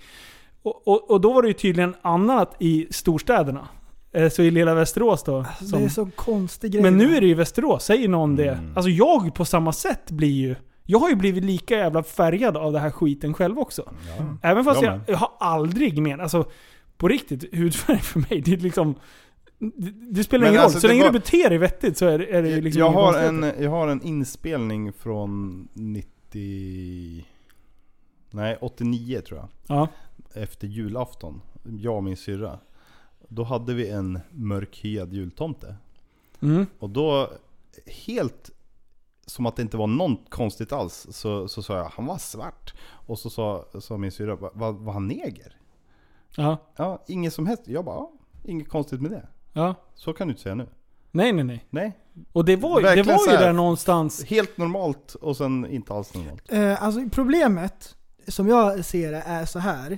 S4: Och, och, och då var det ju tydligen annat i storstäderna. Eh, så i lilla Västerås då.
S6: Det
S4: som-
S6: är så konstig grej.
S4: men nu är det ju Västerås, säger någon det.
S5: Mm.
S4: Alltså jag på samma sätt blir ju... Jag har ju blivit lika jävla färgad av den här skiten själv också. Även fast
S5: Jag
S4: jag,
S5: med.
S4: jag har aldrig menat... Alltså på riktigt, hudfärg för mig det är liksom... Det, det spelar
S5: Men
S4: ingen
S5: alltså,
S4: roll. Så
S5: det
S4: länge
S5: var-
S4: du beter dig vettigt så är det, är det ju liksom
S5: jag,
S4: inga
S5: har en,
S4: konstigheter.
S5: jag har en inspelning från 90... Nej, 89 tror jag.
S4: Ja.
S5: Efter julafton. Jag och min syrra. Då hade vi en mörkhyad jultomte.
S4: Mm.
S5: Och då, helt som att det inte var något konstigt alls, så, så sa jag han var svart. Och så sa, sa min syrra, "Va- va- var han neger?
S4: Ja.
S5: ja. Inget som helst. Jag bara, ja, inget konstigt med det.
S4: Ja.
S5: Så kan du inte säga nu.
S4: Nej, nej, nej.
S5: Nej.
S4: Och det var, ju- det
S5: Verkligen
S4: var
S5: så
S4: ju
S5: här.
S4: där någonstans.
S5: Helt normalt och sen inte alls normalt.
S6: Eh, alltså problemet, som jag ser det, är så här.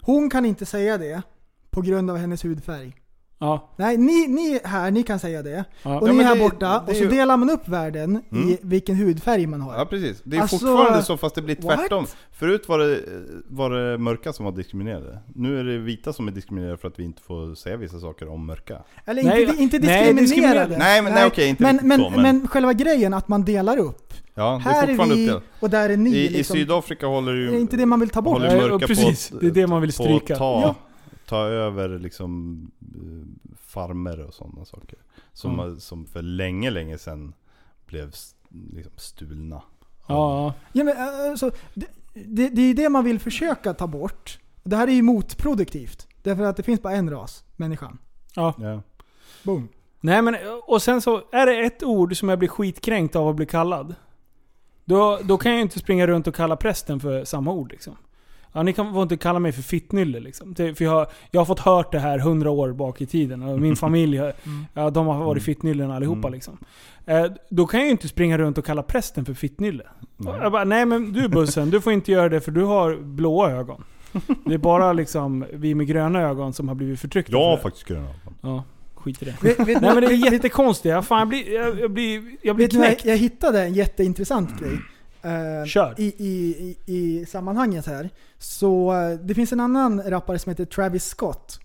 S6: Hon kan inte säga det på grund av hennes hudfärg.
S4: Ja.
S6: Nej, ni, ni här, ni kan säga det.
S5: Ja.
S6: Och
S5: Ja,
S6: ni
S5: men
S6: här
S5: det-
S6: borta,
S5: det är
S6: och så
S5: ju-
S6: delar man upp världen
S5: Mm.
S6: i vilken hudfärg man har.
S5: Ja precis. Det är
S6: Alltså,
S5: fortfarande så fast det blir
S6: what?
S5: tvärtom. Förut var det, var det mörka som var diskriminerade. Nu är det vita som är diskriminerade för att vi inte får säga vissa saker om mörka.
S6: Eller
S4: Nej,
S6: inte, inte
S4: nej,
S6: diskriminerade.
S4: diskriminerade.
S5: Nej, men- nej, okej, inte
S6: men,
S5: riktigt
S6: men,
S5: så, men-
S6: men själva grejen att man delar upp.
S5: Ja, det är
S6: här är
S5: fortfarande
S6: vi
S5: uppdelat.
S6: och där är ni.
S5: I,
S6: liksom.
S5: I Sydafrika håller ju...
S6: Det är inte det man vill ta bort.
S5: håller
S6: Nej,
S5: mörka
S6: och precis.
S5: på att,
S4: Det är det man vill
S5: på
S4: stryka.
S5: Att ta,
S4: Ja.
S5: ta över liksom eh, farmer och sådana saker. Som,
S4: Mm.
S5: har- som för länge, länge sedan blev s- liksom stulna.
S4: Ja.
S6: Ja, men, eh, alltså, det, det, det är det man vill försöka ta bort. Det här är ju motproduktivt. Därför att det finns bara en ras, människan.
S4: Ja.
S5: Ja.
S6: Boom.
S4: Nej men, och sen så, är det ett ord som jag blir skitkränkt av att bli kallad. Då, då kan jag ju inte springa runt och kalla prästen för samma ord liksom. Ja, ni kan, får inte kalla mig för fittnylle liksom. Det, för jag, har- jag har fått hört det här hundra år bak i tiden. Och min familj, har- ja, de har varit fittnyllen allihopa
S5: Mm.
S4: liksom. Eh, då kan jag ju inte springa runt och kalla prästen för fittnylle.
S5: Nej.
S4: Jag bara, nej men du bussen, du får inte göra det för du har blåa ögon. Det är bara liksom vi med gröna ögon som har blivit förtryckta.
S5: Jag
S4: för
S5: har
S4: det.
S5: faktiskt gröna ögon.
S4: Ja, skit i det.
S6: Vet- vet-
S4: Nej men det är
S6: vet-
S4: jättekonstigt. Jag, fan, jag blir, jag, jag blir, jag blir
S6: Vet ni, vad,
S4: knäckt. Mm.
S6: jag hittade en jätteintressant grej. eh,
S4: Kör.
S6: I, i, i, I sammanhanget här. Så eh, det finns en annan rappare som heter Travis Scott.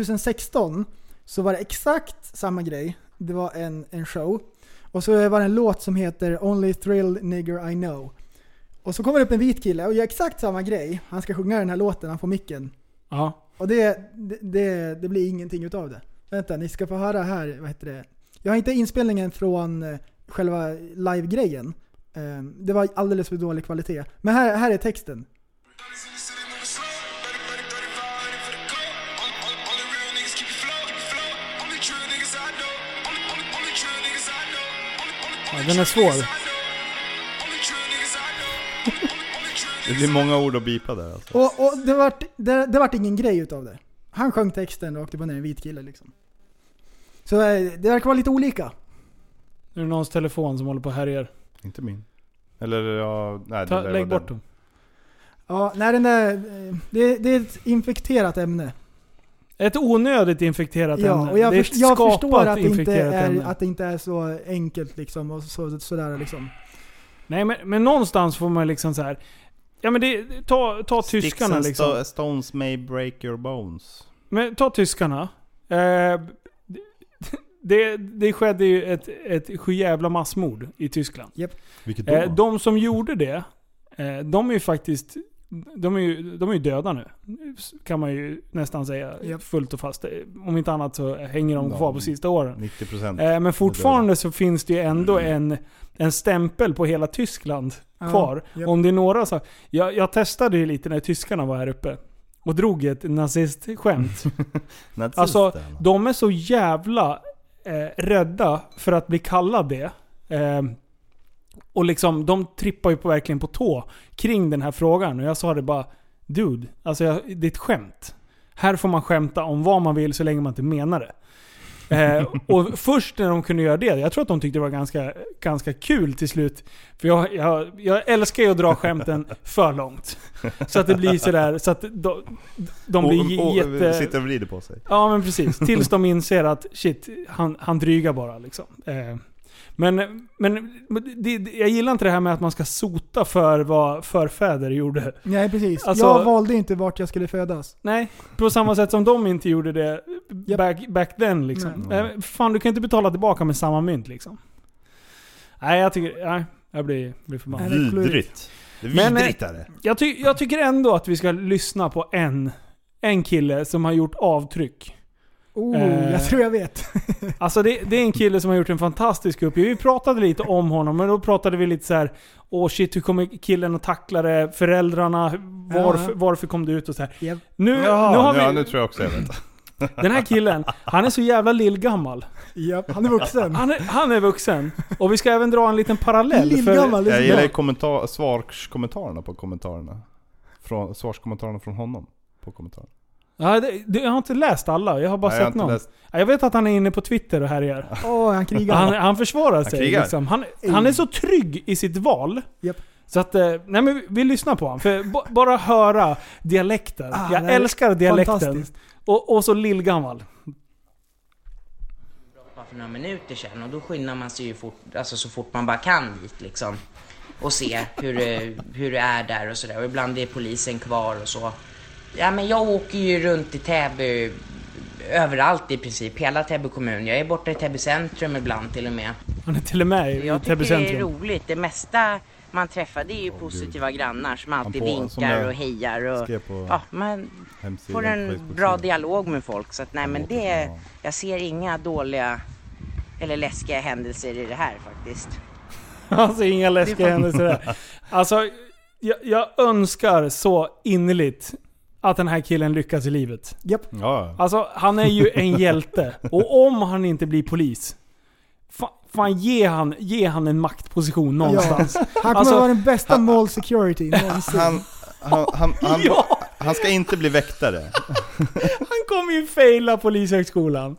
S6: 2016 så var det exakt samma grej. Det var en, en show. Och så var det en låt som heter Only Thrill Nigger I Know. Och så kommer det upp en vit kille och gör exakt samma grej. Han ska sjunga den här låten, han får micken.
S4: Ja.
S6: Och det, det, det, det blir ingenting utav det. Vänta, ni ska få höra här, vad heter det? Jag har inte inspelningen från eh, själva live-grejen. Eh, Det var alldeles för dålig kvalitet. Men här, här är texten.
S4: Ja, den är svår.
S5: Det blir många ord att bipa där alltså.
S6: Och, och det vart det, det vart ingen grej utav det. Han sjöng texten rakt upp och ner, en vit kille liksom. Så eh, det verkar vara lite olika.
S4: Nu är det någons telefon som håller på och härjar.
S5: Inte min. Eller ja, nej,
S4: Ta,
S5: det där
S4: lägg
S5: var den.
S4: bort dem.
S6: Ja, nej den där... eh, Det, det är ett infekterat ämne.
S4: Ett onödigt infekterat
S6: Ja,
S4: ämne.
S6: och jag,
S4: det är
S6: förs-
S4: ett
S6: jag
S4: skapat
S6: förstår att det, inte
S4: infekterat
S6: är,
S4: ämne.
S6: att det inte är så enkelt liksom och så, sådär liksom.
S4: Nej men, men någonstans får man liksom så här. Ja men det, ta, ta tyskarna
S5: Sticks and
S4: liksom.
S5: sto- stones may break your bones.
S4: Men ta tyskarna. Eh, det, det skedde ju ett, ett sjujävla massmord i Tyskland.
S5: Vilket
S4: Eh, de som gjorde det, eh, de är ju faktiskt de är ju, de är ju döda nu. Kan man ju nästan säga fullt och fast. Eh, Om inte annat så hänger de
S5: Ja,
S4: kvar på sista åren.
S5: 90%.
S4: Eh, men fortfarande så finns det ju ändå en, en stämpel på hela Tyskland
S6: Ja,
S4: kvar.
S6: japp.
S4: Om det är några så jag, jag testade ju lite när tyskarna var här uppe. Och drog ett nazistskämt. alltså, de är så jävla eh, rädda för att bli kallad det. Eh, och liksom, de trippar ju på, verkligen på tå kring den här frågan. Och jag sa det bara, dude, alltså jag, det är ett skämt. Här får man skämta om vad man vill så länge man inte menar det. Eh, och först när de kunde göra det, jag tror att de tyckte det var ganska, ganska kul till slut. För jag, jag, jag älskar ju att dra skämten för långt. Så att det blir sådär, så att de, de blir
S5: och, och,
S4: jätte...
S5: Sitter och vrider på sig.
S4: Ja men precis. Tills de inser att shit, han, han drygar bara liksom. Eh, men men det, det- jag gillar inte det här med att man ska sota för vad förfäder gjorde.
S6: Nej precis.
S4: Alltså-
S6: jag valde inte vart jag skulle födas.
S4: Nej, på samma sätt som de inte gjorde det back, back then liksom.
S6: Nej.
S4: Eh, fan, du kan inte betala tillbaka med samma mynt liksom. Nej, jag tycker... Nej, jag blir, blir förbannad.
S5: Vidrigt. Det är
S4: Men, eh,
S5: vidrigt är det.
S4: Jag, ty jag tycker ändå att vi ska lyssna på en, en kille som har gjort avtryck.
S6: Oh,
S4: Eh,
S6: jag tror jag vet.
S4: Alltså det, det är en kille som har gjort en fantastisk uppgift. Vi pratade lite om honom, men då pratade vi lite så här. Åh shit, hur kommer killen att tackla det? Föräldrarna? Varför,
S5: Ja.
S4: varför kom du ut? Och så här.
S6: Japp.
S4: Nu,
S5: Ja,
S4: nu har vi...
S5: ja, nu tror jag också jag vet.
S4: Den här killen, han är så jävla lillgammal.
S6: Japp, han är vuxen.
S4: Han är, han är vuxen. Och vi ska även dra en liten parallell. för-
S6: liksom.
S5: jag gillar ju kommentar, svarskommentarerna på kommentarerna. Från, svarskommentarerna från honom. På kommentarerna.
S4: Ja, det, det, jag har inte läst alla, jag har bara
S5: Nej, jag har
S4: sett
S5: inte
S4: någon.
S5: läst.
S4: Ja, Jag vet att han är inne på Twitter och härjar.
S6: Åh, han krigar.
S4: Han, han försvarar
S6: Han
S4: sig.
S6: krigar.
S4: liksom. han, han är så trygg i sitt val. Så att, eh, nej men vi, vi lyssnar på honom. För b- bara höra dialekten.
S6: Ah, det
S4: jag
S6: här är
S4: älskar dialekten.
S6: fantastiskt.
S4: Och, och så lillgammal.
S15: bara för några minuter sedan och då skyndar man sig ju fort, alltså så fort man bara kan dit liksom. Och se hur, det- hur det är där och sådär. Och ibland är polisen kvar och så. Ja men jag åker ju runt i Täby överallt i princip. Hela Täby kommun. Jag är borta i Täby centrum ibland till och med.
S4: Han är till och med i
S15: Jag tycker
S4: Täby
S15: det är
S4: centrum.
S15: roligt. Det mesta man träffar det är ju positiva grannar som alltid
S4: på- som
S15: vinkar
S4: jag
S15: och hejar. Och,
S5: skrev på
S15: ja, man
S5: hemsidan
S15: får
S5: på
S15: en
S5: Facebook-sidan.
S15: bra dialog med folk. Så att, nej, men det är, jag ser inga dåliga eller läskiga händelser i det här faktiskt.
S4: Alltså inga läskiga händelser där. Alltså, jag, jag önskar så innerligt att den här killen lyckas i livet.
S6: Japp.
S5: Ja.
S4: Alltså han är ju en hjälte. Och om han inte blir polis. Fan, fan ge, han, ge han en maktposition någonstans.
S6: Ja. Han kommer
S4: Alltså,
S6: vara den bästa mall security någonsin.
S5: Han, han, han, han,
S4: Ja.
S5: han ska inte bli väktare.
S4: han kommer ju faila polishögskolan.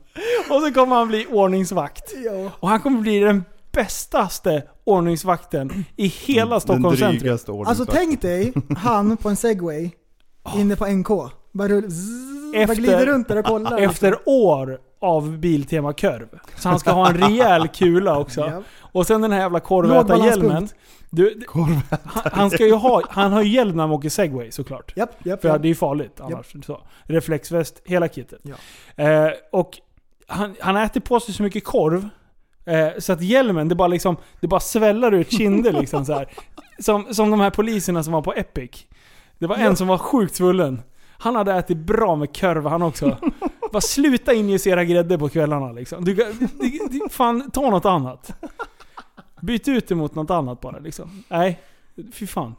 S4: Och så kommer han bli ordningsvakt. Och han kommer bli den bästaste ordningsvakten i hela Stockholms centrum.
S5: drygaste
S6: Alltså tänk dig han på en segway inne på NK. Bara, rull, zzz, bara Mm, glider runt där och kollar.
S4: Efter år av Biltema Körv. Så han ska ha en rejäl kula också. Och sen den här jävla korvätarhjälmen.
S6: Lågbalanspunkt.
S4: Du, du- han, han ska ju ha, han har ju hjälm när han åker segway såklart. För
S6: japp.
S4: det är ju farligt annars. Så. Reflexväst, hela kittet. Eh, och han, han äter på sig så mycket korv. Eh, så att hjälmen, det bara, liksom, det bara sväller ut kinder liksom så här. Som, som de här poliserna som var på Epic. Det var
S6: Ja.
S4: en som var sjukt svullen. Han hade ätit bra med korv han också. Bara sluta injicera grädde på kvällarna liksom. Du, kan- du, du, fan, ta något annat. Byt ut det mot något annat bara liksom. Nej, fy fan.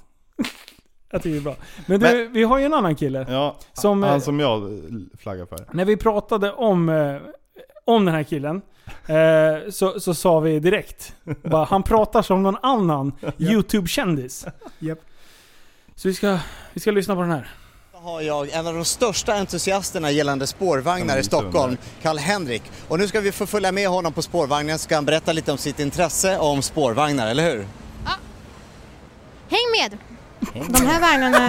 S4: Jag tycker det är bra. Men du, vi har ju en annan kille.
S5: Ja,
S4: som, eh,
S5: han som jag flaggar för.
S4: när vi pratade om, eh, om den här killen eh, så, så sa vi direkt bara, han pratar som någon annan YouTube-kändis.
S6: Japp.
S4: Så vi ska, vi ska lyssna på den här.
S16: har jag en av de största entusiasterna gällande spårvagnar i Stockholm, Karl-Henrik. Och nu ska vi få följa med honom på spårvagnen, ska han berätta lite om sitt intresse om spårvagnar, eller hur?
S17: Häng med! De här vagnarna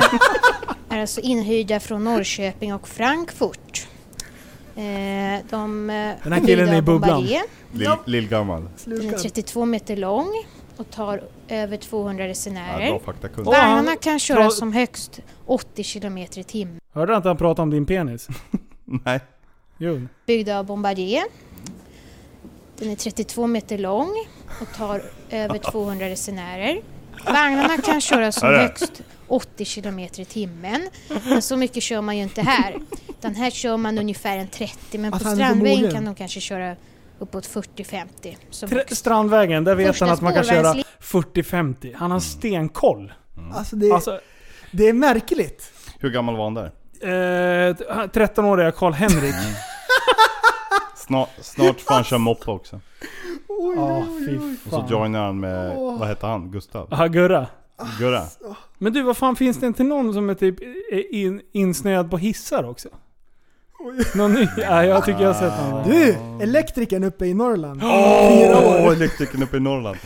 S17: är alltså inhyrda från Norrköping och Frankfurt. Eh, De eh,
S5: Den här killen
S17: hyrda
S5: är i
S17: av
S5: bubblan.
S17: Bombardier.
S5: Lill- Lillgammal.
S17: Den är 32 meter lång och tar över 200 resenärer.
S5: Ja, bra faktakunskap.
S4: Och han-
S17: Vagnarna kan köra
S4: Tra-
S17: som högst 80 kilometer i timmen.
S4: Hörde du inte han prata om din penis?
S5: Nej.
S4: Jo.
S17: Byggda av Bombardier. Den är 32 meter lång och tar över 200 resenärer. Vagnarna kan köra som
S18: Hörru.
S17: högst 80 kilometer i timmen. Men så mycket kör man ju inte här. Utan här kör man ungefär en 30 men
S18: Att
S17: på
S18: han är på
S17: Strandvägen
S18: mogen.
S17: kan de kanske köra uppåt 40-50. som
S4: Tre-
S17: högst.
S4: Strandvägen, där vet
S17: Första
S4: han att man kan köra
S17: spårvägslinjen.
S4: 40-50. Han har stenkoll.
S6: Alltså det, det är märkligt.
S5: Hur gammal var han där?
S4: Eh, t- 13-åriga Karl-Henrik.
S5: Snart, snart får han köra moppe också.
S6: Oj,
S4: Ja, fy
S5: Och
S4: fan.
S5: så joinar han med,
S4: Åh.
S5: vad hette han? Gustav?
S6: Ah.
S4: Ja, Gurra.
S5: Gurra.
S4: Men du, vad fan finns det inte någon som är typ är in, insnöad på hissar också? Någon ny? Ja, jag tycker jag har sett någon.
S6: Du! Elektrikern uppe i Norrland. Fyra
S5: Åh,
S6: år.
S5: elektrikern uppe i Norrland.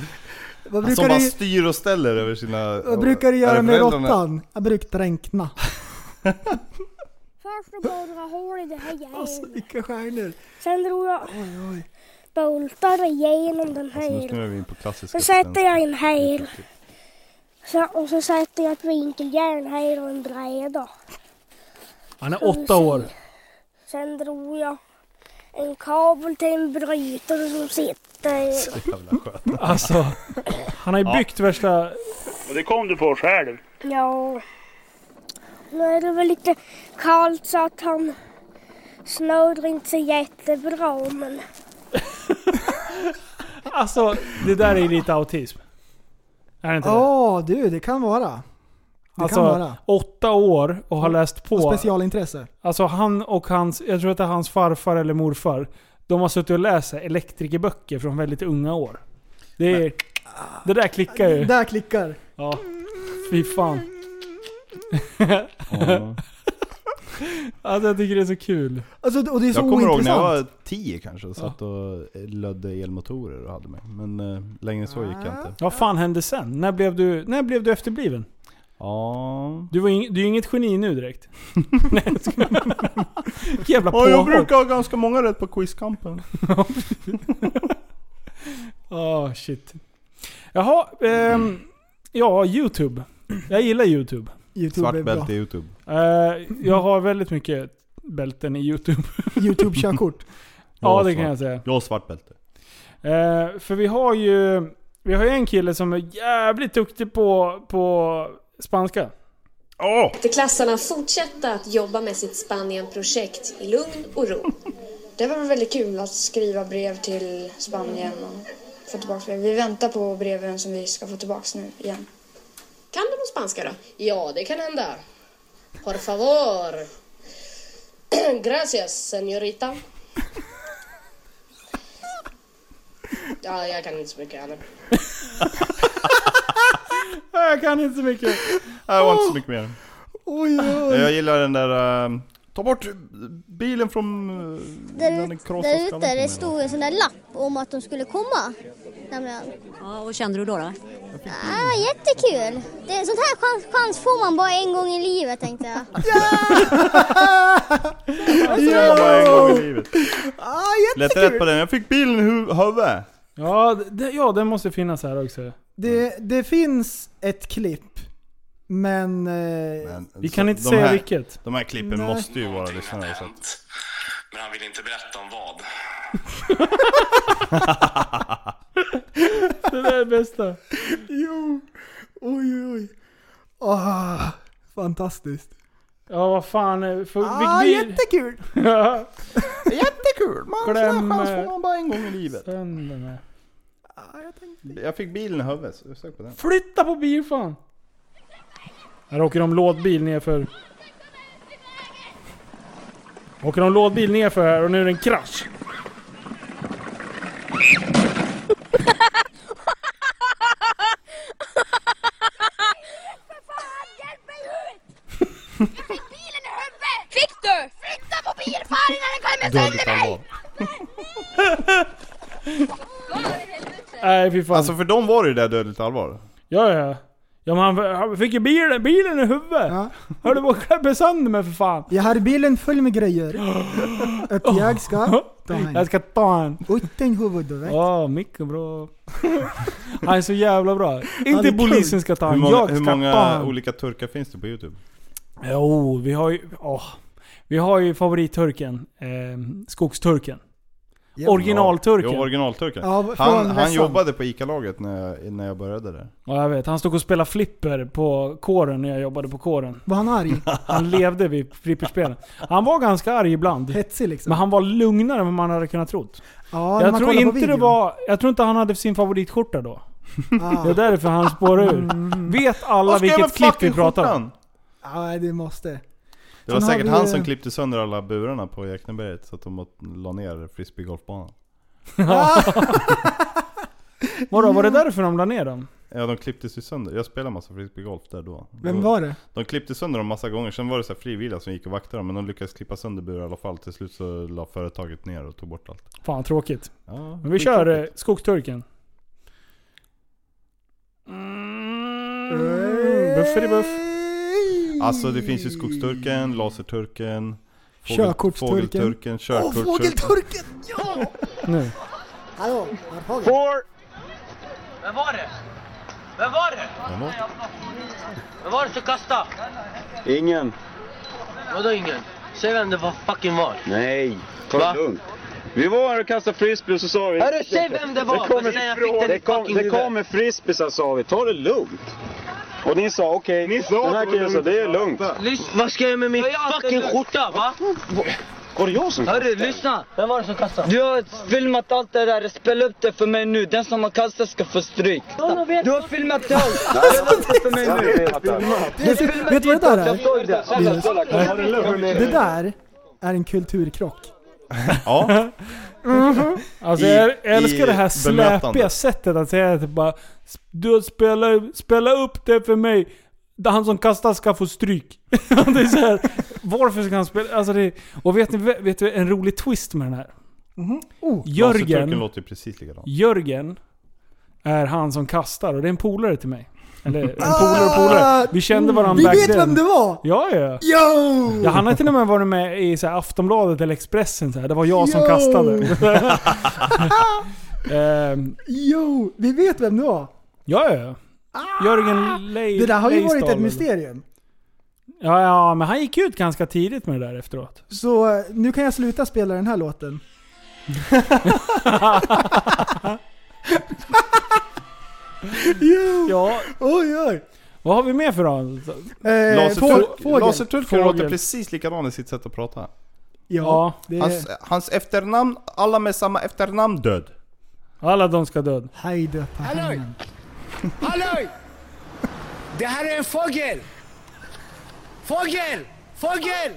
S6: Vad
S5: Som
S6: brukar,
S5: bara
S6: du,
S5: styr och ställer över sina...
S6: vad brukar du göra
S5: Är det
S6: med
S5: föräldrarna?
S6: råttan? Jag brukar räkna.
S18: Först så borrade jag hål i det här järnet.
S6: Alltså, Vilka stjärnor.
S18: Sen drog jag bultar igenom den här.
S5: Alltså, Nu snurrar
S18: elen.
S5: vi in på klassiska
S18: Sen sätter
S5: svenska.
S18: jag en hel. Så, och så sätter jag ett vinkeljärn här och en bräda.
S4: Han är åtta år.
S18: Sen drog jag en kabel till en brytare som sitter...
S4: Alltså, han har ju
S19: Ja.
S4: byggt värsta...
S19: Och det kom du på själv.
S18: Ja. Nu är det väl lite kallt så att han snurrar inte så jättebra men...
S4: Alltså, det där är ju lite autism. Är det inte det?
S6: Ja du, det kan vara. Det kan
S4: Alltså,
S6: vara.
S4: åtta år och har läst på.
S6: Och specialintresse.
S4: Alltså han och hans, jag tror att det är hans farfar eller morfar. De har suttit och läst elektrikerböcker från väldigt unga år. Det, är, det där klickar ju.
S6: Där klickar.
S4: Ja. Fy fan. alltså jag tycker det är så kul.
S6: Alltså, och det är så
S5: jag kommer ihåg när jag var
S6: ointressant.
S5: tio kanske och satt och lödde elmotorer och hade mig. Men eh, längre än så gick jag
S6: Ah.
S5: inte.
S4: Vad fan hände sen? När blev du, när blev du efterbliven?
S5: Ja.
S4: Du, var ing, du är ju inget geni nu direkt. Nej, jag skojar. Jävla
S5: Ja,
S4: påhopp.
S5: jag brukar ha ganska många rätt på quizkampen.
S4: Åh, shit. Jaha, ehm, ja, YouTube. Jag gillar YouTube.
S6: YouTube
S5: Svart bälte i youtube.
S4: Eh, jag har väldigt mycket bälten i YouTube.
S6: YouTube-körkort.
S4: ja,
S5: har
S4: det
S5: svart-
S4: kan jag säga.
S5: Jag har svart bälte.
S4: Eh, för vi har ju vi har ju en kille som är jävligt duktig på, på spanska.
S5: Åh!
S20: Klassarna fortsatte att jobba med sitt Spanienprojekt i lugn och ro. Det var väldigt kul att skriva brev till Spanien och få tillbaka brev. Vi väntar på breven som vi ska få tillbaka nu igen.
S21: Kan du på spanska då? Ja, det kan hända. Por favor. Gracias, señorita. Ja, jag kan inte så mycket annat.
S4: Jag kan inte så mycket.
S5: Nej, det var inte så mycket mer.
S6: Oj, oj.
S5: Jag gillar den där... eh, ta bort bilen från... eh,
S22: Där,
S5: när den
S22: ut,
S5: krossar
S22: där
S5: skallen på
S22: ute
S5: mig.
S22: det stod en sån där lapp om att de skulle komma. Nämligen.
S23: Ja, och kände du då? då?
S22: Ah, jättekul! Det, sånt här chans, chans får man bara en gång i livet tänkte jag.
S5: Det var bara en gång i livet.
S6: Ah,
S5: Lätt rätt på den. Jag fick bilen i hu- huvudet.
S4: Ja, det, ja, den måste finnas här också.
S6: Det, det finns ett klipp, men... eh,
S4: Vi kan inte säga vilket.
S5: De här klippen
S6: Nej.
S5: måste ju våra lyssnare ha sett.
S24: Men han vill inte berätta om vad.
S4: Det där är det bästa.
S6: Jo. Oj, oj, oj. Ah, fantastiskt.
S4: Ja, vad fan. eh, För,
S6: Ah,
S4: vi- vi-
S6: jättekul!
S4: Ja.
S5: Jättekul! Man, sån
S4: Glöm,
S5: här chans
S4: eh,
S5: får man bara en gång i livet.
S4: Sönderna.
S5: Jag fick bilen i huvudet, så jag sög på den.
S4: Flytta på bil fan. Här åker de lådbil nerför. Åker de lådbil nerför här och nu är det en krasch.
S25: Fick du? Flytta på bilfar innan den kommer
S5: Du har
S25: sönder
S5: blivit
S25: mig!
S5: allvar.
S4: Nej fy fan.
S5: Alltså för dem var det ju där dödligt allvar.
S4: Ja ja. Ja men han, han fick ju bilen, bilen i huvudet. Höll på att klappa sönder mig för fan.
S6: Jag har bilen full med grejer. Och jag ska ta en.
S4: Jag ska ta en.
S6: Utan huvudvärk.
S4: Åh, mycket bra. Han är så jävla bra.
S5: det är
S4: Inte
S5: kul.
S4: polisen ska ta
S5: Hur
S4: han,
S5: många,
S4: jag
S5: hur
S4: ska
S5: många
S4: ta han.
S5: olika turkar finns det på youtube?
S4: Jo, vi har ju... Åh. Vi har ju favoritturken. Eh, ehm, skogsturken. Originalturken.
S5: Jo, originalturken.
S4: Ja, från
S5: han han
S4: Leksand.
S5: jobbade på ICA-laget när jag, när jag började där.
S4: Ja, jag vet. Han stod och spelade flipper på kåren när jag jobbade på kåren.
S6: Var han arg?
S4: Han levde vid flipperspelen. Han var ganska arg ibland.
S6: Hetsig liksom.
S4: Men han var lugnare än vad man hade kunnat trott.
S6: Ja, när
S4: jag,
S6: man
S4: tror
S6: kollar på
S4: inte det
S6: videon.
S4: var, jag tror inte han hade sin favoritskjorta då. Det är därför han spårar ur. Vet alla
S6: Vad ska jag
S4: vilket
S6: med
S4: klipp vi
S6: fucking
S4: pratar om?
S5: skjortan?
S6: Mm. Ja, det måste.
S5: Det var
S6: Sen har
S5: säkert
S6: vi-
S5: han som klippte sönder alla burarna på Jäkneberget så att de åt- la ner frisbeegolfbanan.
S6: Ah,
S4: Ja. Vadå, var det därför de la ner dem?
S5: Ja de klipptes ju sönder. Jag spelade massa frisbeegolf där då.
S4: Vem
S5: Då-
S4: var det?
S5: De klippte sönder dem massa gånger, sen var det så här frivilliga som gick och vaktade dem. Men de lyckades klippa sönder burar i alla fall. Till slut så la företaget ner och tog bort allt.
S4: Fan vad tråkigt.
S5: Ja,
S4: Men vi kör eh, skogsturken. Mm, bufferi buff.
S5: Alltså det finns ju skogsturken, laserturken, fågel-
S6: Körkortsturken.
S5: fågelturken, körkortsturken.
S6: Ja!
S4: Nu.
S6: Hallå,
S10: Vem var det? Vem var det? Vem var det som kastade?
S3: Ingen.
S10: Vadå ingen? Säg vem det var fucking var.
S3: Nej, ta det lugnt. Vi var här och kastade frisbee och så sa vi...
S10: Hörru, säg vem det var,
S3: Det kommer,
S10: för sen jag fick den i
S3: det kom,
S10: fucking
S3: det
S10: huvudet.
S3: kommer frisbeesar sa vi, ta det lugnt. Och ni sa okej,
S10: sa
S3: den här
S10: att det var
S3: killen sa det är
S10: lugnt.
S3: lugnt.
S10: Lyssna. Vad ska jag göra med min fucking skjorta va?
S3: Var det jag som
S10: Hörru, lyssna! Vem var det som kastade?
S1: Du har filmat allt det där, spela upp det för mig nu. Den som har kastat ska få stryk. Du har filmat allt! Spela upp det för mig nu!
S6: Vet du vet du vad det där är?
S1: Jag såg det.
S6: Linus?
S1: Kolla, kolla.
S6: Det där är en kulturkrock.
S5: Ja.
S4: Alltså
S6: I-
S4: jag älskar
S6: i
S4: det här släpiga
S6: bemötande.
S4: sättet att säga det. Bara, du spela, spela upp det för mig. Där Han som kastar ska få stryk. det är så här, varför ska han spela? Alltså det, och vet ni vet du, en rolig twist med den här?
S6: Mm-hmm. Oh,
S5: Laserturken
S4: Jörgen,
S5: låter ju precis likadant.
S4: Jörgen är han som kastar och det är en polare till mig. Eller en polare och polare. Vi kände varandra
S6: Ah! Vi
S4: back
S6: vet
S4: then.
S6: vem det var!
S4: Ja, ja.
S6: Yo!
S4: Ja, han har till och med varit med i så här, Aftonbladet eller Expressen. Så här. Det var jag som
S6: Yo!
S4: kastade. Ehm,
S6: Jo, vi vet vem det var.
S4: ja, ja, ja. Jörgen Lej-
S6: Ah! Det där har ju varit ett
S4: Lejdstad,
S6: mysterium.
S4: eller? Ja, ja, men han gick ut ganska tidigt med det där efteråt.
S6: Så eh, nu kan jag sluta spela den här låten. jo!
S4: Ja.
S6: Oj, oj.
S4: Vad har vi mer för då?
S6: Eh,
S5: Laserturk-
S4: fågel.
S5: Laserturken låter
S4: Fågel.
S5: precis likadan i sitt sätt att prata.
S4: Ja, det-
S5: hans, hans efternamn, alla med samma efternamn död.
S4: Alla de ska död.
S6: Hej döpa
S4: Halloj!
S9: Halloj! Det här är en fågel! Fågel! Fågel!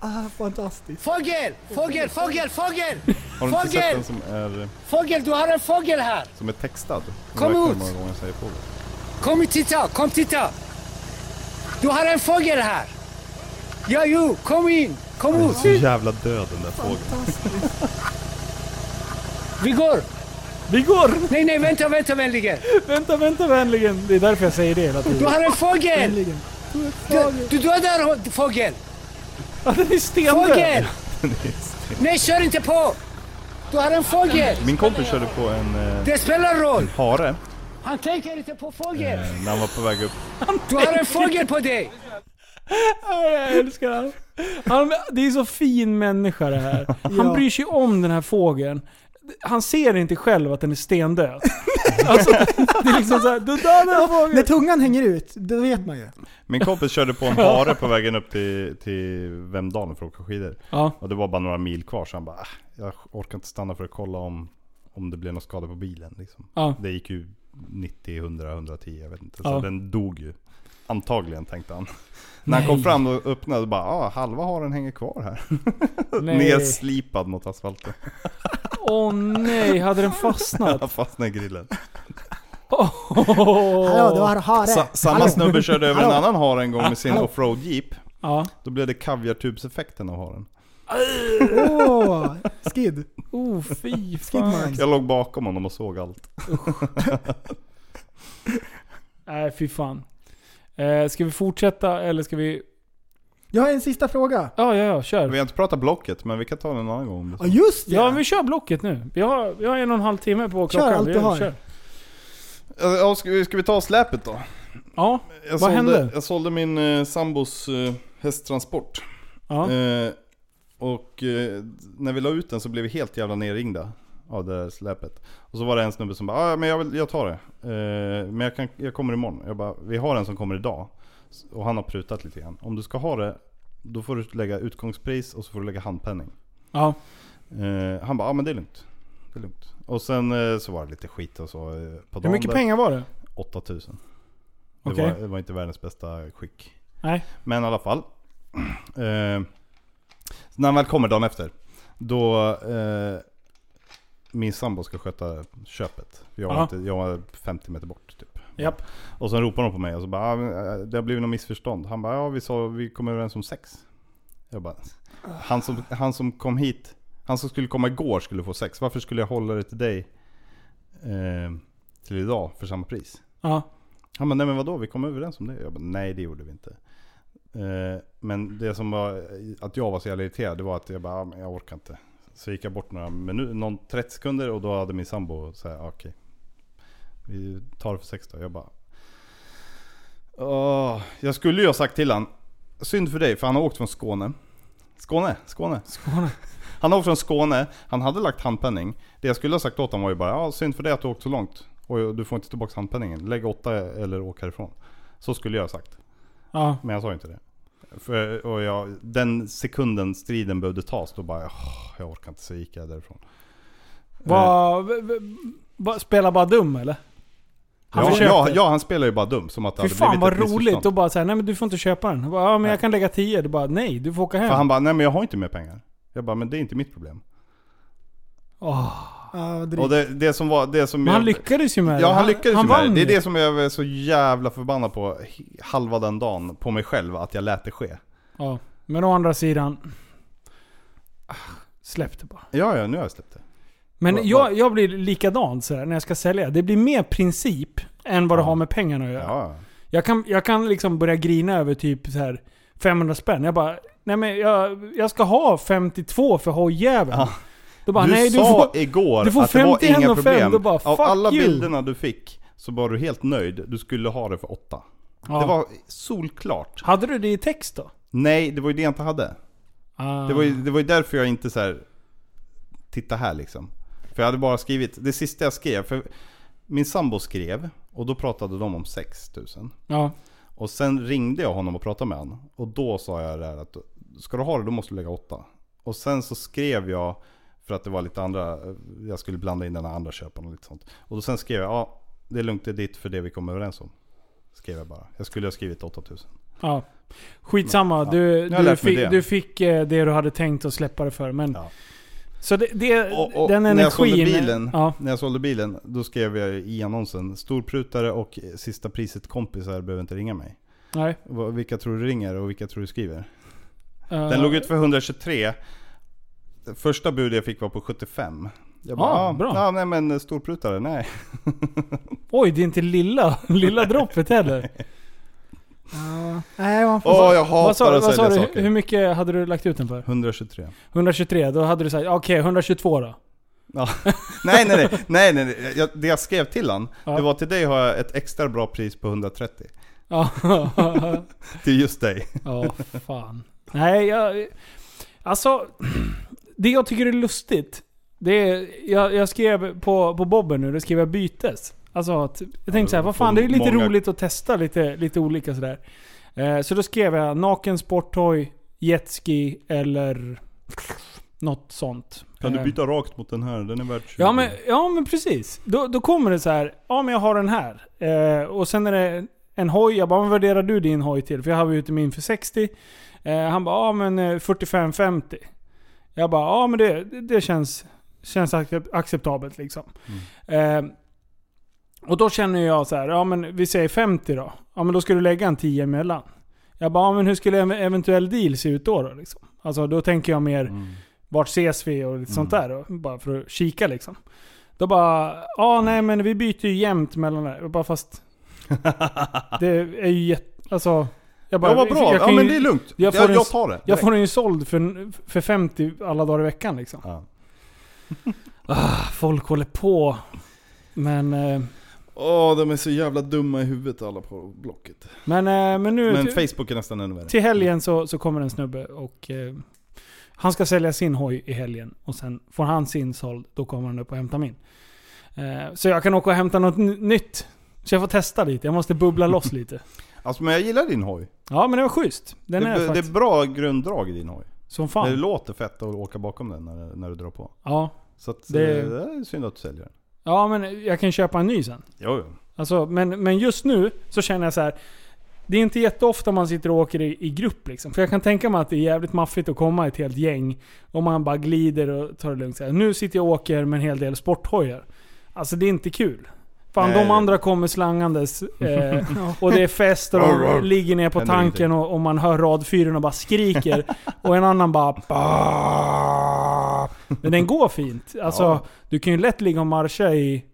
S6: Ah, fantastiskt.
S9: Fågel! Fågel! Fågel! Fågel!
S5: Har du inte sett
S9: Fågel!
S5: den som är,
S9: Fågel! Du har en fågel här!
S5: som är textad?
S9: Kom
S5: Jag vet
S9: ut!
S5: inte hur många gånger jag säger fågel.
S9: Kom och titta! Kom titta! Du har en fågel här! Ja, jo, kom in! Kom
S5: Den är så
S9: ut!
S5: jävla död den där fågeln.
S9: Vi går!
S4: Vi går!
S9: Nej, nej, vänta, vänta vänligen!
S4: Vänta, vänta vänligen. Det är därför jag säger det hela tiden.
S9: Du har en fågel! Du, du dödar hon- fågel!
S4: Ja, den är stendöd!
S9: Fågel! Nej, kör inte på! Du har en fågel!
S5: Min kompis körde på en, eh,
S9: Det spelar roll!
S5: en hare
S9: Han tänker inte på fågel!
S5: eh, när han var på väg upp.
S9: Du har en fågel på dig!
S4: Ja, Jag älskar han. han. Det är så fin människa det här. Han
S9: Ja.
S4: bryr sig om den här fågeln. Han ser inte själv att den är stendöd. alltså, det är liksom såhär, du dödade fågeln!
S6: När tungan hänger ut, det vet man ju.
S5: Min kompis körde på en hare på vägen upp till, till Vemdalen för att åka skidor.
S4: Ja.
S5: Och det var bara några mil kvar så han bara "Ah, jag orkar inte stanna för att kolla om, om det blev någon skada på bilen. Liksom.
S4: Ja.
S5: Det gick ju 90, 100, 110 jag vet inte. Så
S4: Ja.
S5: den dog ju. Antagligen tänkte han. När han
S4: Nej.
S5: kom fram och öppnade bara ah, halva haren hänger kvar här.
S4: Nej.
S5: Nerslipad mot asfalten.
S4: Åh nej, hade den fastnat?
S5: Han fastnade i grillen.
S4: Hallå,
S6: du har hare.
S5: Sa, samma
S6: Hallå.
S5: snubbe körde över en
S6: Hallå.
S5: annan hare en gång med sin
S6: Hallå.
S5: offroad jeep.
S4: Ja.
S5: Då blev det kaviartubseffekten av haren.
S6: Åh, skid.
S4: Oh, fy fan.
S6: Skidmark.
S5: Jag låg bakom honom och såg allt.
S4: Nej, fy fan. Eh, ska vi fortsätta eller ska vi...
S6: Jag har en sista fråga.
S4: Ja, ja, ja, kör.
S5: Vi har inte pratat Blocket, men vi kan ta den en annan gång. om det är så.
S6: Ja, just det!
S4: Ja, men vi kör blocket nu. Vi har, vi har en och en halv timme
S5: Kör
S4: på klockan.
S5: allt
S4: Vi
S5: du har.
S4: kör.
S5: Ja, ska, vi- ska vi ta släpet då?
S4: Ja,
S5: jag
S4: vad
S5: sålde,
S4: hände?
S5: Jag sålde min eh, sambos eh, hästtransport.
S4: Ja.
S5: Eh, Och eh, när vi la ut den så blev vi helt jävla nerringda av det där släpet. Och så var det en snubbe som bara ah, ja, men jag, vill, jag tar det. Eh, men jag, kan, jag kommer imorgon. Jag bara, vi har en som kommer idag. S- Och han har prutat lite grann. Om du ska ha det, då får du lägga utgångspris och så får du lägga handpenning.
S4: Ja.
S5: Eh, han bara, ja ah, men det är lugnt. Det är lugnt. Och sen eh, så var det lite skit och så eh, på
S4: Hur mycket
S5: där.
S4: pengar var det?
S5: 8000. Det,
S4: Okej.
S5: var, det var inte världens bästa skick.
S4: Nej.
S5: Men i alla fall. Eh, så när han väl kommer dagen efter. Då eh, min sambo ska sköta köpet. Jag var,
S4: Ja.
S5: inte, jag var 50 meter bort typ.
S4: Japp.
S5: Och sen ropar de på mig och så bara, ah, men, eh, det har blivit något missförstånd. Han bara, ja vi sa vi kom överens om sex. Jag bara, han som, han som kom hit, han som skulle komma igår skulle få sex. Varför skulle jag hålla det till dig eh, till idag för samma pris?
S4: Ja.
S5: Han bara, nej men vadå vi kom överens om det. Jag bara, nej det gjorde vi inte. Eh, men det som var, att jag var så jävla irriterad det var att jag bara, ah, men jag orkar inte. Så gick jag bort några minuter, någon 30 sekunder och då hade min sambo så här, ah, okej. Vi tar det för sex då. Jag bara, Åh, jag skulle ju ha sagt till han Synd för dig, för han har åkt från Skåne. Skåne, Skåne.
S4: Skåne.
S5: Han har åkt från Skåne, han hade lagt handpenning. Det jag skulle ha sagt åt honom var ju bara ja, synd för dig att du har åkt så långt. Och du får inte tillbaka handpenningen. Lägg åtta eller åk härifrån. Så skulle jag ha sagt.
S4: Ja.
S5: Men jag sa ju inte det. För, och jag, den sekunden striden behövde tas, då bara "Åh, jag orkar inte. Så gick jag därifrån. Eh,
S4: Var, v- v- va- spelar bara dum eller?
S5: ja,
S4: försökte.
S5: ja, ja, han spelar ju bara dum. Som att det
S4: Fy
S5: hade
S4: fan
S5: blivit
S4: vad
S5: ett
S4: roligt.
S5: missförstånd.
S4: Och bara såhär, nej men du får inte köpa den. Jag Bara, ja men jag kan lägga 10. Du bara, nej du får åka hem.
S5: För han bara, nej men jag har inte mer pengar. Jag bara, men det är inte mitt problem.
S4: Åh.
S5: Och det, det som var... Det som
S4: Men han
S5: jag,
S4: lyckades ju med det.
S5: Ja, han
S4: Han-
S5: lyckades
S4: han
S5: ju med det.
S4: vann
S5: Det
S4: ju.
S5: är det som jag är så jävla förbannad på he- halva den dagen, på mig själv, att jag lät det ske.
S4: Ja. Men å andra sidan. ah, Släpp det bara.
S5: Ja, ja, nu har jag släppt det.
S4: Men jag, jag blir likadant sådär när jag ska sälja. Det blir mer princip än vad det har med pengarna att göra. Jag, kan, jag kan liksom börja grina över typ så här 500 spänn. Jag bara, nej men jag, jag ska ha 52 för hojjäveln. Då bara,
S5: du
S4: nej,
S5: sa
S4: du får,
S5: igår
S4: du får
S5: att det var
S4: 51
S5: inga
S4: och fem.
S5: problem.
S4: Då bara,
S5: Av
S4: fuck
S5: alla
S4: you.
S5: bilderna du fick så var du helt nöjd. Du skulle ha det för åtta.
S4: Ja.
S5: Det var solklart.
S4: Hade du det i text då?
S5: Nej, det var ju det jag inte hade.
S4: Ah.
S5: Det, var ju, det var ju därför jag inte så här. Titta här liksom. För jag hade bara skrivit, det sista jag skrev. För min sambo skrev och då pratade de om 6000.
S4: Ah, Ja.
S5: Och sen ringde jag honom och pratade med honom. Och då sa jag det här att ska du ha det då måste du lägga åtta. Och sen så skrev jag, för att det var lite andra, jag skulle blanda in den här andra köparen och lite sånt. Och då sen skrev jag, ja det är lugnt det är ditt för det vi kom överens om. Skrev jag bara. Jag skulle ha skrivit 8000.
S4: Ja. Skitsamma,
S5: Ja.
S4: du,
S5: Jag har
S4: du,
S5: lärt mig
S4: fick,
S5: det.
S4: du fick eh, det du hade tänkt att släppa det för. Men, Så det, det,
S5: Och, och
S4: den
S5: när, jag
S4: energin...
S5: sålde bilen,
S4: Ja.
S5: när jag sålde bilen, då skrev jag i annonsen Storprutare och sista priset kompisar behöver inte ringa mig.
S4: Nej.
S5: Vad- Vilka tror du ringer och vilka tror du skriver?
S4: Eh.
S5: Den låg ut för 123. Det Första budet jag fick var på 75. Jag bara,
S4: Ah,
S5: ah,
S4: bra.
S5: Ja, nej men storprutare, nej.
S4: Oj, det är inte lilla, lilla droppet heller. Ja.
S6: Nej, man får...
S5: Åh, jag hatar
S4: vad sa, du-
S5: att
S4: vad sa
S5: sälja
S4: du?
S5: saker.
S4: Hur mycket hade du lagt ut den för?
S5: 123.
S4: 123, då hade du sagt okej 122 då.
S5: Ja. Nej, nej, nej. nej, nej, nej. Jag, det jag skrev till han,
S4: Ja.
S5: det var till dig har jag ett extra bra pris på 130.
S4: Ja.
S5: till just dig.
S4: Ja, fan. Nej, jag... Alltså, det jag tycker är lustigt. Det är, jag, jag skrev på, på Bobben nu, då skrev jag bytes. Alltså att, jag tänkte så här, vad fan det är ju lite
S1: många-
S4: roligt att testa lite, lite olika sådär. Eh, så då skrev jag naken sporttoy, jetski eller något sånt.
S5: Kan du
S4: Eh,
S5: byta rakt mot den här? Den är värd 20.
S4: Ja men, ja men precis. Då, då kommer det så här. Ja men jag har den här. Eh, och sen är det en hoj. Jag bara, vad värderar du din hoj till? För jag hade ute min för 60. Eh, han bara, ja men eh, 45-50. Jag bara, ja men det, det känns, känns accep- acceptabelt liksom. Eh, och då känner jag så här, ja men vi säger 50 då. Ja men då ska du lägga en 10 emellan. Jag bara, ja, men hur skulle en eventuell deal se ut då? då liksom? Alltså då tänker jag mer,
S5: Mm.
S4: vart ses vi och lite sånt där. Då, bara för att kika liksom. Då bara, ja nej men vi byter ju jämt mellan det här." Jag bara fast... det är ju jätte... Alltså... Jag bara,
S5: Ja, vad bra. Ja,
S4: ju-
S5: men det är lugnt.
S4: Jag, får
S5: Jag-
S4: den-
S5: jag tar det
S4: Jag får
S5: direkt.
S4: den ju såld för, för 50 alla dagar i veckan liksom. ah, folk håller på. Men... eh,
S5: Åh, de är så jävla dumma i huvudet alla på Blocket.
S4: Men, eh, men nu...
S5: Men
S4: till-
S5: Facebook är nästan ännu värre.
S4: Till helgen så, så kommer en snubbe och eh, Han ska sälja sin hoj i helgen och sen får han sin såld, då kommer han upp och hämtar min. Eh, Så jag kan åka och hämta något n- nytt. Så jag får testa lite, jag måste bubbla loss lite.
S5: Alltså men jag gillar din hoj.
S4: Ja men det var schysst. Den
S5: det,
S4: är
S5: det
S4: faktiskt...
S5: är bra grunddrag i din hoj.
S4: Som fan.
S5: Det låter fett att åka bakom den när, när du drar på.
S4: Ja.
S5: Så att, eh,
S4: Det-
S5: det... det är synd att du säljer den.
S4: Ja men jag kan köpa en ny sen.
S5: Jo, jo.
S4: Alltså, men, men just nu så känner jag så här. Det är inte jätteofta man sitter och åker i, i grupp liksom. För jag kan tänka mig att det är jävligt maffigt att komma ett helt gäng. Och man bara glider och tar det lugnt. Så här. Nu sitter jag och åker med en hel del sporthojar. Alltså det är inte kul. Fan
S5: Nej.
S4: de andra kommer slangandes. Eh, och det är fest och
S5: Arr,
S4: de
S5: arr.
S4: ligger ner på
S5: Händer
S4: tanken och, och man hör rad fyren och bara skriker. och en annan bara... "Bah." Men den går fint. Alltså,
S5: Ja.
S4: du kan ju lätt ligga och marscha i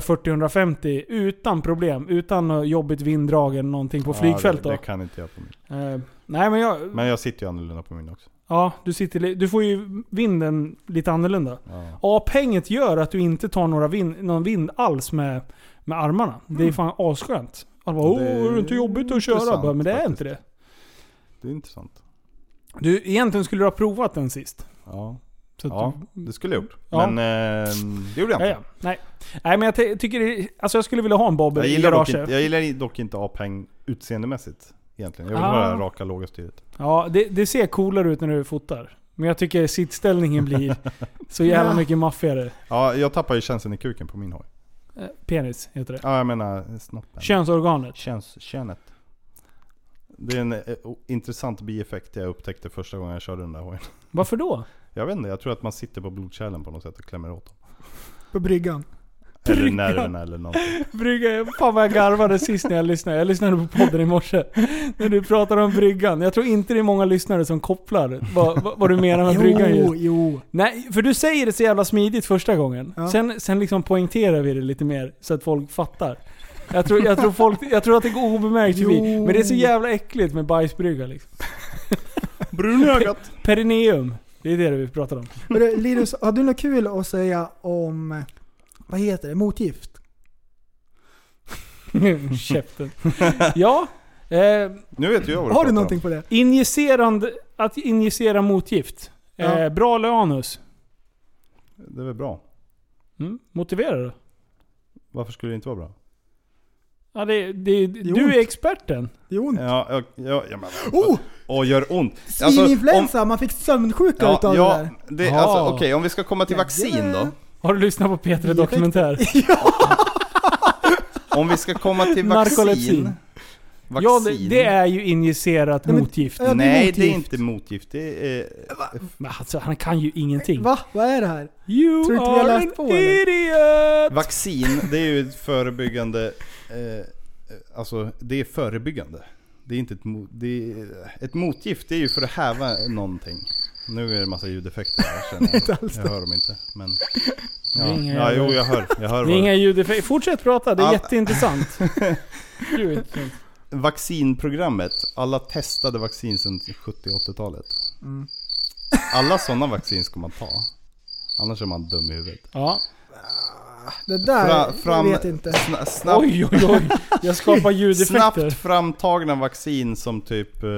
S4: 140-150 utan problem. Utan något jobbigt vinddrag eller någonting på flygfält
S5: ja,
S4: då.
S5: det, det kan inte jag på min.
S4: Eh, nej men jag...
S5: Men jag sitter ju annorlunda på min också.
S4: Ja, du, sitter, li- du får ju vinden lite annorlunda. A-penget gör att du inte tar några vind, någon vind alls med, med armarna. Det är fan asskönt. Alla bara,
S5: Mm. Ja,
S4: åh,
S5: det är
S4: är det inte jobbigt att köra?
S5: intressant
S4: Bara, men det är inte det.
S5: Det är intressant.
S4: Du, egentligen skulle du ha provat den sist.
S5: Ja.
S4: Så att
S5: ja,
S4: du-
S5: det skulle jag gjort.
S4: Ja.
S5: Men eh, det gjorde jag inte.
S4: Ja, ja. Nej. Nej, men jag ty- tycker det, Alltså jag skulle vilja ha en bobber
S5: Jag
S4: i
S5: gillar, dock
S4: garaget.
S5: inte, jag gillar dock inte A-peng utseendemässigt. Egentligen. Jag vill
S4: Ah.
S5: ha det här raka låga styret.
S4: Ja, det, det ser coolare ut när du fotar. Men jag tycker sittställningen blir så jävla
S5: Ja.
S4: mycket maffigare.
S5: Ja, jag tappar ju känslan i kuken på min hoj.
S4: Eh, Penis heter det.
S5: Ja, jag menar snoppen.
S4: Könsorganet.
S5: Köns, könet. Det är en eh, o- intressant bieffekt jag upptäckte första gången jag körde den där hojen.
S4: Varför då?
S5: Jag vet inte, jag tror att man sitter på blodkärlen på något sätt och klämmer åt dem.
S6: På bryggan.
S5: Eller nerverna eller någonting.
S4: Brygga, fan vad jag garvade sist när jag lyssnade. Jag lyssnade på podden i morse. När du pratade om bryggan. Jag tror inte det är många lyssnare som kopplar vad, vad, vad du menar med bryggan
S6: Jo,
S4: just.
S6: jo.
S4: Nej, för du säger det så jävla smidigt första gången.
S6: Ja.
S4: Sen, sen liksom poängterar vi det lite mer så att folk fattar. Jag tror, jag tror, folk, jag tror att det går obemärkt förbi.
S6: Jo.
S4: Men det är så jävla äckligt med bajsbrygga liksom.
S5: Brun i ögat.
S4: Perineum. Det är det vi pratar om.
S6: Men du, Linus, har du något kul att säga om, vad heter det, motgift?
S4: Käften. Ja. Eh,
S5: nu vet jag vad
S6: Har du någonting på det?
S4: Injicerande, att injicera motgift.
S6: Ja.
S4: Eh, bra eller anus?
S5: Det är väl bra?
S4: Mm. Motivera då.
S5: Varför skulle det inte vara bra?
S4: Ja, det, det, du är experten.
S6: Det är ont.
S5: Ja, jag, jag, jag menar,
S6: Oh!
S5: Åh, gör ont. Alltså,
S6: Svininfluensa, man fick sömnsjuka
S5: ja,
S6: utav
S5: ja,
S6: det där.
S5: det, alltså, Okej, om vi ska komma till vaccin då.
S4: Har du lyssnat på Peter Dokumentär?
S5: Om vi ska komma till
S4: Narkolepsi.
S5: vaccin. Vaccin.
S4: Ja, det, det är ju injicerat motgift.
S5: Nej, det är inte motgift. Det är...
S4: Men alltså, han kan ju ingenting.
S6: Va? Vad är det här?
S4: You
S6: Tror du inte vi har
S4: are
S6: läst på
S4: an
S6: eller?
S4: idiot!
S5: Vaccin, det är ju ett förebyggande... Eh, eh, alltså, det är förebyggande. Det är inte ett, mo- det är, ett motgift, det är ju för att häva någonting. Nu är det massa ljudeffekter här känner jag.
S4: Inte alls
S5: jag
S4: det.
S5: hör dem inte. Men,
S4: Det
S5: ja,
S4: är inga
S5: ja,
S4: jävla-
S5: jo jag hör. Jag hör
S4: Det är
S5: vad-
S4: inga ljudeffekter. Fortsätt prata, det är
S5: Ja.
S4: jätteintressant. Gud.
S5: Vaccinprogrammet, alla testade vaccin sedan 70-80-talet.
S4: Mm.
S5: Alla sådana vaccin ska man ta. Annars är man dum i huvudet.
S4: Ja.
S6: Det där,
S5: Fra- fram-
S6: jag vet inte.
S5: sna- snabbt-
S4: Oj, oj, oj. Jag skapar ljudeffekter.
S5: Snabbt framtagna vaccin som typ eh,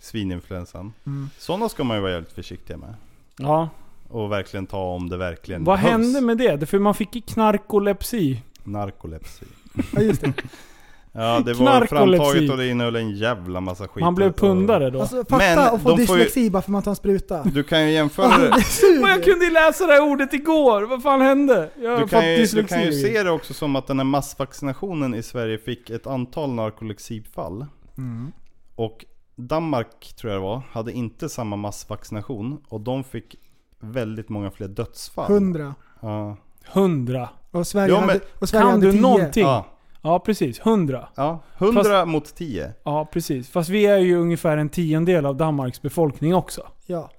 S5: svininfluensan.
S4: Mm.
S5: Sådana ska man ju vara jävligt försiktig med.
S4: Ja.
S5: Och verkligen ta om det verkligen
S4: Vad
S5: behövs.
S4: hände med det? För man fick ju knarkolepsi.
S5: Narkolepsi.
S6: Ja, just det.
S5: Ja, det var
S4: Knarkolepsi.
S5: framtaget och det innehöll en jävla massa skit.
S4: Man blev
S5: Och-
S4: pundare då.
S6: Alltså fatta
S5: Men
S6: att få
S5: de får ju-
S6: dyslexi bara för man tar en spruta.
S5: Du kan ju jämföra
S6: Alltså,
S5: det.
S6: det suger.
S4: Men jag kunde ju läsa det här ordet igår. Vad fan hände? Jag har
S5: Du
S4: fått
S5: kan, ju, du
S4: dyslexi.
S5: kan ju se det också som att den här massvaccinationen i Sverige fick ett antal narkolepsifall.
S4: Mm.
S5: Och Danmark, tror jag det var, hade inte samma massvaccination. Och de fick väldigt många fler dödsfall.
S6: Hundra.
S5: Ja.
S4: Hundra.
S6: Och Sverige hade- och Sverige
S4: kan
S6: hade
S4: du
S6: tio.
S4: någonting?
S5: Ja.
S4: Ja. precis. Hundra.
S5: Ja, hundra mot tio.
S4: Ja, precis. Fast vi är ju ungefär en tiondel av Danmarks befolkning också.
S6: Ja.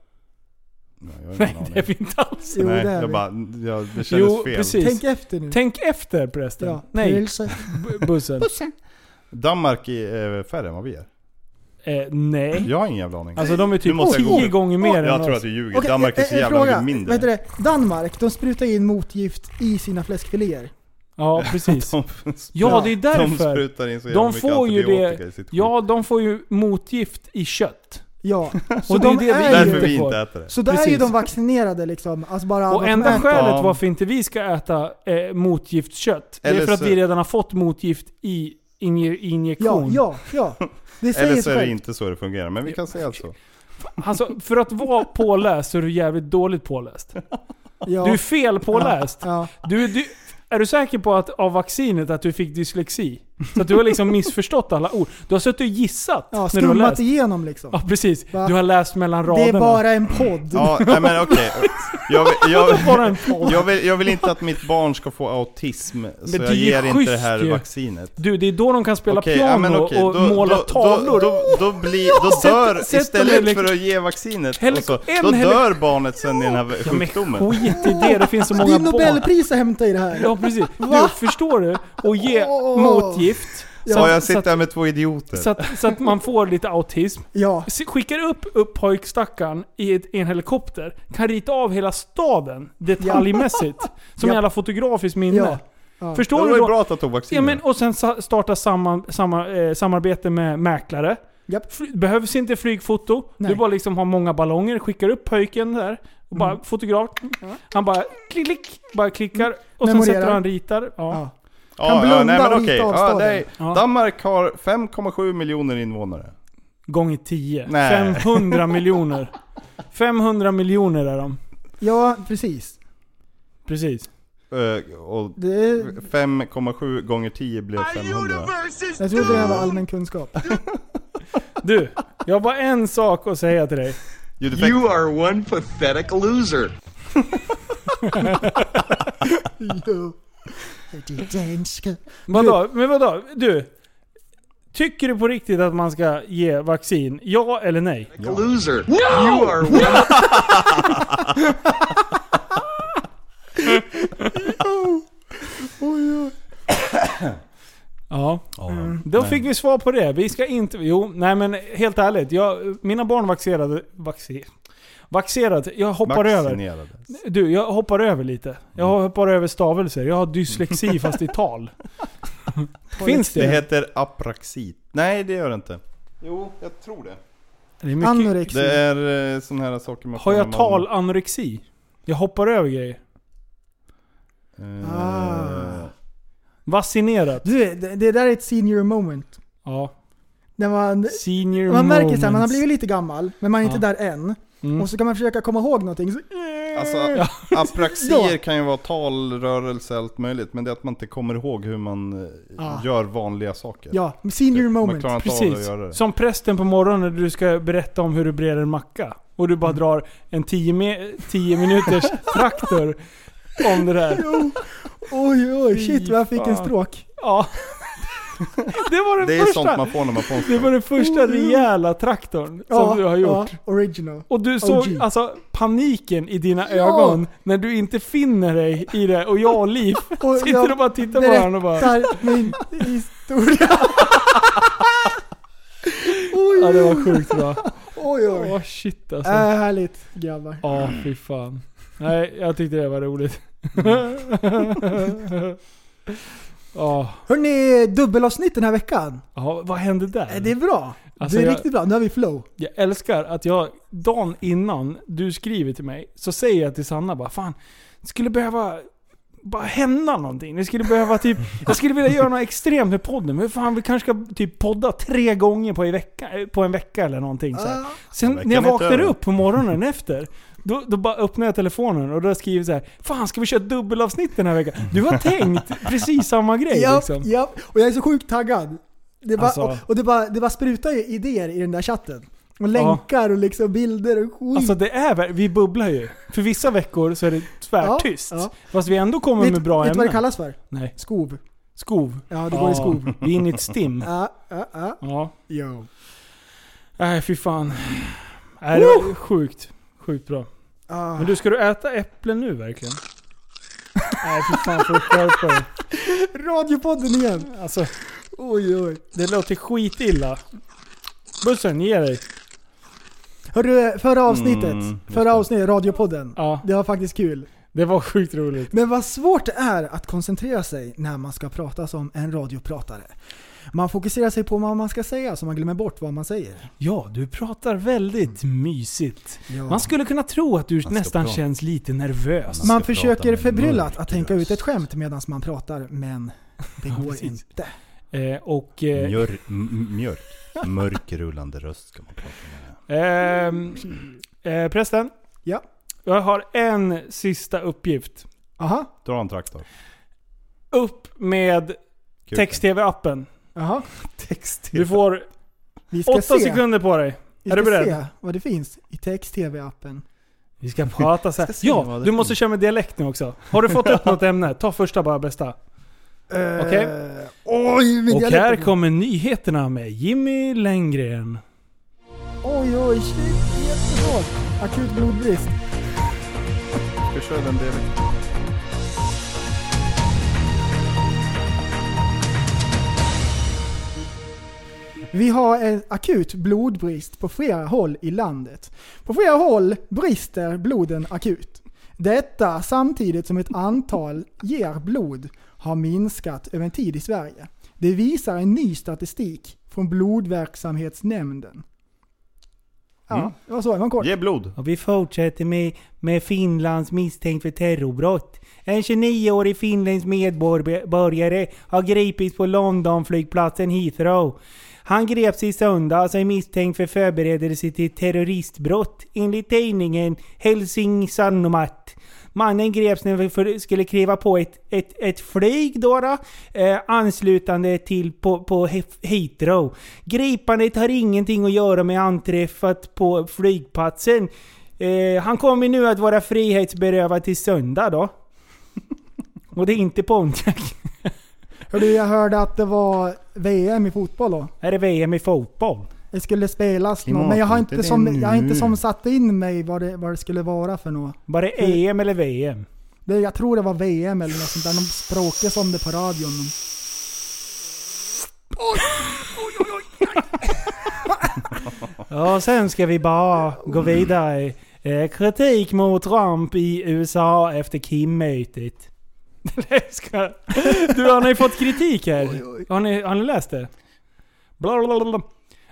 S4: Nej, det är vi inte alls.
S5: Jo, Nej, det är jag vi. bara- jag- det kändes fel. Tänk
S6: efter nu.
S4: Tänk efter prästen.
S5: Ja,
S4: Nej.
S5: pilsen.
S4: Bu- Bussen.
S5: Danmark är eh, färre än vad vi är.
S4: Eh, nej.
S5: Jag har ingen jävla aning.
S4: Alltså, de är typ
S5: Nu måste jag
S4: tio
S5: googla.
S4: gånger mer än
S5: Jag tror
S4: oss. eh,
S5: att du ljuger.
S6: Okej,
S5: Danmark är så
S6: en- en
S5: jävla
S6: fråga.
S5: mycket mindre.
S6: Vet du det? Danmark, de sprutar in motgift i sina fläskfiléer.
S4: Ja, precis. ja, det är
S5: de
S4: därför.
S5: sprutar in så jävla mycket antibiotika i sitt skit.
S4: Ja, de får ju motgift i kött.
S6: Ja,
S4: Så det är det vi
S5: Därför
S4: inte
S5: vi
S4: får.
S5: inte äter det.
S6: så där är ju
S4: Precis.
S6: de vaccinerade liksom. Alltså bara
S4: Och
S6: de
S4: enda
S6: äter-
S4: skälet varför inte vi ska äta eh, motgiftskött, det är
S5: Eller
S4: för att
S5: så-
S4: vi redan har fått motgift i inje, injektion.
S6: Ja, ja, ja. Det
S5: Eller
S6: säger
S5: så
S6: sig
S5: är det
S6: självt.
S5: inte så det fungerar, men vi kan säga så.
S4: Alltså, för att vara påläst så är du jävligt dåligt påläst. Du är fel påläst. Du, du, är du säker på att av vaccinet att du fick dyslexi? Så att du har liksom missförstått alla ord. Du har suttit och gissat
S6: Ja,
S4: när du har
S6: skummat
S4: läst.
S6: igenom liksom.
S4: Ja, precis. Du har läst mellan
S6: Det
S4: raderna.
S6: är bara en podd.
S5: Ja, nej, men okej. Jag, vill- jag,
S4: Vadå bara en podd?
S5: jag, vill, jag vill inte att mitt barn ska få autism, så jag
S4: Men det är
S5: ger
S4: ju
S5: inte det här
S4: schysst ju.
S5: vaccinet.
S4: Du, det är då de kan spela
S5: Okej,
S4: piano
S5: ja, men okej,
S4: och
S5: då-
S4: måla
S5: då- då-
S4: tavlor.
S5: Då, då, blir, då
S4: Sätt-
S5: dör,
S4: sätt dem
S5: istället
S4: i-
S5: för att ge vaccinet,
S4: Helik-
S5: och så,
S4: en
S5: då
S4: helik-
S5: dör barnet sen i den här sjukdomen.
S4: Skit i det, det finns så många
S6: det är
S4: barn.
S6: Nobelpris att hämta i det här.
S4: Ja precis. Du, förstår du? Och ge
S6: Åh.
S4: motgift.
S5: Ja, jag sitter här med två idioter.
S4: Så att, så att man får lite autism.
S6: Ja.
S4: Skickar upp, upp pojkstackaren i, ett, i en helikopter, kan rita av hela staden detaljmässigt. Som
S6: Ja.
S4: jävla fotografiskt minne.
S6: Ja. Ja.
S4: Förstår
S5: Ja, det
S4: du
S5: var ju
S4: då?
S5: bra att han tog vaccinet.
S4: Ja, men, och sen sa- starta samma, samma, eh, samarbete med mäklare. Fly- Behövs inte flygfoto.
S6: Nej.
S4: Du bara liksom har många ballonger, skickar upp pojken där. Och bara
S6: Mm.
S4: fotograf. Han bara klick, klick, bara klickar. Och sen
S6: Memorerar.
S4: sätter han ritar. Ja.
S5: Ja, ja, nej, men okej. Ja,
S4: avstånden.
S5: nej. Danmark har 5,7 miljoner invånare.
S4: Gånger 10.
S5: Nej.
S4: 500 miljoner. 500 miljoner är de.
S6: Ja, precis.
S4: Precis.
S5: Eh, Och
S6: Det-
S5: 5,7 gånger 10 blev 500.
S6: Jag trodde det här var allmän kunskap.
S4: Du, jag har bara en sak att säga till dig.
S2: You are one pathetic loser.
S4: Vadå? Men vadå? Du. Tycker du på riktigt att man ska ge vaccin? Ja eller nej?
S2: Loser. You are one.
S6: Oj, oj.
S4: Ja. Då
S6: Nej.
S4: Mm. fick vi svar på det. Vi ska inte... Jo, nej men helt ärligt. Jag, mina barn vaccinerade... Vacci, vaccinerade. Jag hoppar över.
S5: Vaccinerade.
S4: Du, jag hoppar över lite. Jag hoppar över stavelser. Jag har dyslexi fast i tal. Finns det?
S5: Det heter apraxit. Nej, det gör det inte. Jo, jag tror det.
S4: Det är mycket- Anorexi.
S5: Det är eh, sån här saker man
S4: Har
S5: får
S4: jag
S5: när man-
S4: talanorexi? Jag hoppar över grejer.
S5: Ah.
S4: Vaccinerat.
S6: Du, det, det där är ett senior moment.
S4: Ja.
S6: När man,
S4: Senior
S6: man märker
S4: moments.
S6: såhär, man har blivit lite gammal, men man är inte
S4: Ja.
S6: där än.
S4: Mm.
S6: Och så kan man försöka komma ihåg någonting. Så,
S5: Alltså,
S6: Då.
S5: apraxier kan ju vara talrörelse allt möjligt, men det är att man inte kommer ihåg hur man eh,
S6: Ah.
S5: gör vanliga saker.
S6: Ja, senior
S5: Man
S6: moment.
S5: klarar inte av att
S4: Precis.
S5: göra det.
S4: Som prästen på morgonen när du ska berätta om hur du breder en macka. Och du bara
S5: Mm.
S4: drar en 10 me- 10 minuters traktor om det där.
S6: Jo. Oj, oj, shit
S4: Fy
S6: vad jag fick en
S4: fan.
S6: stråk.
S4: Ja. Det var den
S5: Det är
S4: första.
S5: sånt man Oh, får när man får en
S4: Det var den första
S6: Mm.
S4: rejäla traktorn som du har gjort.
S6: Ja, original.
S4: Och
S5: Oh,
S4: du såg
S6: OG.
S4: alltså paniken i dina ögon när du inte finner dig i det och jag och Liv
S6: Och
S4: sitter
S6: jag
S4: och bara tittar på varandra och bara...
S6: berättar min historia. oj,
S4: Ja det var sjukt bra.
S6: Oj, oj.
S4: Åh shit alltså.
S6: Äh, härligt grabbar.
S4: Ja fy fan. Nej jag tyckte det var roligt. Ja.
S6: Hörni, dubbelavsnitt den här veckan.
S4: Ja, vad hände där?
S6: Eh, Det är bra.
S4: Alltså,
S6: det är
S4: jag-
S6: riktigt bra. Nu har vi flow.
S4: Jag älskar att jag, dagen innan du skriver till mig, så säger jag till Sanna bara Fan, det skulle behöva bara hända någonting. Det skulle behöva typ, jag skulle vilja göra något extremt med podden. Men fan, vi kanske ska typ podda tre gånger på, i vecka, eh, på en vecka eller någonting. Så här.
S6: Ah.
S4: Sen
S5: veckan
S4: när jag
S5: är inte
S4: vaknar
S5: över.
S4: upp på morgonen efter, då, då bara öppnar jag telefonen och då skriver jag så här, Fan, ska vi köra dubbelavsnitt den här veckan? Du har tänkt precis samma grej
S6: Ja,
S4: liksom.
S6: ja. Och jag är så sjukt taggad. Det bara,
S4: Alltså.
S6: och, och det bara, det bara sprutar ju idéer i den där chatten. Och länkar och liksom bilder och skit.
S4: Alltså det är ver- vi bubblar ju. För vissa veckor så är det tvärtyst.
S6: Ja, ja.
S4: Fast vi ändå kommer
S6: vet,
S4: med bra
S6: vet du
S4: ämnen.
S6: vad det kallas för?
S4: Nej.
S6: Skov.
S4: Skov?
S6: Ja, det går i skov.
S4: Vi är inne i ett stim.
S6: Ja, ja, ja.
S4: Ja.
S6: Jo.
S4: Nej fy fan. Nej, det var sjukt. Sjukt bra.
S6: Ah.
S4: Men du, ska du äta äpplen nu verkligen? Nej fy fan, får du skärpa dig.
S6: Radiopodden igen.
S4: Alltså,
S6: oj, oj.
S4: Det låter skitilla. Bussen, ge dig.
S6: Hörru, förra avsnittet.
S4: Mm, just
S6: förra avsnittet, radiopodden. Det var faktiskt kul.
S4: Det var sjukt roligt.
S6: Men vad svårt det är att koncentrera sig när man ska prata som en radiopratare. Man fokuserar sig på vad man ska säga så man glömmer bort vad man säger.
S4: Ja, du pratar väldigt mysigt.
S6: Ja.
S4: Man skulle kunna tro att du nästan
S6: prata.
S4: känns lite nervös.
S6: Man försöker förbryllat att tänka ut ett skämt medan man pratar, men det går
S4: precis.
S6: inte.
S4: Eh, och... Eh,
S5: Mjör, m- m- mjörk. Mörkrullande röst ska man prata med.
S4: Ehm, eh, prästen.
S6: Ja.
S4: Jag har en sista uppgift.
S6: Aha.
S5: Dra en traktor.
S4: Upp med text-tv-appen.
S6: Jaha.
S4: Du får
S6: Vi ska
S4: åtta
S6: se.
S4: sekunder på dig.
S6: Vi
S4: Är du
S6: ska
S4: beredd?
S6: se vad det finns i text-tv-appen.
S4: Vi ska prata så här. Ja, du måste köra med dialekt nu också. Har du fått upp något ämne? Ta första bara bästa. Okej?
S6: Eh, Oj, min
S4: Och
S6: dialekt är
S4: här
S6: bra.
S4: kommer nyheterna med Jimmy Lenngren.
S6: Oj, oj, shit. Jättesvårt. Akut blodbrist.
S5: Ska köra den dialekten?
S6: Vi har en akut blodbrist på flera håll i landet. På flera håll brister bloden akut. Detta samtidigt som ett antal ger blod har minskat över en tid i Sverige. Det visar en ny statistik från Blodverksamhetsnämnden. Ja,
S4: Mm.
S6: det var så. Det var en kort.
S5: Ge blod.
S4: Och vi fortsätter med, med Finlands misstänkt för terrorbrott. En 29-årig finländsk medborgare har gripits på Londonflygplatsen Heathrow. Han greps i söndags och är misstänkt för förberedelse till terroristbrott enligt tidningen Helsing Sanomat. Mannen greps när vi för- skulle kliva på ett, ett, ett flyg då, då eh, anslutande till på, på He- Heathrow. Gripandet har ingenting att göra med anträffat på flygplatsen. Eh, han kommer nu att vara frihetsberövad till söndag då. Och det är inte Pontiac.
S6: Hördu, jag hörde att det var VM i fotboll då.
S4: Är det VM i fotboll?
S6: Det skulle spelas något, men jag har, inte
S4: Klimathotet är
S6: som, jag har inte
S4: nu.
S6: som satt in mig vad det, vad det skulle vara för något.
S4: Var det EM E eller VM?
S6: Det, jag tror det var VM eller något sånt där. De språkade som det på radion.
S4: Ja, sen ska vi bara gå vidare. Eh, kritik mot Trump i USA efter Kim-mötet. Det ska- du, har ni fått kritik här? Har ni, har ni läst det? Bla, bla, bla, bla.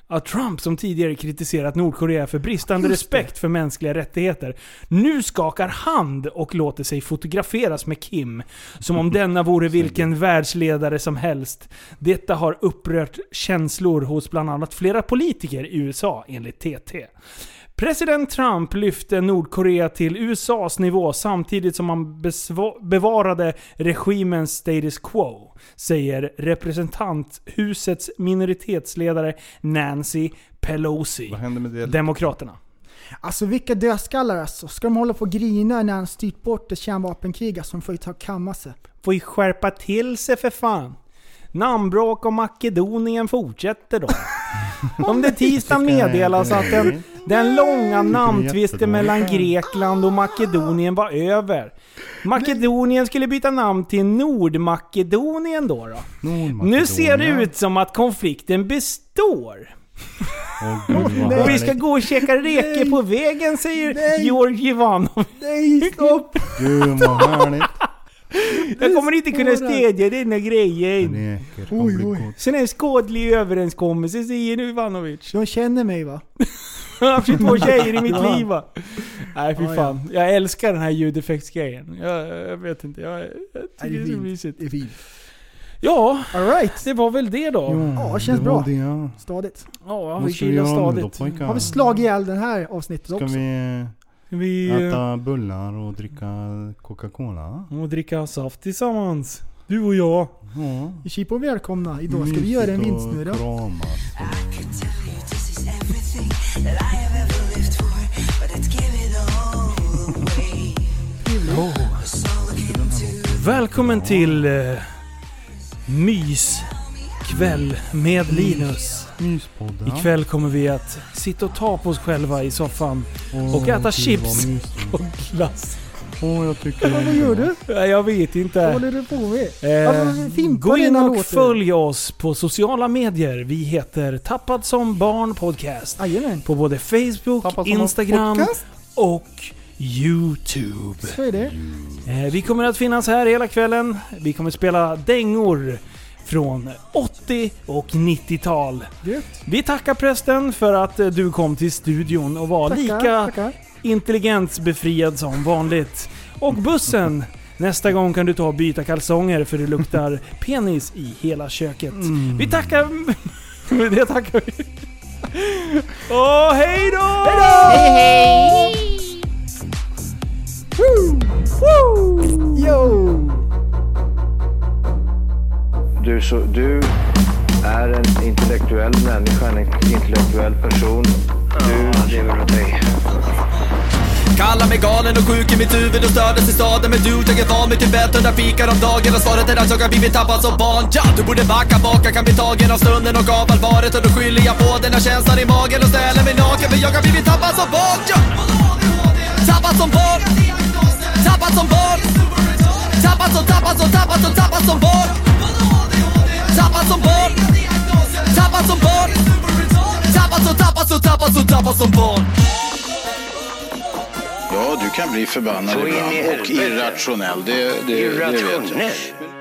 S4: Att Trump som tidigare kritiserat Nordkorea för bristande
S1: Just det.
S4: respekt för mänskliga rättigheter nu skakar hand och låter sig fotograferas med Kim. Som om denna vore vilken världsledare som helst. Detta har upprört känslor hos bland annat flera politiker i USA enligt TT. President Trump lyfte Nordkorea till USAs nivå samtidigt som han besva- bevarade regimens status quo, säger representanthusets minoritetsledare Nancy Pelosi. Vad
S5: händer med det?
S4: Demokraterna.
S6: Alltså vilka dödskallar alltså. Ska de hålla på och grina när han styrt bort ett kärnvapenkrig? Alltså de får ju ta och kamma sig.
S4: Får ju skärpa till sig för fan. Namnbråk om Makedonien fortsätter då. Om det tisdag meddelas att den, den långa namntvisten mellan Grekland och Makedonien var över. Makedonien skulle byta namn till Nordmakedonien då. då. Nu ser det ut som att konflikten består. Och vi ska gå och käka räkor på vägen säger Georg Ivanov.
S6: Nej, stopp!
S5: Gud vad härligt.
S4: Jag kommer inte kunna stödja denna grejen.
S6: Oj, oj.
S4: Sen är det en skådlig överenskommelse säger nu Ivanovic.
S6: De känner mig va?
S4: Jag har haft 22 tjejer i mitt
S6: Ja.
S4: liv va? Nej fy
S6: Ja, ja.
S4: fan. Jag älskar den här ljudeffektsgrejen. Jag, jag vet inte. Jag, jag tycker det är så mysigt.
S6: Det är fint.
S4: Ja,
S6: All right.
S4: det var väl det då.
S6: Ja, det känns
S4: det
S6: bra.
S4: var
S6: Stadigt.
S4: Ja,
S5: Vad
S4: vi
S5: ska vi
S4: kilar
S5: göra nu då,
S4: stadigt.
S5: pojkar?
S6: Har vi slagit ihjäl den här avsnittet
S5: Ska
S6: också?
S5: vi,
S4: vi eh,
S5: äta bullar och dricka Coca-Cola?
S4: Och dricka saft tillsammans. Du och jag.
S6: Ja. Kipa och välkomna. Idag ska vi göra en vinst nu då.
S4: Välkommen till uh, Myskväll med Linus.
S5: Myspodden.
S4: Ikväll kommer vi att sitta och ta på oss själva i soffan
S5: Åh,
S4: och äta
S5: gud,
S4: chips
S5: vad
S4: och glass.
S5: Åh, jag tycker
S6: Vad gör du?
S4: Nej, Jag vet
S6: Vad
S4: inte.
S6: håller du på med?
S4: Eh,
S6: Varför fimpar
S4: gå
S6: du
S4: in
S6: dina
S4: och
S6: låter?
S4: följ oss på sociala medier. Vi heter Tappad som barn podcast. På både Facebook,
S6: som
S4: Instagram
S6: podcast?
S4: och YouTube.
S6: Så är det.
S4: Eh, Vi kommer att finnas här hela kvällen. Vi kommer spela dängor från 80 och 90-tal. Vi tackar prästen för att eh, du kom till studion och var
S11: Tackar,
S4: lika
S11: tackar.
S4: intelligensbefriad som vanligt. Och bussen! Nästa gång kan du ta och byta kalsonger för det luktar penis i hela köket. Vi tackar... Det tackar vi. Och hej då! Hej då!
S11: Woo! Woo! Yo!
S3: Du, så, du är en intellektuell människa, en intellektuell person. Du lever av dig.
S8: Kallar mig galen och sjuk i mitt huvud och stördes i staden Men du, jag är van vid Tibet och där fikar om dagen Och svaret är att jag har blivit tappad som barn ja! Du borde backa bak, jag kan bli tagen av stunden och av allvaret Och då skyller jag på den här känslan i magen och ställer mig naken För jag har blivit tappad som barn ja! Tappad som barn Tappad som barn Tappad som, tappad som, tappad som, tappad som barn Tappad som barn Tappad som barn Tappad som, tappad som, tappad som, tappad som barn
S26: Ja, du kan bli förbannad
S8: Så in i
S26: ibland och
S8: helvete.
S26: irrationell. Det, det, det vet jag.
S8: Irrationell?